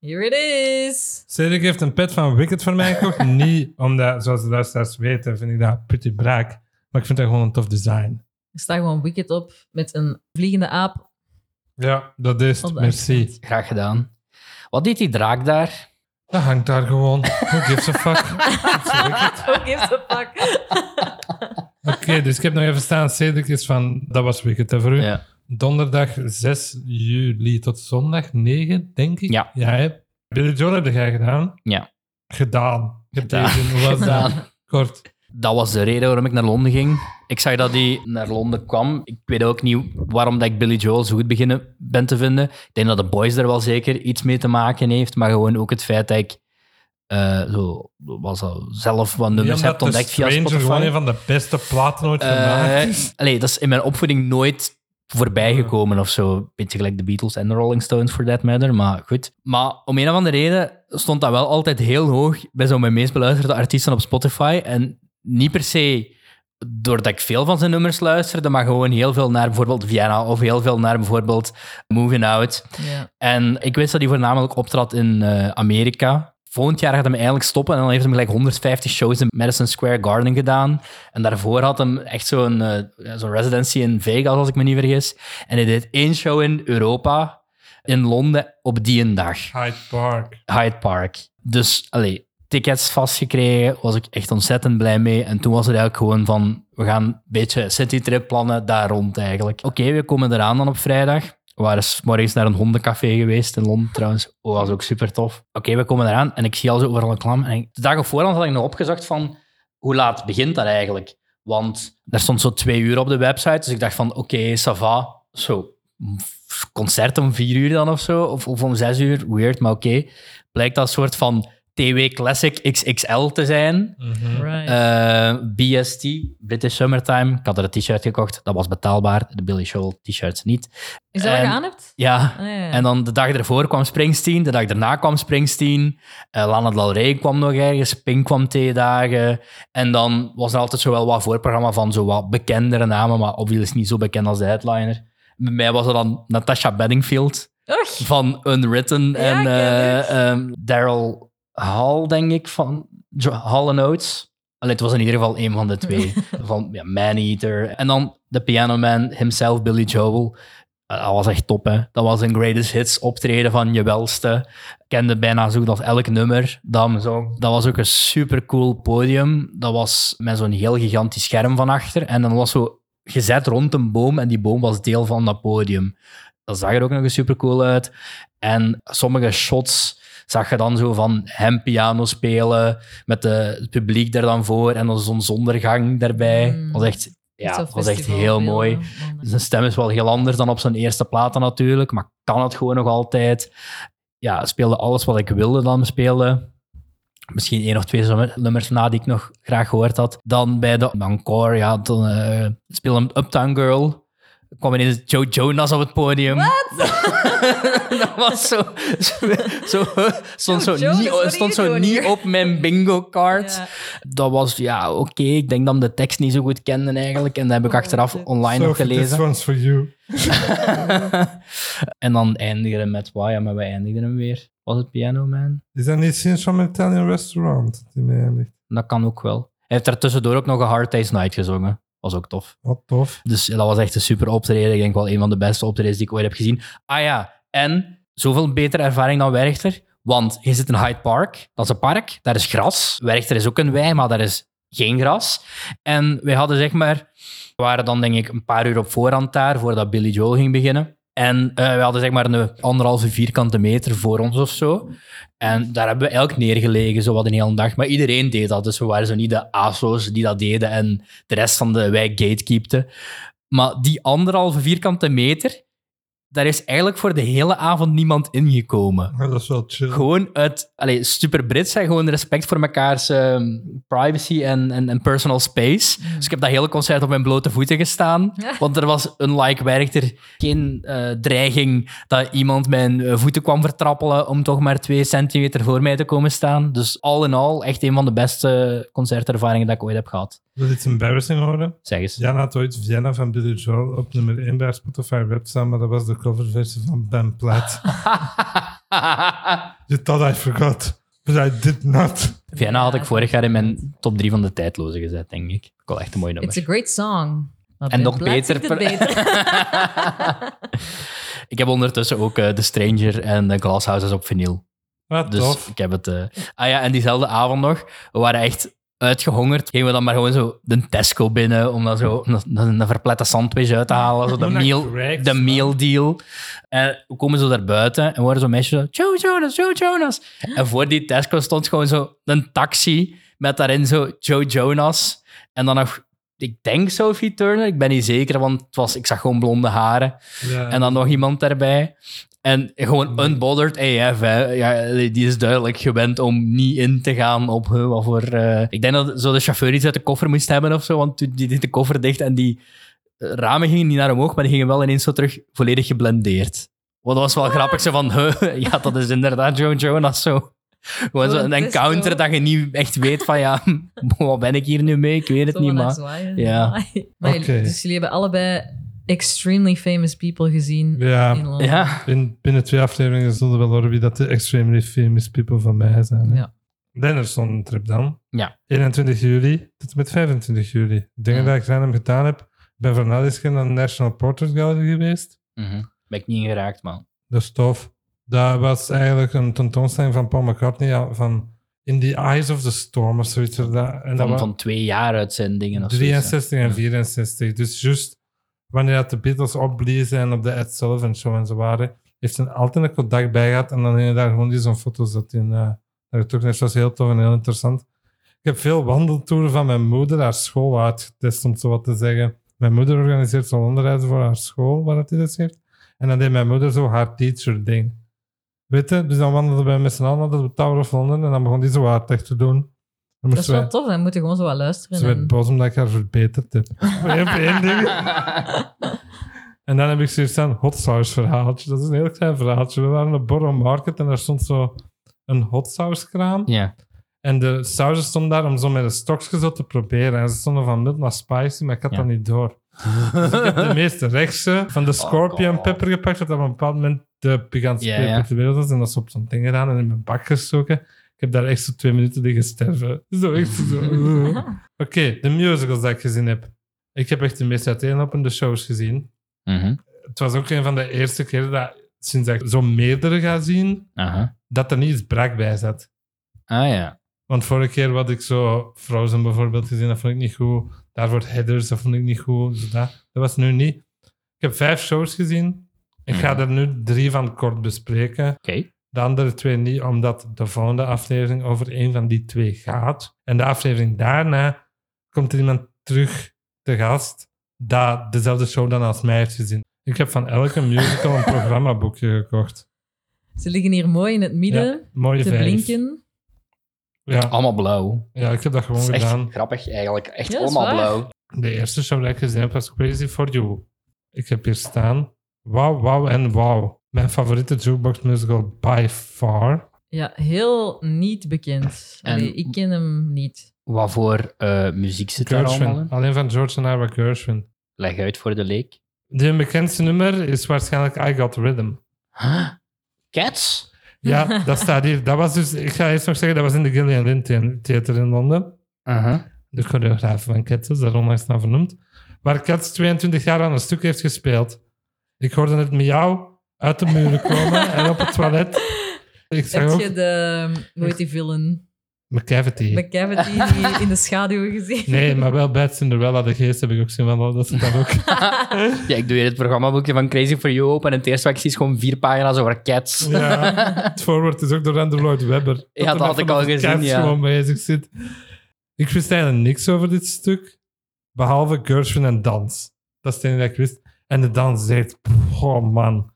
[SPEAKER 2] Here it is.
[SPEAKER 1] Cedric heeft een pet van Wicked voor mij gekocht. niet omdat, zoals de luisteraars weten, vind ik dat pretty braak. Maar ik vind dat gewoon een tof design.
[SPEAKER 2] Er staat gewoon Wicked op met een vliegende aap.
[SPEAKER 1] Ja, dat is het.
[SPEAKER 2] Op de
[SPEAKER 1] Merci.
[SPEAKER 2] achterkant.
[SPEAKER 3] Graag gedaan. Wat deed die draak daar?
[SPEAKER 1] Dat hangt daar gewoon. Who gives a fuck? Dat is Wicked.
[SPEAKER 2] Who gives a fuck?
[SPEAKER 1] Oké, dus ik heb nog even staan. Cedric is van, dat was Wicked hè, voor u.
[SPEAKER 3] Ja.
[SPEAKER 1] Donderdag 6 juli tot zondag 9, denk ik.
[SPEAKER 3] Ja.
[SPEAKER 1] ja hè? Billy Joel heb jij gedaan?
[SPEAKER 3] Ja.
[SPEAKER 1] Gedaan.
[SPEAKER 3] Gedaan.
[SPEAKER 1] Gedaan. Hoe was dat? Kort.
[SPEAKER 3] Dat was de reden waarom ik naar Londen ging. Ik zag dat hij naar Londen kwam. Ik weet ook niet waarom dat ik Billy Joel zo goed beginnen ben te vinden. Ik denk dat de boys er wel zeker iets mee te maken heeft. Maar gewoon ook het feit dat ik eh, zo, was dat, zelf wat nummers
[SPEAKER 1] Omdat
[SPEAKER 3] heb ontdekt
[SPEAKER 1] The
[SPEAKER 3] via
[SPEAKER 1] Stranger
[SPEAKER 3] Spotify.
[SPEAKER 1] gewoon een van de beste platen ooit gemaakt.
[SPEAKER 3] Eh, allee, dat is in mijn opvoeding nooit voorbijgekomen of zo. Beetje gelijk de Beatles en de Rolling Stones, for that matter. Maar goed. Maar om een of andere reden stond dat wel altijd heel hoog bij zo'n mijn meest beluisterde artiesten op Spotify. En niet per se doordat ik veel van zijn nummers luisterde, maar gewoon heel veel naar bijvoorbeeld Vienna of heel veel naar bijvoorbeeld Moving Out.
[SPEAKER 2] Ja.
[SPEAKER 3] En ik wist dat hij voornamelijk optrad in eh, Amerika. Volgend jaar gaat hij eigenlijk stoppen en dan heeft hij gelijk 150 shows in Madison Square Garden gedaan. En daarvoor had hij echt zo'n eh, ja, zo'n residency in Vegas, als ik me niet vergis. En hij deed één show in Europa, in Londen, op die een dag.
[SPEAKER 1] Hyde Park.
[SPEAKER 3] Hyde Park. Dus, allee, tickets vastgekregen, was ik echt ontzettend blij mee. En toen was het eigenlijk gewoon van, we gaan een beetje een citytrip plannen daar rond eigenlijk. Oké, we komen eraan dan op vrijdag. We waren 's morgens naar een hondencafé geweest in Londen trouwens. Oh, was ook super tof. Oké, we komen eraan en ik zie al zo overal een klam. En ik- de dag op voorhand had ik nog opgezocht van, hoe laat begint dat eigenlijk? Want er stond zo twee uur op de website, dus ik dacht van, oké, ça va. Zo, concert om vier uur dan of zo, of, of om zes uur, weird, maar oké blijkt dat een soort van TW Classic XXL te zijn.
[SPEAKER 1] Mhm.
[SPEAKER 2] Right.
[SPEAKER 3] Eh, BST, British Summertime. Ik had er een t-shirt gekocht, dat was betaalbaar. De Billy Joel t-shirts niet.
[SPEAKER 2] is dat wat je
[SPEAKER 3] en-
[SPEAKER 2] aan hebt?
[SPEAKER 3] Ja.
[SPEAKER 2] Ah, ja, ja.
[SPEAKER 3] En dan de dag ervoor kwam Springsteen, de dag daarna kwam Springsteen. eh, Lana Del Rey kwam nog ergens, Pink kwam twee dagen. En dan was er altijd zo wel wat voorprogramma van zo wat bekendere namen, maar obviously niet zo bekend als de headliner. Bij mij was dat dan Natasha Bedingfield
[SPEAKER 2] Och,
[SPEAKER 3] van Unwritten en
[SPEAKER 2] ik ken het.
[SPEAKER 3] eh, ehm, Daryl Hall, denk ik, van Jo- Hall and Oates. Allee, het was in ieder geval een van de twee. van ja, Man Eater. En dan de Piano Man himself, Billy Joel. Eh, Dat was echt top, hè. Dat was een greatest hits optreden van je welste. Kende bijna zo goed als elk nummer. Dat, zo. dat was ook een super cool podium. Dat was met zo'n heel gigantisch scherm van achter. En dan was zo gezet rond een boom. En die boom was deel van dat podium. dat zag er ook nog eens super cool uit. En sommige shots zag je dan zo van hem piano spelen met de, het publiek daar dan voor en dan zo'n zondergang daarbij.
[SPEAKER 2] Mm.
[SPEAKER 3] Dat was echt, ja,
[SPEAKER 2] Zo'n
[SPEAKER 3] dat was echt heel
[SPEAKER 2] festivalbeelden,
[SPEAKER 3] mooi.
[SPEAKER 2] wonderlijk.
[SPEAKER 3] Zijn stem is wel heel anders dan op zijn eerste platen natuurlijk, maar kan het gewoon nog altijd. Ja, speelde alles wat ik wilde dan spelen. Misschien één of twee zomer- nummers na die ik nog graag gehoord had. Dan bij de encore, ja, dan eh, speelde hem Uptown Girl. Er kwam ineens Joe Jonas op het podium. dat was zo... zo, zo stond zo,
[SPEAKER 2] Joe Jonas,
[SPEAKER 3] niet,
[SPEAKER 2] what are
[SPEAKER 3] stond
[SPEAKER 2] you
[SPEAKER 3] zo
[SPEAKER 2] doing
[SPEAKER 3] niet
[SPEAKER 2] here?
[SPEAKER 3] op mijn bingo card.
[SPEAKER 2] Ja.
[SPEAKER 3] Dat was, ja, oké. Ik denk dat ik de tekst niet zo goed kende eigenlijk. En dat heb ik
[SPEAKER 2] Oh,
[SPEAKER 3] achteraf
[SPEAKER 2] dit-
[SPEAKER 3] online nog
[SPEAKER 1] Sophie,
[SPEAKER 3] gelezen.
[SPEAKER 1] This one's for you.
[SPEAKER 3] en dan eindigen we met, wauw, ja, maar we eindigen hem weer. Was het Piano Man?
[SPEAKER 1] Is dat niet sinds van Italian Restaurant? Die mij eindigt?
[SPEAKER 3] Dat kan ook wel. Hij heeft er tussendoor ook nog een Hard Day's Night gezongen. Was ook tof.
[SPEAKER 1] Wat tof.
[SPEAKER 3] Dus dat was echt een super optreden. Ik denk wel een van de beste optredens die ik ooit heb gezien. Ah ja, en zoveel betere ervaring dan Werchter. Want je zit in Hyde Park. Dat is een park. Daar is gras. Werchter is ook een wei, maar daar is geen gras. En wij hadden zeg maar... We waren dan denk ik een paar uur op voorhand daar, voordat Billy Joel ging beginnen. En eh, we hadden zeg maar een anderhalve vierkante meter voor ons of zo. En daar hebben we elk neergelegen, zo wat een hele dag. Maar iedereen deed dat, dus we waren zo niet de ASO's die dat deden en de rest van de wijk gatekeepte. Maar die anderhalve vierkante meter, daar is eigenlijk voor de hele avond niemand ingekomen.
[SPEAKER 1] Maar dat is wel chill.
[SPEAKER 3] Gewoon uit, allee, super Brits, hè, gewoon respect voor mekaars ehm, privacy en, en, en personal space. Dus ik heb dat hele concert op mijn blote voeten gestaan.
[SPEAKER 2] Mm. Ja.
[SPEAKER 3] Want er was, unlike Werchter, geen eh, dreiging dat iemand mijn eh, voeten kwam vertrappelen om toch maar twee centimeter voor mij te komen staan. Dus al in al echt een van de beste eh, concertervaringen dat ik ooit heb gehad.
[SPEAKER 1] Wil je iets embarrassing horen?
[SPEAKER 3] Zeg eens.
[SPEAKER 1] Jan had ooit Vienna van Billy Joel op nummer 1 bij haar Spotify rap staan, maar dat was de coverversie van Ben Platt. You thought I forgot, but I did not.
[SPEAKER 3] Vienna had ik vorig jaar in mijn top drie van de tijdloze gezet, denk ik. Ik wel echt een mooi nummer.
[SPEAKER 2] It's a great song. Maar Ben
[SPEAKER 3] En nog
[SPEAKER 2] Platt
[SPEAKER 3] beter
[SPEAKER 2] zingt het
[SPEAKER 3] per-
[SPEAKER 2] beter.
[SPEAKER 3] Ik heb ondertussen ook eh The Stranger en The Glass Houses op vinyl.
[SPEAKER 1] Wat
[SPEAKER 3] Dus
[SPEAKER 1] tof.
[SPEAKER 3] ik heb het... eh, Ah ja, en diezelfde avond nog, we waren echt uitgehongerd. Gingen we dan maar gewoon zo de Tesco binnen om dan zo een, een een verplette sandwich uit te halen. Zo de,
[SPEAKER 1] Hoe dat
[SPEAKER 3] meal,
[SPEAKER 1] correct,
[SPEAKER 3] de
[SPEAKER 1] man.
[SPEAKER 3] meal deal. En we komen zo daar buiten en worden zo'n meisje zo... Joe Jonas, Joe Jonas. En voor die Tesco stond gewoon zo een taxi met daarin zo Joe Jonas. En dan nog... Ik denk Sophie Turner, ik ben niet zeker, want het was, ik zag gewoon blonde haren.
[SPEAKER 1] Ja.
[SPEAKER 3] En dan nog iemand daarbij. En gewoon unbothered AF, hè. Ja, die is duidelijk gewend om niet in te gaan op huh, wat voor... eh, Ik denk dat zo de chauffeur iets uit de koffer moest hebben of zo, want toen- die deed de koffer dicht en die eh, ramen gingen niet naar omhoog, maar die gingen wel ineens zo terug volledig geblendeerd. Wat was wel grappig, zo van, huh, ja, dat is inderdaad Joe Jonas, zo. Gewoon zo
[SPEAKER 2] Gewoon
[SPEAKER 3] een
[SPEAKER 2] een disco.
[SPEAKER 3] encounter dat je niet echt weet van, ja, wat ben ik hier nu mee? Ik weet het
[SPEAKER 2] Zo
[SPEAKER 3] niet,
[SPEAKER 2] aan haar
[SPEAKER 3] maar...
[SPEAKER 2] zwaaien.
[SPEAKER 3] Ja.
[SPEAKER 2] Maar
[SPEAKER 1] Oké.
[SPEAKER 2] jullie- Dus jullie hebben allebei extremely famous people gezien in
[SPEAKER 1] ja,
[SPEAKER 2] Londen.
[SPEAKER 3] Ja,
[SPEAKER 1] in, binnen twee afleveringen stonden wel horen wie dat de extremely famous people van mij zijn. hè.
[SPEAKER 2] Ja.
[SPEAKER 1] Lennerson trip dan.
[SPEAKER 3] Ja.
[SPEAKER 1] 21 juli tot en met 25 juli. Dingen
[SPEAKER 2] Ja.
[SPEAKER 1] dat ik aan hem gedaan heb. Ik ben voor Nadisken naar de National Portrait Gallery geweest.
[SPEAKER 3] Mhm. ben ik niet in geraakt, man.
[SPEAKER 1] Dat is tof. Dat was eigenlijk een tentoonstelling van Paul McCartney. ja, van In the Eyes of the Storm of zoiets. er dat- En dat
[SPEAKER 3] Van,
[SPEAKER 1] was
[SPEAKER 3] van twee jaar uit zijn dingen of zo.
[SPEAKER 1] 63 en
[SPEAKER 3] Ja.
[SPEAKER 1] 64. Dus juist wanneer dat de Beatles opbliezen en op de Ed Sullivan Show en zo waren, heeft hij altijd een contact bij gehad. En dan inderdaad gewoon die zo'n foto's dat hij eh naar terug Dat was heel tof en heel interessant. Ik heb veel wandeltoeren van mijn moeder haar school uitgetest, om het zo wat te zeggen. Mijn moeder organiseert zo'n onderwijs voor haar school, waar dat hij dat heeft. En dan deed mijn moeder zo haar teacher-ding. Weet je? Dus dan wandelden wij met z'n allen naar de Tower of London en dan begon die zo haar tech te doen. Dan
[SPEAKER 2] Dat is
[SPEAKER 1] moesten wij-
[SPEAKER 2] wel tof, hè? Moeten gewoon zo wat luisteren.
[SPEAKER 1] ze werd
[SPEAKER 2] en-
[SPEAKER 1] boos omdat ik haar verbeterd heb. Eén op één ding. En dan heb ik zoiets aan hot sauce verhaaltje. Dat is een heel klein verhaaltje. We waren op Borough Market en daar stond zo een hot sauce kraam.
[SPEAKER 3] Ja.
[SPEAKER 1] En de sauzen stonden daar om zo met een stokje zo te proberen. En ze stonden van mild naar spicy, maar ik had
[SPEAKER 3] Ja.
[SPEAKER 1] dat niet door. Dus ik heb de meeste rechtse van de scorpion
[SPEAKER 3] God.
[SPEAKER 1] pepper gepakt. Dat op een bepaald moment de pikantste
[SPEAKER 3] Ja,
[SPEAKER 1] peper
[SPEAKER 3] ja.
[SPEAKER 1] ter wereld is. En dat is op zo'n ding gedaan en in mijn bak gestoken. Ik heb daar echt zo twee minuten liggen sterven. Zo echt zo. Oké, de musicals dat ik gezien heb. Ik heb echt de meest uiteenlopende shows gezien.
[SPEAKER 3] Mhm.
[SPEAKER 1] Het was ook een van de eerste keren dat, sinds dat ik zo meerdere ga zien,
[SPEAKER 3] Aha.
[SPEAKER 1] dat er niets brak bij zat.
[SPEAKER 3] Ah ja.
[SPEAKER 1] Want vorige keer wat ik zo Frozen bijvoorbeeld gezien, dat vond ik niet goed. Daarvoor Headers, dat vond ik niet goed. Dus dat, dat was nu niet. Ik heb vijf shows gezien. Ik
[SPEAKER 3] Mhm.
[SPEAKER 1] ga er nu drie van kort bespreken. De andere twee niet, omdat de volgende aflevering over een van die twee gaat. En de aflevering daarna komt er iemand terug te gast dat dezelfde show dan als mij heeft gezien. Ik heb van elke musical een programmaboekje gekocht.
[SPEAKER 2] Ze liggen hier mooi in het midden
[SPEAKER 1] Mooie
[SPEAKER 2] te
[SPEAKER 1] vijf.
[SPEAKER 2] blinken.
[SPEAKER 1] Ja,
[SPEAKER 3] Allemaal blauw.
[SPEAKER 1] ja, ik heb dat gewoon
[SPEAKER 3] Dat is echt
[SPEAKER 1] gedaan.
[SPEAKER 3] grappig eigenlijk. Echt
[SPEAKER 2] Ja, dat is
[SPEAKER 3] allemaal
[SPEAKER 2] waar.
[SPEAKER 3] blauw.
[SPEAKER 1] De eerste show dat ik gezien heb was Crazy For You. Ik heb hier staan Wow, Wow en Wow. Mijn favoriete jukebox musical by far.
[SPEAKER 2] Ja, heel niet bekend.
[SPEAKER 3] En-
[SPEAKER 2] Allee, ik ken hem niet.
[SPEAKER 3] Wat voor eh, muziek zit daar allemaal
[SPEAKER 1] Gershwin.
[SPEAKER 3] in?
[SPEAKER 1] Alleen van George en Ira Gershwin.
[SPEAKER 3] Leg uit voor de leek.
[SPEAKER 1] De bekendste nummer is waarschijnlijk I Got Rhythm.
[SPEAKER 3] Huh? Cats?
[SPEAKER 1] Ja, dat staat hier. Dat was dus, ik ga eerst nog zeggen, dat was in de Gillian Lynn The- Theater in Londen.
[SPEAKER 3] Uh-huh.
[SPEAKER 1] De choreograaf van Cats is daar onlangs naar vernoemd. Waar Cats 22 jaar aan een stuk heeft gespeeld. Ik hoorde het miauw uit de muren komen en op het toilet. Ik zag
[SPEAKER 2] Heb je
[SPEAKER 1] ook
[SPEAKER 2] de, hoe heet die villain?
[SPEAKER 1] McCavity.
[SPEAKER 2] McCavity die in de schaduw gezien?
[SPEAKER 1] Nee, maar wel Bad Cinderella, de geest heb ik ook zien, want dat is dat ook.
[SPEAKER 3] Ja, ik doe hier het programmaboekje van Crazy For You open en het eerste wat ik zie is gewoon vier pagina's over cats.
[SPEAKER 1] Ja, het voorwoord is ook door Andrew Lloyd Webber. Dat
[SPEAKER 3] Ja, dat
[SPEAKER 1] er nog
[SPEAKER 3] had ik
[SPEAKER 1] vanaf
[SPEAKER 3] al
[SPEAKER 1] de
[SPEAKER 3] gezien,
[SPEAKER 1] cast
[SPEAKER 3] ja.
[SPEAKER 1] gewoon bezig zit. Ik wist eigenlijk niks over dit stuk, behalve Gershwin en dans. Dat is het enige dat ik wist. En de dans is echt, oh man.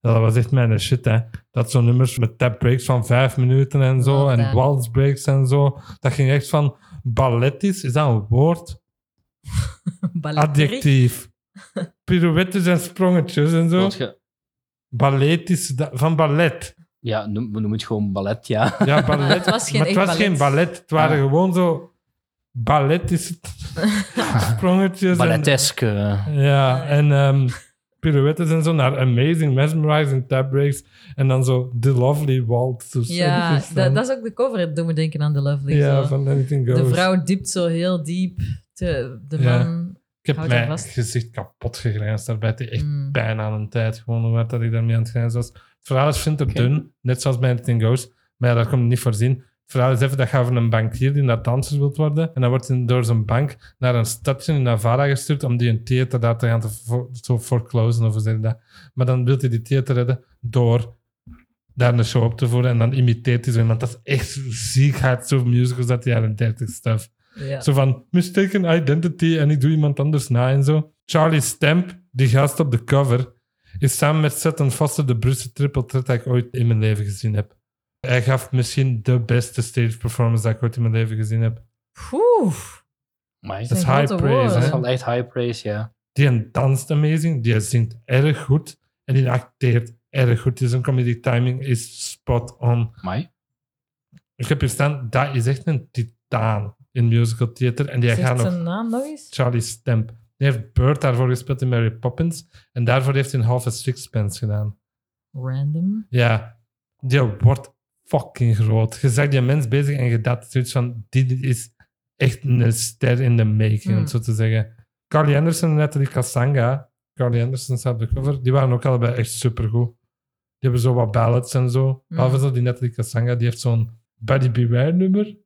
[SPEAKER 1] Dat was echt mijn shit, hè. Dat zo'n nummers met tap breaks van vijf minuten en zo,
[SPEAKER 2] Love
[SPEAKER 1] en
[SPEAKER 2] that.
[SPEAKER 1] waltz breaks en zo. Dat ging echt van ballettisch, is dat een woord?
[SPEAKER 2] Balletterie.
[SPEAKER 1] Adjectief. Pirouettes en sprongetjes en zo.
[SPEAKER 3] Wilt ge-
[SPEAKER 1] Ballet is da- van ballet.
[SPEAKER 3] Ja, noem, noem het gewoon ballet, ja.
[SPEAKER 1] Ja, ballet.
[SPEAKER 2] het was geen
[SPEAKER 1] maar het
[SPEAKER 2] echt
[SPEAKER 1] was geen ballet. Het waren
[SPEAKER 3] Ah.
[SPEAKER 1] gewoon zo ballet is het. sprongetjes.
[SPEAKER 3] Balletesk. eh.
[SPEAKER 1] En, ja, en ehm pirouettes en zo naar Amazing, Mesmerizing, Tap Breaks. En dan zo The Lovely Waltz. of zo.
[SPEAKER 2] Ja,
[SPEAKER 1] is
[SPEAKER 2] dat,
[SPEAKER 1] dan-
[SPEAKER 2] dat is ook de cover. Dat doet me denken aan The Lovely.
[SPEAKER 1] Ja,
[SPEAKER 2] zo.
[SPEAKER 1] van Anything Goes.
[SPEAKER 2] de vrouw diept zo heel diep. te- de
[SPEAKER 1] Ja.
[SPEAKER 2] man...
[SPEAKER 1] ik heb
[SPEAKER 2] houdt haar
[SPEAKER 1] mijn
[SPEAKER 2] vast.
[SPEAKER 1] gezicht kapot gegrijnsd daarbij. Het deed echt
[SPEAKER 2] Mm.
[SPEAKER 1] pijn aan een tijd gewoon, werd dat ik daarmee aan het grijzen was. Het verhaal is vinterdun, dun, net zoals bij Anything Goes, maar ja, daar komt niet voor zien. Het verhaal is even dat je van een bankier die naar danser wilt worden, en dan wordt hij door zijn bank naar een stadje in Navarra gestuurd om die een theater daar te gaan te vo- zo foreclosen, of hoe zeg je dat. Maar dan wil hij die theater redden door daar een show op te voeren en dan imiteert hij zo iemand. Dat is echt ziek hard, zo musicals dat jaren 30 stuff.
[SPEAKER 2] Ja.
[SPEAKER 1] Zo van mistaken identity en ik doe iemand anders na en zo. Charlie Stamp, die gast op de cover, is samen met Sutton Foster de Bruce triple threat dat ik ooit in mijn leven gezien heb. Hij gaf misschien de beste stage performance dat ik ooit in mijn leven gezien heb.
[SPEAKER 2] Oeh,
[SPEAKER 3] Amai.
[SPEAKER 1] Dat is
[SPEAKER 2] Zijn
[SPEAKER 1] high
[SPEAKER 2] grote
[SPEAKER 1] praise,
[SPEAKER 3] Dat
[SPEAKER 2] woorden.
[SPEAKER 3] is
[SPEAKER 1] hè?
[SPEAKER 3] wel echt high praise, ja.
[SPEAKER 1] Die danst amazing, die zingt erg goed en die acteert erg goed. Dus zijn comedy timing is spot on.
[SPEAKER 3] Amai.
[SPEAKER 1] Ik heb hier staan, dat is echt een titaan in musical theater en die gaat
[SPEAKER 2] zegt
[SPEAKER 1] nog
[SPEAKER 2] zijn naam nog eens?
[SPEAKER 1] Charlie Stamp. Die heeft Bird daarvoor gespeeld in Mary Poppins. En daarvoor heeft hij een halve sixpence gedaan.
[SPEAKER 2] Random.
[SPEAKER 1] Ja, die wordt fucking groot. Je zag die mens bezig en je dacht zoiets van... Dit is echt een ster in de making, om
[SPEAKER 2] Hmm.
[SPEAKER 1] het zo te zeggen. Carly Anderson en Natalie Kassanga. Carly Anderson staat op de cover. Die waren ook allebei echt supergoed. Die hebben zo wat ballads en zo. Behalve zo die Natalie Kassanga, die heeft zo'n Buddy Beware nummer.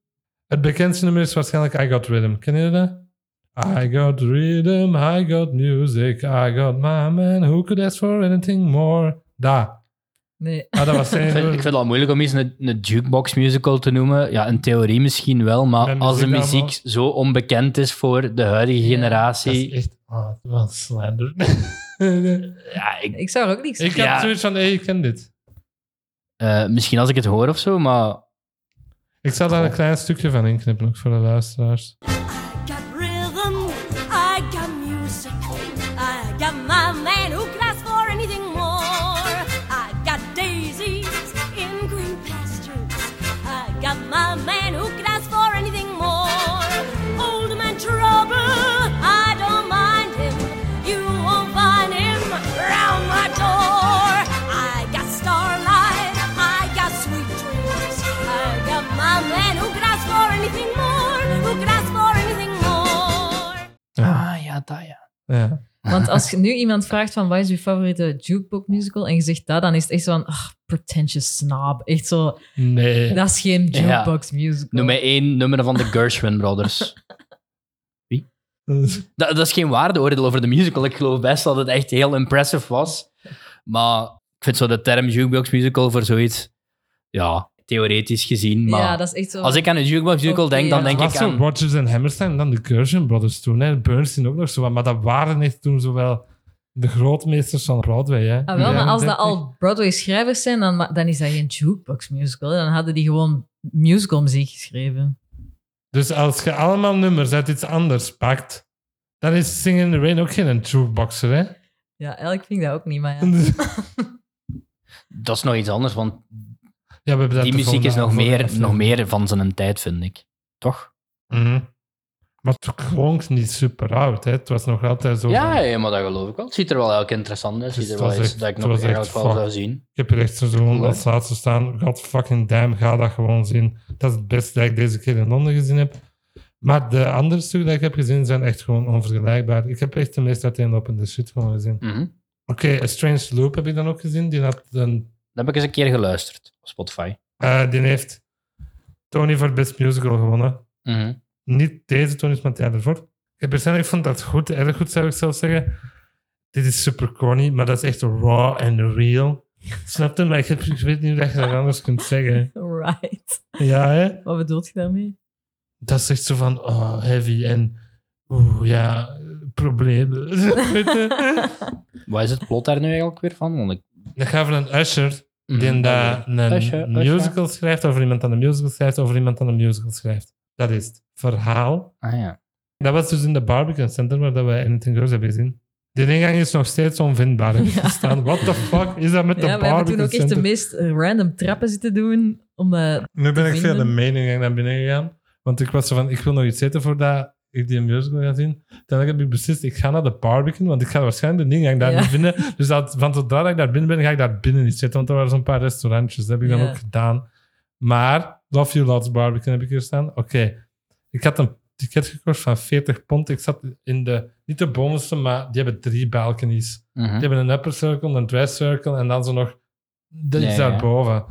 [SPEAKER 1] Het bekendste nummer is waarschijnlijk I Got Rhythm. Ken je dat? I got rhythm, I got music, I got my man. Who could ask for anything more? Da.
[SPEAKER 2] Nee.
[SPEAKER 1] Ah, dat was zijn
[SPEAKER 3] Ik vind, ik vind het al moeilijk om iets een, een jukebox musical te noemen. Ja, in theorie misschien wel, maar
[SPEAKER 1] Met
[SPEAKER 3] als de
[SPEAKER 1] muziek
[SPEAKER 3] muziek
[SPEAKER 1] allemaal.
[SPEAKER 3] zo onbekend is voor de huidige
[SPEAKER 2] Ja.
[SPEAKER 1] Dat is
[SPEAKER 3] generatie.
[SPEAKER 1] echt... Ah, wat een slander.
[SPEAKER 3] Ja, ik,
[SPEAKER 2] Ik zou er ook niks
[SPEAKER 1] ik
[SPEAKER 3] Ja.
[SPEAKER 1] had zoiets van, hey, ik ken dit.
[SPEAKER 3] eh, misschien als ik het hoor of zo, maar
[SPEAKER 1] Ik zal daar een klein stukje van inknippen, ook voor de luisteraars.
[SPEAKER 4] got rhythm, I got music, I got my man who can ask for anything more. I got daisies in green pastures, I got my man who can ask for anything more. Old man trouble, I don't mind him, you won't find him round my door. I got starlight, I got sweet dreams, I got my man who can ask for anything more, who can ask for anything more.
[SPEAKER 3] Ah, ja, dat ja.
[SPEAKER 1] Ja.
[SPEAKER 2] Want als je nu iemand vraagt van wat is je favoriete jukebox musical en je zegt dat, dan is het echt zo van ach, pretentious snob. Echt zo,
[SPEAKER 1] Nee.
[SPEAKER 2] dat is geen jukebox musical.
[SPEAKER 3] Noem mij één nummer van de Gershwin Brothers. Dat, dat is geen waardeoordeel over de musical. Ik geloof best dat het echt heel impressive was. Maar ik vind zo de term jukebox musical voor zoiets, ja, theoretisch gezien. Maar
[SPEAKER 2] ja, dat is echt zo.
[SPEAKER 3] als ik aan een jukebox musical
[SPEAKER 2] Oké,
[SPEAKER 3] denk, dan
[SPEAKER 2] ja.
[SPEAKER 3] denk
[SPEAKER 1] was
[SPEAKER 3] ik
[SPEAKER 1] zo
[SPEAKER 3] aan...
[SPEAKER 1] Rodgers en Hammerstein en dan de Gershon Brothers toen. Hè. Bernstein ook nog zo. wat, Maar dat waren echt toen zowel de grootmeesters van Broadway. Hè.
[SPEAKER 2] Ah, wel,
[SPEAKER 1] Ja,
[SPEAKER 2] maar als dat
[SPEAKER 1] 30.
[SPEAKER 2] al Broadway-schrijvers zijn, dan, ma- dan is dat geen jukebox musical. hè. Dan hadden die gewoon musical muziek geschreven.
[SPEAKER 1] Dus als je allemaal nummers uit iets anders pakt, dan is Singing in the Rain ook geen jukeboxer, hè?
[SPEAKER 2] Ja, eigenlijk vind ik dat ook niet, maar ja.
[SPEAKER 3] Dat is nog iets anders, want
[SPEAKER 1] Ja, we hebben dat
[SPEAKER 3] die
[SPEAKER 1] de
[SPEAKER 3] muziek is
[SPEAKER 1] volgende
[SPEAKER 3] nog meer,
[SPEAKER 1] aflevering.
[SPEAKER 3] nog meer van zijn tijd, vind ik. Toch?
[SPEAKER 1] Mhm. Maar het klonk niet super oud, hè? Het was nog altijd zo.
[SPEAKER 3] Ja,
[SPEAKER 1] van-
[SPEAKER 3] ja, maar dat geloof ik wel. Het ziet er wel elke interessant uit. Het
[SPEAKER 1] Dus
[SPEAKER 3] ziet er
[SPEAKER 1] het
[SPEAKER 3] wel
[SPEAKER 1] was
[SPEAKER 3] iets
[SPEAKER 1] echt-
[SPEAKER 3] dat ik
[SPEAKER 1] het
[SPEAKER 3] nog
[SPEAKER 1] was echt
[SPEAKER 3] ergens wel
[SPEAKER 1] fuck.
[SPEAKER 3] zou zien.
[SPEAKER 1] Ik heb er echt
[SPEAKER 3] Cool,
[SPEAKER 1] zo'n
[SPEAKER 3] hè?
[SPEAKER 1] als laatste staan. God fucking damn, ga dat gewoon zien. Dat is het beste dat ik deze keer in Londen gezien heb. Maar de andere stukken die ik heb gezien zijn echt gewoon onvergelijkbaar. Ik heb echt de meest uiteenlopende shit gewoon gezien.
[SPEAKER 3] Mhm.
[SPEAKER 1] Oké, A Strange Loop heb ik dan ook gezien. Die, had een,
[SPEAKER 3] Dat heb ik eens een keer geluisterd op Spotify.
[SPEAKER 1] eh, die heeft Tony voor Best Musical gewonnen.
[SPEAKER 3] Mhm.
[SPEAKER 1] Niet deze Tony, maar die ervoor. Ik heb persoonlijk vond dat goed, erg goed zou ik zelf zeggen. Dit is super corny, maar dat is echt raw en real. Snap je? Maar ik, heb, ik weet niet hoe je dat anders kunt zeggen.
[SPEAKER 2] Right.
[SPEAKER 1] Ja, hè?
[SPEAKER 2] Wat bedoelt je daarmee?
[SPEAKER 1] dat is echt zo van oh, heavy en oeh ja, problemen. Weet je?
[SPEAKER 3] Wat is het plot daar nu eigenlijk weer van? Want ik...
[SPEAKER 1] Dan gaan we een Usher,
[SPEAKER 3] Mhm.
[SPEAKER 1] die daar een
[SPEAKER 3] Usher, Usher.
[SPEAKER 1] musical schrijft, over iemand aan een musical schrijft, over iemand aan een musical schrijft. Dat is het verhaal.
[SPEAKER 3] Ah ja.
[SPEAKER 1] Dat was dus in de Barbican Center waar dat wij Anything Girls hebben gezien. Die ingang is nog steeds onvindbaar. Ik heb gestaan. What the fuck is dat met
[SPEAKER 2] ja,
[SPEAKER 1] de
[SPEAKER 2] we hebben toen
[SPEAKER 1] Barbican
[SPEAKER 2] ook echt de
[SPEAKER 1] Center?
[SPEAKER 2] meest eh, random trappen zitten doen. Omdat,
[SPEAKER 1] Nu ben ik via de
[SPEAKER 2] vinden.
[SPEAKER 1] mening naar binnen gegaan. Want ik was zo van, ik wil nog iets eten voordat ik die musical ga zien. Uiteindelijk heb ik beslist, ik ga naar de Barbican, want ik ga waarschijnlijk de ingang daar
[SPEAKER 2] Ja.
[SPEAKER 1] niet vinden. Dus dat, van zodra ik daar binnen ben, ga ik daar binnen niet zitten. Want er waren zo'n paar restaurantjes, dat heb ik dan
[SPEAKER 2] Ja.
[SPEAKER 1] ook gedaan. Maar, Love You Lots Barbican heb ik hier staan. Oké, ik had een ticket gekocht van 40 pond. Ik zat in de, niet de bovenste, maar die hebben drie balconies.
[SPEAKER 3] Mhm.
[SPEAKER 1] Die hebben een upper circle, een dress circle en dan zo nog dat
[SPEAKER 3] Ja,
[SPEAKER 1] is
[SPEAKER 3] ja.
[SPEAKER 1] daarboven.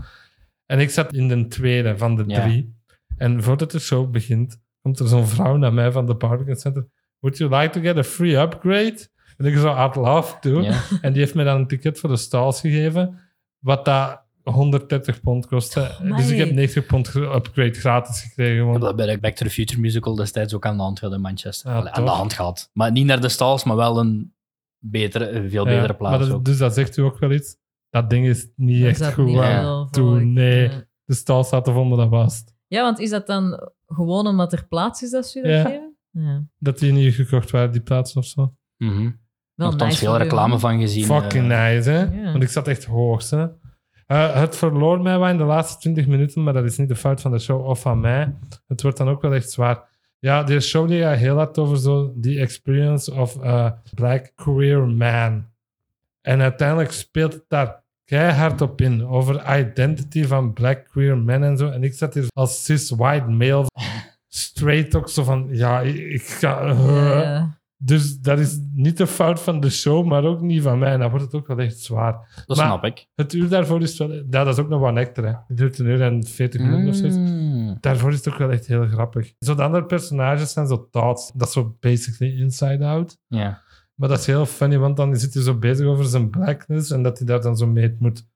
[SPEAKER 1] En ik zat in de tweede van de
[SPEAKER 3] Ja.
[SPEAKER 1] drie. En voordat de show begint, komt er zo'n vrouw naar mij van de Barbican Center. Would you like to get a free upgrade? En ik zo, I'd love to.
[SPEAKER 3] Ja.
[SPEAKER 1] En die heeft mij dan een ticket voor de stalls gegeven, wat dat 130 pond kostte. dus ik heb
[SPEAKER 2] amai.
[SPEAKER 1] 90 pond ge- upgrade gratis gekregen.
[SPEAKER 3] Ik
[SPEAKER 1] gewoon.
[SPEAKER 3] heb Oh, dat bij de Back to the Future musical destijds ook aan de hand gehad in Manchester.
[SPEAKER 1] Ja,
[SPEAKER 3] Allee, aan de
[SPEAKER 1] toch?
[SPEAKER 3] hand gehad. Maar niet naar de stalls, maar wel een, betere, een veel
[SPEAKER 1] Ja,
[SPEAKER 3] betere plaats
[SPEAKER 1] maar dat-
[SPEAKER 3] ook.
[SPEAKER 1] Dus dat zegt u ook wel iets. Dat ding is niet
[SPEAKER 2] is
[SPEAKER 1] echt
[SPEAKER 2] dat
[SPEAKER 1] goed.
[SPEAKER 2] niet
[SPEAKER 1] hè.
[SPEAKER 2] veel
[SPEAKER 1] toen,
[SPEAKER 2] volk.
[SPEAKER 1] nee.
[SPEAKER 2] Ja.
[SPEAKER 1] De stal staat er onder dat vast.
[SPEAKER 2] Ja, want is dat dan gewoon omdat er plaats is dat ze dat
[SPEAKER 1] Ja.
[SPEAKER 2] geven? Ja.
[SPEAKER 1] dat die niet gekocht waren, die plaats of zo.
[SPEAKER 3] Mhm.
[SPEAKER 2] Wel
[SPEAKER 3] Nogthans
[SPEAKER 2] nice
[SPEAKER 3] veel
[SPEAKER 2] van u,
[SPEAKER 3] reclame
[SPEAKER 2] hoor.
[SPEAKER 3] van gezien.
[SPEAKER 1] Fucking
[SPEAKER 3] eh.
[SPEAKER 1] nice, hè?
[SPEAKER 2] Ja.
[SPEAKER 1] Want ik zat echt hoogst, hè? Eh, het verloor mij wel in de laatste 20 minuten, maar dat is niet de fout van de show of van mij. Het wordt dan ook wel echt zwaar. Ja, die show die gaat heel hard over zo die experience of a black queer man. En uiteindelijk speelt het daar keihard op in, over identity van black queer men en zo. En ik zat hier als cis-white male, straight ook zo van, ja, ik, ik ga... eh,
[SPEAKER 2] Ja, ja.
[SPEAKER 1] Dus dat is niet de fout van de show, maar ook niet van mij. En dan wordt het ook wel echt zwaar.
[SPEAKER 3] Dat
[SPEAKER 1] Maar-
[SPEAKER 3] snap ik.
[SPEAKER 1] Het uur daarvoor is wel... Ja, dat is ook nog wat nectar, hè. Het duurt een uur en veertig minuten of zoiets.
[SPEAKER 3] Mm.
[SPEAKER 1] Daarvoor is het ook wel echt heel grappig. Zo de andere personages zijn zo thoughts. Dat is zo basically inside out.
[SPEAKER 3] Ja.
[SPEAKER 1] Maar dat is heel funny, want dan zit hij zo bezig over zijn blackness en dat hij daar dan zo mee moet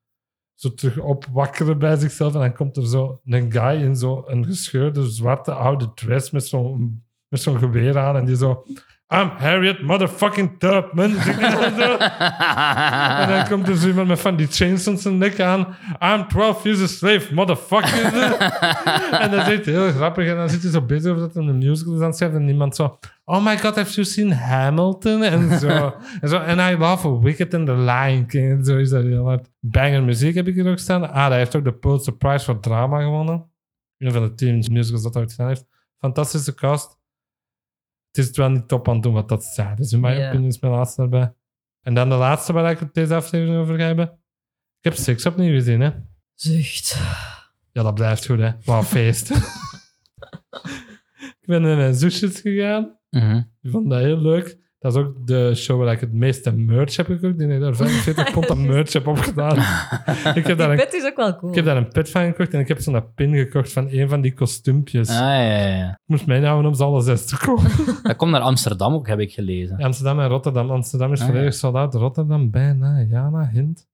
[SPEAKER 1] zo terug opwakkeren bij zichzelf. En dan komt er zo een guy in zo'n gescheurde zwarte oude dress met zo'n met zo'n geweer aan en die zo... I'm Harriet motherfucking Tubman. en, zo. en dan komt er zo iemand met van die chains om zijn nek aan. I'm 12 years a slave, motherfucker. en dat is echt heel grappig. En dan zit hij zo bezig over dat hij een musical is aan het schrijven. En iemand zo... Oh my god, have you seen Hamilton? En zo. en zo. And I love Wicked and the Lion King. En zo is dat heel hard. Banger muziek heb ik hier ook staan. Ah, hij heeft ook de Pulitzer Prize voor drama gewonnen. Een van de teams musicals dat hij ooit gedaan heeft. Fantastische cast. Het is het wel niet top aan het doen wat dat zei. Dus in mijn
[SPEAKER 2] Ja.
[SPEAKER 1] opinie is mijn laatste daarbij. En dan de laatste waar ik het deze aflevering over ga hebben. Ik heb seks opnieuw gezien, hè.
[SPEAKER 2] Zucht.
[SPEAKER 1] Ja, dat blijft goed, hè. Wat feest. ik ben naar mijn zusjes gegaan.
[SPEAKER 3] Mhm.
[SPEAKER 1] Die vond dat heel leuk. Dat is ook de show waar ik het meeste merch heb gekocht. Die ik daar 45 pond aan merch heb opgedaan. ik, heb daar
[SPEAKER 2] Die
[SPEAKER 1] een,
[SPEAKER 2] pet is ook wel cool.
[SPEAKER 1] ik heb daar een pet van gekocht en ik heb zo'n pin gekocht van een van die kostuumpjes.
[SPEAKER 3] Ah, ja, ja, ja.
[SPEAKER 1] Ik moest mijn houden om ze alle zes te kopen.
[SPEAKER 3] Dat komt naar Amsterdam ook, heb ik gelezen.
[SPEAKER 1] Amsterdam en Rotterdam. Amsterdam is
[SPEAKER 3] Ah,
[SPEAKER 1] volledig soldaat. Rotterdam bijna. Jana, hint.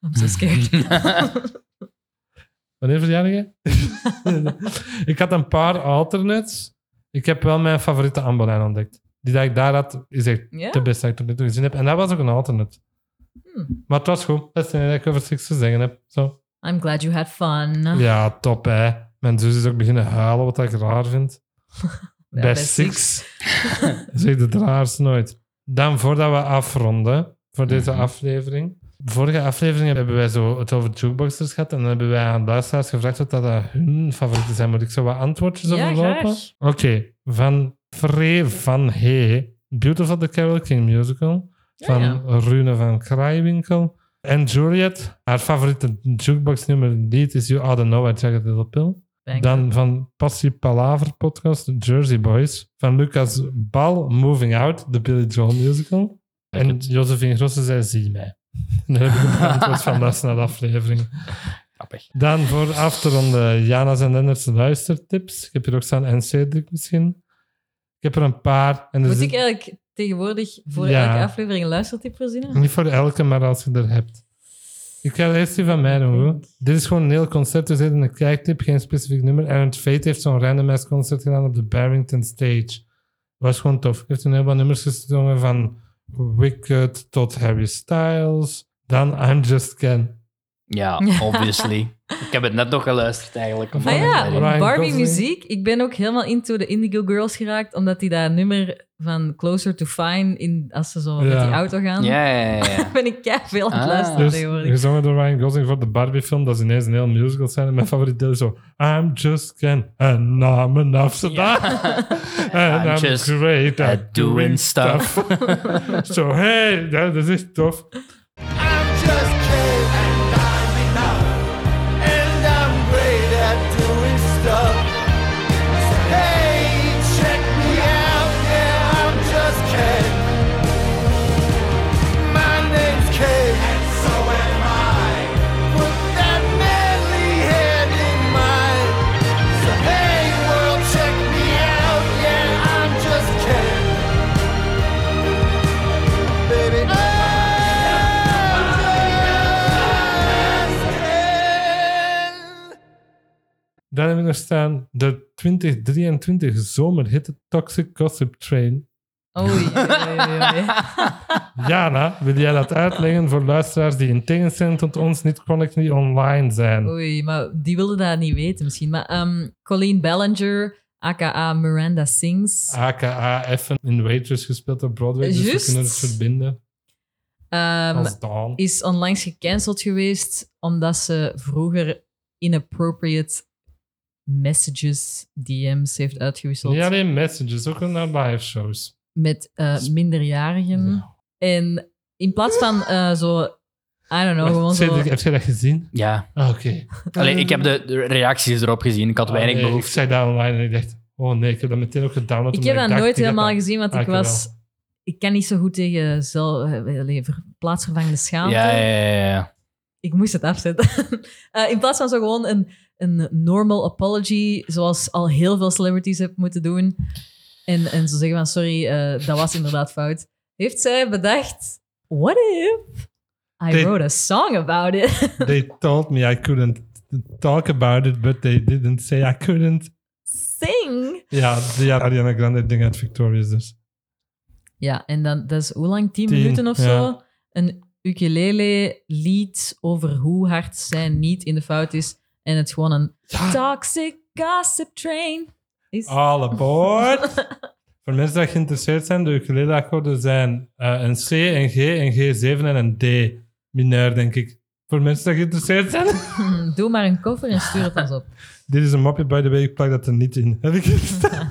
[SPEAKER 2] I'm so scared.
[SPEAKER 1] Wanneer verjaardag jij? ik had een paar alternates. Ik heb wel mijn favoriete Amberlijn ontdekt. Die dat ik daar had, is echt
[SPEAKER 2] Ja?
[SPEAKER 1] de beste dat ik tot nu toe gezien heb. En dat was ook een alternate.
[SPEAKER 2] Hmm.
[SPEAKER 1] Maar het was goed. Dat is het enige dat ik over seks te zeggen heb. Zo.
[SPEAKER 2] I'm glad you had fun. Ja,
[SPEAKER 1] Ja, top hè. Mijn zus is ook beginnen huilen, wat ik raar vind. bij
[SPEAKER 2] bij
[SPEAKER 1] Six. Zeg het raarst nooit. Dan voordat we afronden voor deze
[SPEAKER 3] Mhm.
[SPEAKER 1] aflevering. Vorige aflevering hebben wij zo het over jukeboxers gehad. En dan hebben wij aan luisteraars gevraagd wat dat eh, hun favorieten zijn. Moet ik zo wat antwoordjes
[SPEAKER 2] Ja,
[SPEAKER 1] overlopen?
[SPEAKER 2] graag.
[SPEAKER 1] Oké, van Free van He. Beautiful the Carole King Musical.
[SPEAKER 2] Ja,
[SPEAKER 1] Van
[SPEAKER 2] ja.
[SPEAKER 1] Rune van Kraaiwinkel. En Juliet, haar favoriete jukeboxnummer lied is You Oughta Know I Jagged Little Pill.
[SPEAKER 2] Thanks.
[SPEAKER 1] Dan van Passie Palaver podcast, Jersey Boys. Van Lucas Bal, Moving Out, de Billy Joel musical. En Josephine Grosse zei, zie mij. En daar heb ik een antwoord van luisteren naar de aflevering.
[SPEAKER 3] Grappig.
[SPEAKER 1] Dan voor af te ronden, Jana's en Lennart's luistertips. Ik heb hier ook staan, en Cedric misschien. Ik heb er een paar. En er
[SPEAKER 2] Moet
[SPEAKER 1] zit-
[SPEAKER 2] ik eh, eigenlijk tegenwoordig voor
[SPEAKER 1] Dus Ja.
[SPEAKER 2] elke aflevering een luistertip voorzien?
[SPEAKER 1] Niet voor elke, maar als je er hebt. Ik ga eerst die van mij doen. hoor. Dit is gewoon een heel concert. Er zit een kijktip, geen specifiek nummer. Aaron Fate heeft zo'n randomized concert gedaan op de Barrington Stage. Was gewoon tof. Hij heeft een heleboel nummers gezongen van Wicked tot Harry Styles. Dan I'm Just Ken.
[SPEAKER 3] Ja, obviously. ik heb het net nog geluisterd eigenlijk.
[SPEAKER 2] Ah
[SPEAKER 1] Ryan
[SPEAKER 2] ja, Barbie
[SPEAKER 1] Gosling.
[SPEAKER 2] muziek. Ik ben ook helemaal into de Indigo Girls geraakt, omdat die dat nummer van Closer to Fine, in, als ze zo met
[SPEAKER 1] Ja.
[SPEAKER 2] die auto gaan,
[SPEAKER 3] Ja, ja, ja.
[SPEAKER 2] ben ik keihard veel aan het
[SPEAKER 3] Ah.
[SPEAKER 2] luisteren
[SPEAKER 1] Dus
[SPEAKER 2] tegenwoordig.
[SPEAKER 1] gezongen door Ryan Gosling voor de Barbie film. Dat is ineens een heel musical zijn. En mijn favoriet deel is zo... I'm Just Ken. En I'm in Amsterdam. And
[SPEAKER 3] I'm
[SPEAKER 1] I'm,
[SPEAKER 3] just
[SPEAKER 1] great at,
[SPEAKER 3] at doing stuff.
[SPEAKER 1] Zo, hey, ja, dat is echt tof.
[SPEAKER 5] I'm just Kate and I'm enough. And I'm great at doing stuff. So hey, check me out. Yeah, I'm just Kate. My name's Kate. And so am I. Put that manly head in mine. So hey, world, check me out. Yeah, I'm just Kate. Baby,
[SPEAKER 1] Dan hebben we nog staan de 2023 zomerhitte Toxic Gossip Train.
[SPEAKER 2] Oei, oei, oei, oei.
[SPEAKER 1] Jana, wil jij dat uitleggen voor luisteraars die in tegenstelling tot ons niet chronic niet online zijn?
[SPEAKER 2] Oei, maar die wilde dat niet weten misschien. Maar ehm, Colleen Ballinger, aka Miranda
[SPEAKER 1] Ah,
[SPEAKER 2] Sings.
[SPEAKER 1] AKA Effen in Waitress gespeeld op Broadway, dus we
[SPEAKER 2] Juist.
[SPEAKER 1] kunnen het verbinden
[SPEAKER 2] ehm,
[SPEAKER 1] als Dawn.
[SPEAKER 2] is onlangs gecanceld geweest omdat ze vroeger inappropriate messages, DM's heeft uitgewisseld
[SPEAKER 1] Niet alleen messages, ook naar live shows.
[SPEAKER 2] met eh, minderjarigen.
[SPEAKER 1] Ja.
[SPEAKER 2] En in plaats van eh, zo, I don't know, Nou, gewoon zo...
[SPEAKER 1] Cedric, heb jij dat gezien?
[SPEAKER 3] ja.
[SPEAKER 1] Ah, Oké.
[SPEAKER 3] Allee, ik heb de, de reacties erop gezien. Ik had
[SPEAKER 1] Ah,
[SPEAKER 3] weinig
[SPEAKER 1] nee, Ik
[SPEAKER 3] behoefte.
[SPEAKER 1] zei dat online en ik dacht, oh nee, ik heb dat meteen ook gedownload.
[SPEAKER 2] Ik
[SPEAKER 1] omdat
[SPEAKER 2] heb dat
[SPEAKER 1] dacht,
[SPEAKER 2] nooit
[SPEAKER 1] die gaat
[SPEAKER 2] helemaal
[SPEAKER 1] dat-
[SPEAKER 2] gezien, want
[SPEAKER 1] Ah,
[SPEAKER 2] ik
[SPEAKER 1] ik wel.
[SPEAKER 2] was... Ik kan niet zo goed tegen zelf, eh, allee, ver- plaatsvervangende
[SPEAKER 3] Ja,
[SPEAKER 2] schaamte.
[SPEAKER 3] ja, ja. ja.
[SPEAKER 2] Ik moest het afzetten. Eh, in plaats van zo gewoon een, een normal apology, zoals al heel veel celebrities hebben moeten doen. En, en zo zeggen van, sorry, eh, dat was inderdaad fout. Heeft zij bedacht, what if I
[SPEAKER 1] Dit-
[SPEAKER 2] wrote a song about it?
[SPEAKER 1] they told me I couldn't talk about it, but they didn't say I couldn't.
[SPEAKER 2] Sing!
[SPEAKER 1] Ja, die Ariana Grande ding uit Victorious dus.
[SPEAKER 2] Ja, en dan, dat is hoe lang? Tien,
[SPEAKER 1] Tien,
[SPEAKER 2] minuten of
[SPEAKER 1] ja.
[SPEAKER 2] zo? Een ukulele lied over hoe hard zij niet in de fout is. En het is gewoon een toxic gossip train. Is...
[SPEAKER 1] All aboard! Voor mensen die geïnteresseerd zijn, de ukulele-akkoorden zijn eh, een C, een G, een G7 en een D. Mineur, denk ik. Voor mensen die geïnteresseerd zijn.
[SPEAKER 2] Hmm, Doe maar een cover en stuur het ons op.
[SPEAKER 1] Dit is een mopje, by the way, ik plak dat er niet in. Heb ik het staan?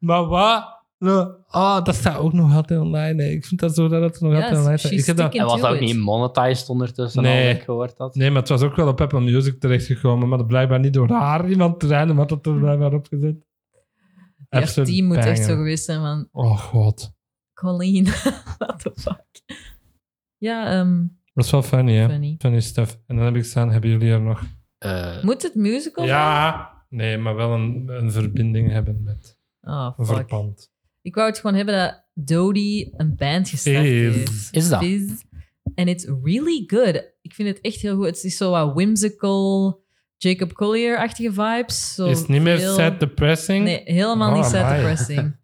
[SPEAKER 1] maar wat? Nou, Oh, dat staat ook nog altijd online. hè. Ik vind dat zo raar dat het nog
[SPEAKER 2] Ja,
[SPEAKER 1] altijd online staat.
[SPEAKER 2] she's
[SPEAKER 1] Ik heb dat
[SPEAKER 2] sticking
[SPEAKER 3] En was
[SPEAKER 2] to
[SPEAKER 3] dat ook
[SPEAKER 2] it.
[SPEAKER 3] niet monetized ondertussen,
[SPEAKER 1] Nee.
[SPEAKER 3] nee. ik gehoord had?
[SPEAKER 1] Nee, maar het was ook wel op Apple Music terechtgekomen, maar dat blijkbaar niet door haar iemand te zijn, maar dat er blijkbaar opgezet.
[SPEAKER 2] Ja,
[SPEAKER 1] Absoluut
[SPEAKER 2] die moet echt
[SPEAKER 1] banger.
[SPEAKER 2] zo geweest zijn van
[SPEAKER 1] Oh god.
[SPEAKER 2] Colleen, what the fuck. Ja, ehm,
[SPEAKER 1] Dat is wel funny, hè? Funny.
[SPEAKER 2] funny.
[SPEAKER 1] stuff. En dan heb ik staan, hebben jullie er nog?
[SPEAKER 3] Eh,
[SPEAKER 2] Moet het musical?
[SPEAKER 1] Ja. Nee, maar wel een, een verbinding hebben met
[SPEAKER 2] zijn? Oh,
[SPEAKER 1] een
[SPEAKER 2] fuck.
[SPEAKER 1] verband.
[SPEAKER 2] Ik wou het gewoon hebben dat Dodie een band gestart
[SPEAKER 1] Is.
[SPEAKER 2] heeft.
[SPEAKER 3] Is dat?
[SPEAKER 2] Is. En it's really good. ik vind het echt heel goed. Het is zo wat whimsical, Jacob Collier-achtige vibes. Zo
[SPEAKER 1] is niet meer
[SPEAKER 2] veel-
[SPEAKER 1] sad depressing.
[SPEAKER 2] Nee, helemaal niet
[SPEAKER 1] Oh,
[SPEAKER 2] sad
[SPEAKER 1] amai.
[SPEAKER 2] depressing.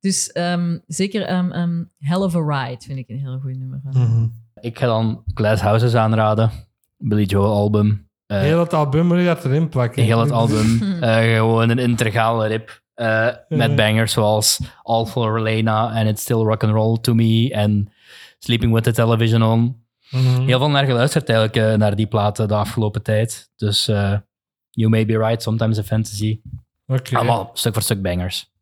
[SPEAKER 2] Dus ehm, zeker ehm, ehm, Hell of a Ride vind ik een heel goed nummer. van.
[SPEAKER 1] Mhm.
[SPEAKER 3] Ik ga dan Glass Houses aanraden. Billy Joel album. Eh,
[SPEAKER 1] Heel het album moet je dat erin plakken.
[SPEAKER 3] heel het album. Eh, gewoon een integrale rip. eh, met
[SPEAKER 1] Ja.
[SPEAKER 3] bangers zoals All for Elena en It's Still Rock and Roll to Me en Sleeping with the Television on.
[SPEAKER 1] Mhm.
[SPEAKER 3] Heel veel naar geluisterd eigenlijk eh, naar die platen de afgelopen tijd. Dus eh, You May Be Right, Sometimes a Fantasy.
[SPEAKER 1] Oké,
[SPEAKER 3] Allemaal stuk voor stuk bangers.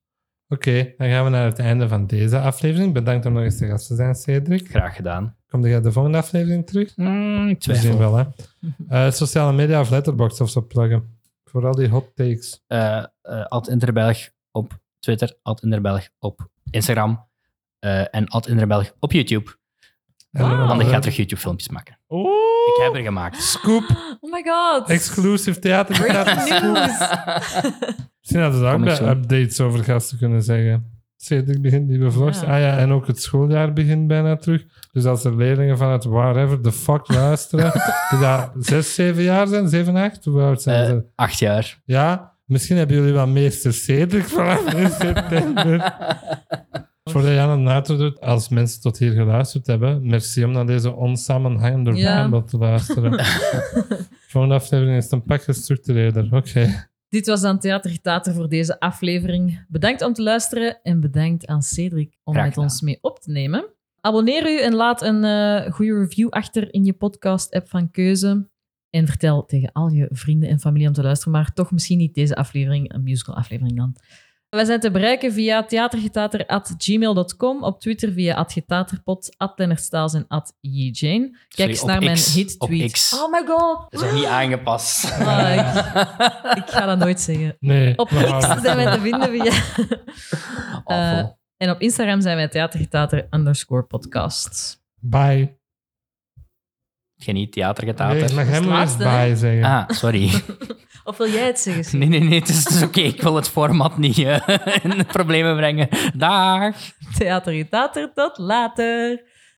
[SPEAKER 1] Oké, dan gaan we naar het einde van deze aflevering. Bedankt om nog eens te gast te zijn, Cedric.
[SPEAKER 3] Graag gedaan.
[SPEAKER 1] Kom jij de volgende aflevering terug?
[SPEAKER 3] Mm, ik twijfel.
[SPEAKER 1] Misschien wel, hè. Eh, sociale media of letterbox of zo pluggen. Voor al die hot takes.
[SPEAKER 3] eh eh, at Interbelg op Twitter, at Interbelg op Instagram eh, en at Interbelg op YouTube.
[SPEAKER 1] En
[SPEAKER 2] Wauw.
[SPEAKER 1] nog
[SPEAKER 3] Want ik
[SPEAKER 1] andere-
[SPEAKER 3] Ah, ga terug YouTube filmpjes maken. Ik heb er gemaakt.
[SPEAKER 1] Scoop,
[SPEAKER 2] Oh my god.
[SPEAKER 1] exclusive theater.
[SPEAKER 2] Nieuws.
[SPEAKER 1] Misschien hadden ze daar ook
[SPEAKER 3] Kom ik
[SPEAKER 1] bij
[SPEAKER 3] zo.
[SPEAKER 1] updates over gasten kunnen zeggen. Cedric begint nieuwe vlogs.
[SPEAKER 2] Ja.
[SPEAKER 1] Ah ja, en ook het schooljaar begint bijna terug. Dus als er leerlingen van het wherever the fuck luisteren, die daar zes, zeven jaar zijn, zeven, acht, hoe oud zijn
[SPEAKER 3] Eh,
[SPEAKER 1] ze?
[SPEAKER 3] acht jaar.
[SPEAKER 1] Ja, misschien hebben jullie wel meester Cedric vanaf 1 september. Voordat Jan het naartoe doet, als mensen tot hier geluisterd hebben, merci om naar deze onsamenhangende
[SPEAKER 2] Ja.
[SPEAKER 1] ramble te luisteren. Volgende aflevering is het een pak gestructureerder. Oké.
[SPEAKER 2] Dit was dan Theater Tater voor deze aflevering. Bedankt om te luisteren en bedankt aan Cedric om
[SPEAKER 3] Graag
[SPEAKER 2] met
[SPEAKER 3] gedaan.
[SPEAKER 2] ons mee op te nemen. Abonneer u en laat een eh, goede review achter in je podcast-app van keuze. En vertel tegen al je vrienden en familie om te luisteren, maar toch misschien niet deze aflevering, een musical-aflevering dan. Wij zijn te bereiken via theatergetater.gmail.com, op Twitter via @getaterpot, @lennerstaals en @jjane. Kijk
[SPEAKER 3] Sorry,
[SPEAKER 2] eens
[SPEAKER 3] op
[SPEAKER 2] naar mijn
[SPEAKER 3] X, op
[SPEAKER 2] hit-tweet.
[SPEAKER 3] X.
[SPEAKER 2] Oh my god!
[SPEAKER 3] Dat is nog niet aangepast.
[SPEAKER 2] Ah, ik ga dat nooit zeggen.
[SPEAKER 1] Nee.
[SPEAKER 2] Op
[SPEAKER 1] we houden
[SPEAKER 2] X
[SPEAKER 1] het
[SPEAKER 2] zijn wij
[SPEAKER 1] erop.
[SPEAKER 2] te vinden via...
[SPEAKER 3] Awful.
[SPEAKER 2] Eh, en op Instagram zijn wij theatergetater underscore podcast.
[SPEAKER 1] Bye.
[SPEAKER 3] Geniet
[SPEAKER 1] Nee,
[SPEAKER 3] theatergetater.
[SPEAKER 1] mag hem
[SPEAKER 2] het
[SPEAKER 1] maar eens
[SPEAKER 2] laatste, hè?
[SPEAKER 1] bye zeggen.
[SPEAKER 3] Ah, sorry.
[SPEAKER 2] Of wil jij het zeggen?
[SPEAKER 3] Nee, nee, nee, het is, het is oké. Ik wil het format niet eh, in de problemen brengen. Dag.
[SPEAKER 2] Theatergetater, tot later!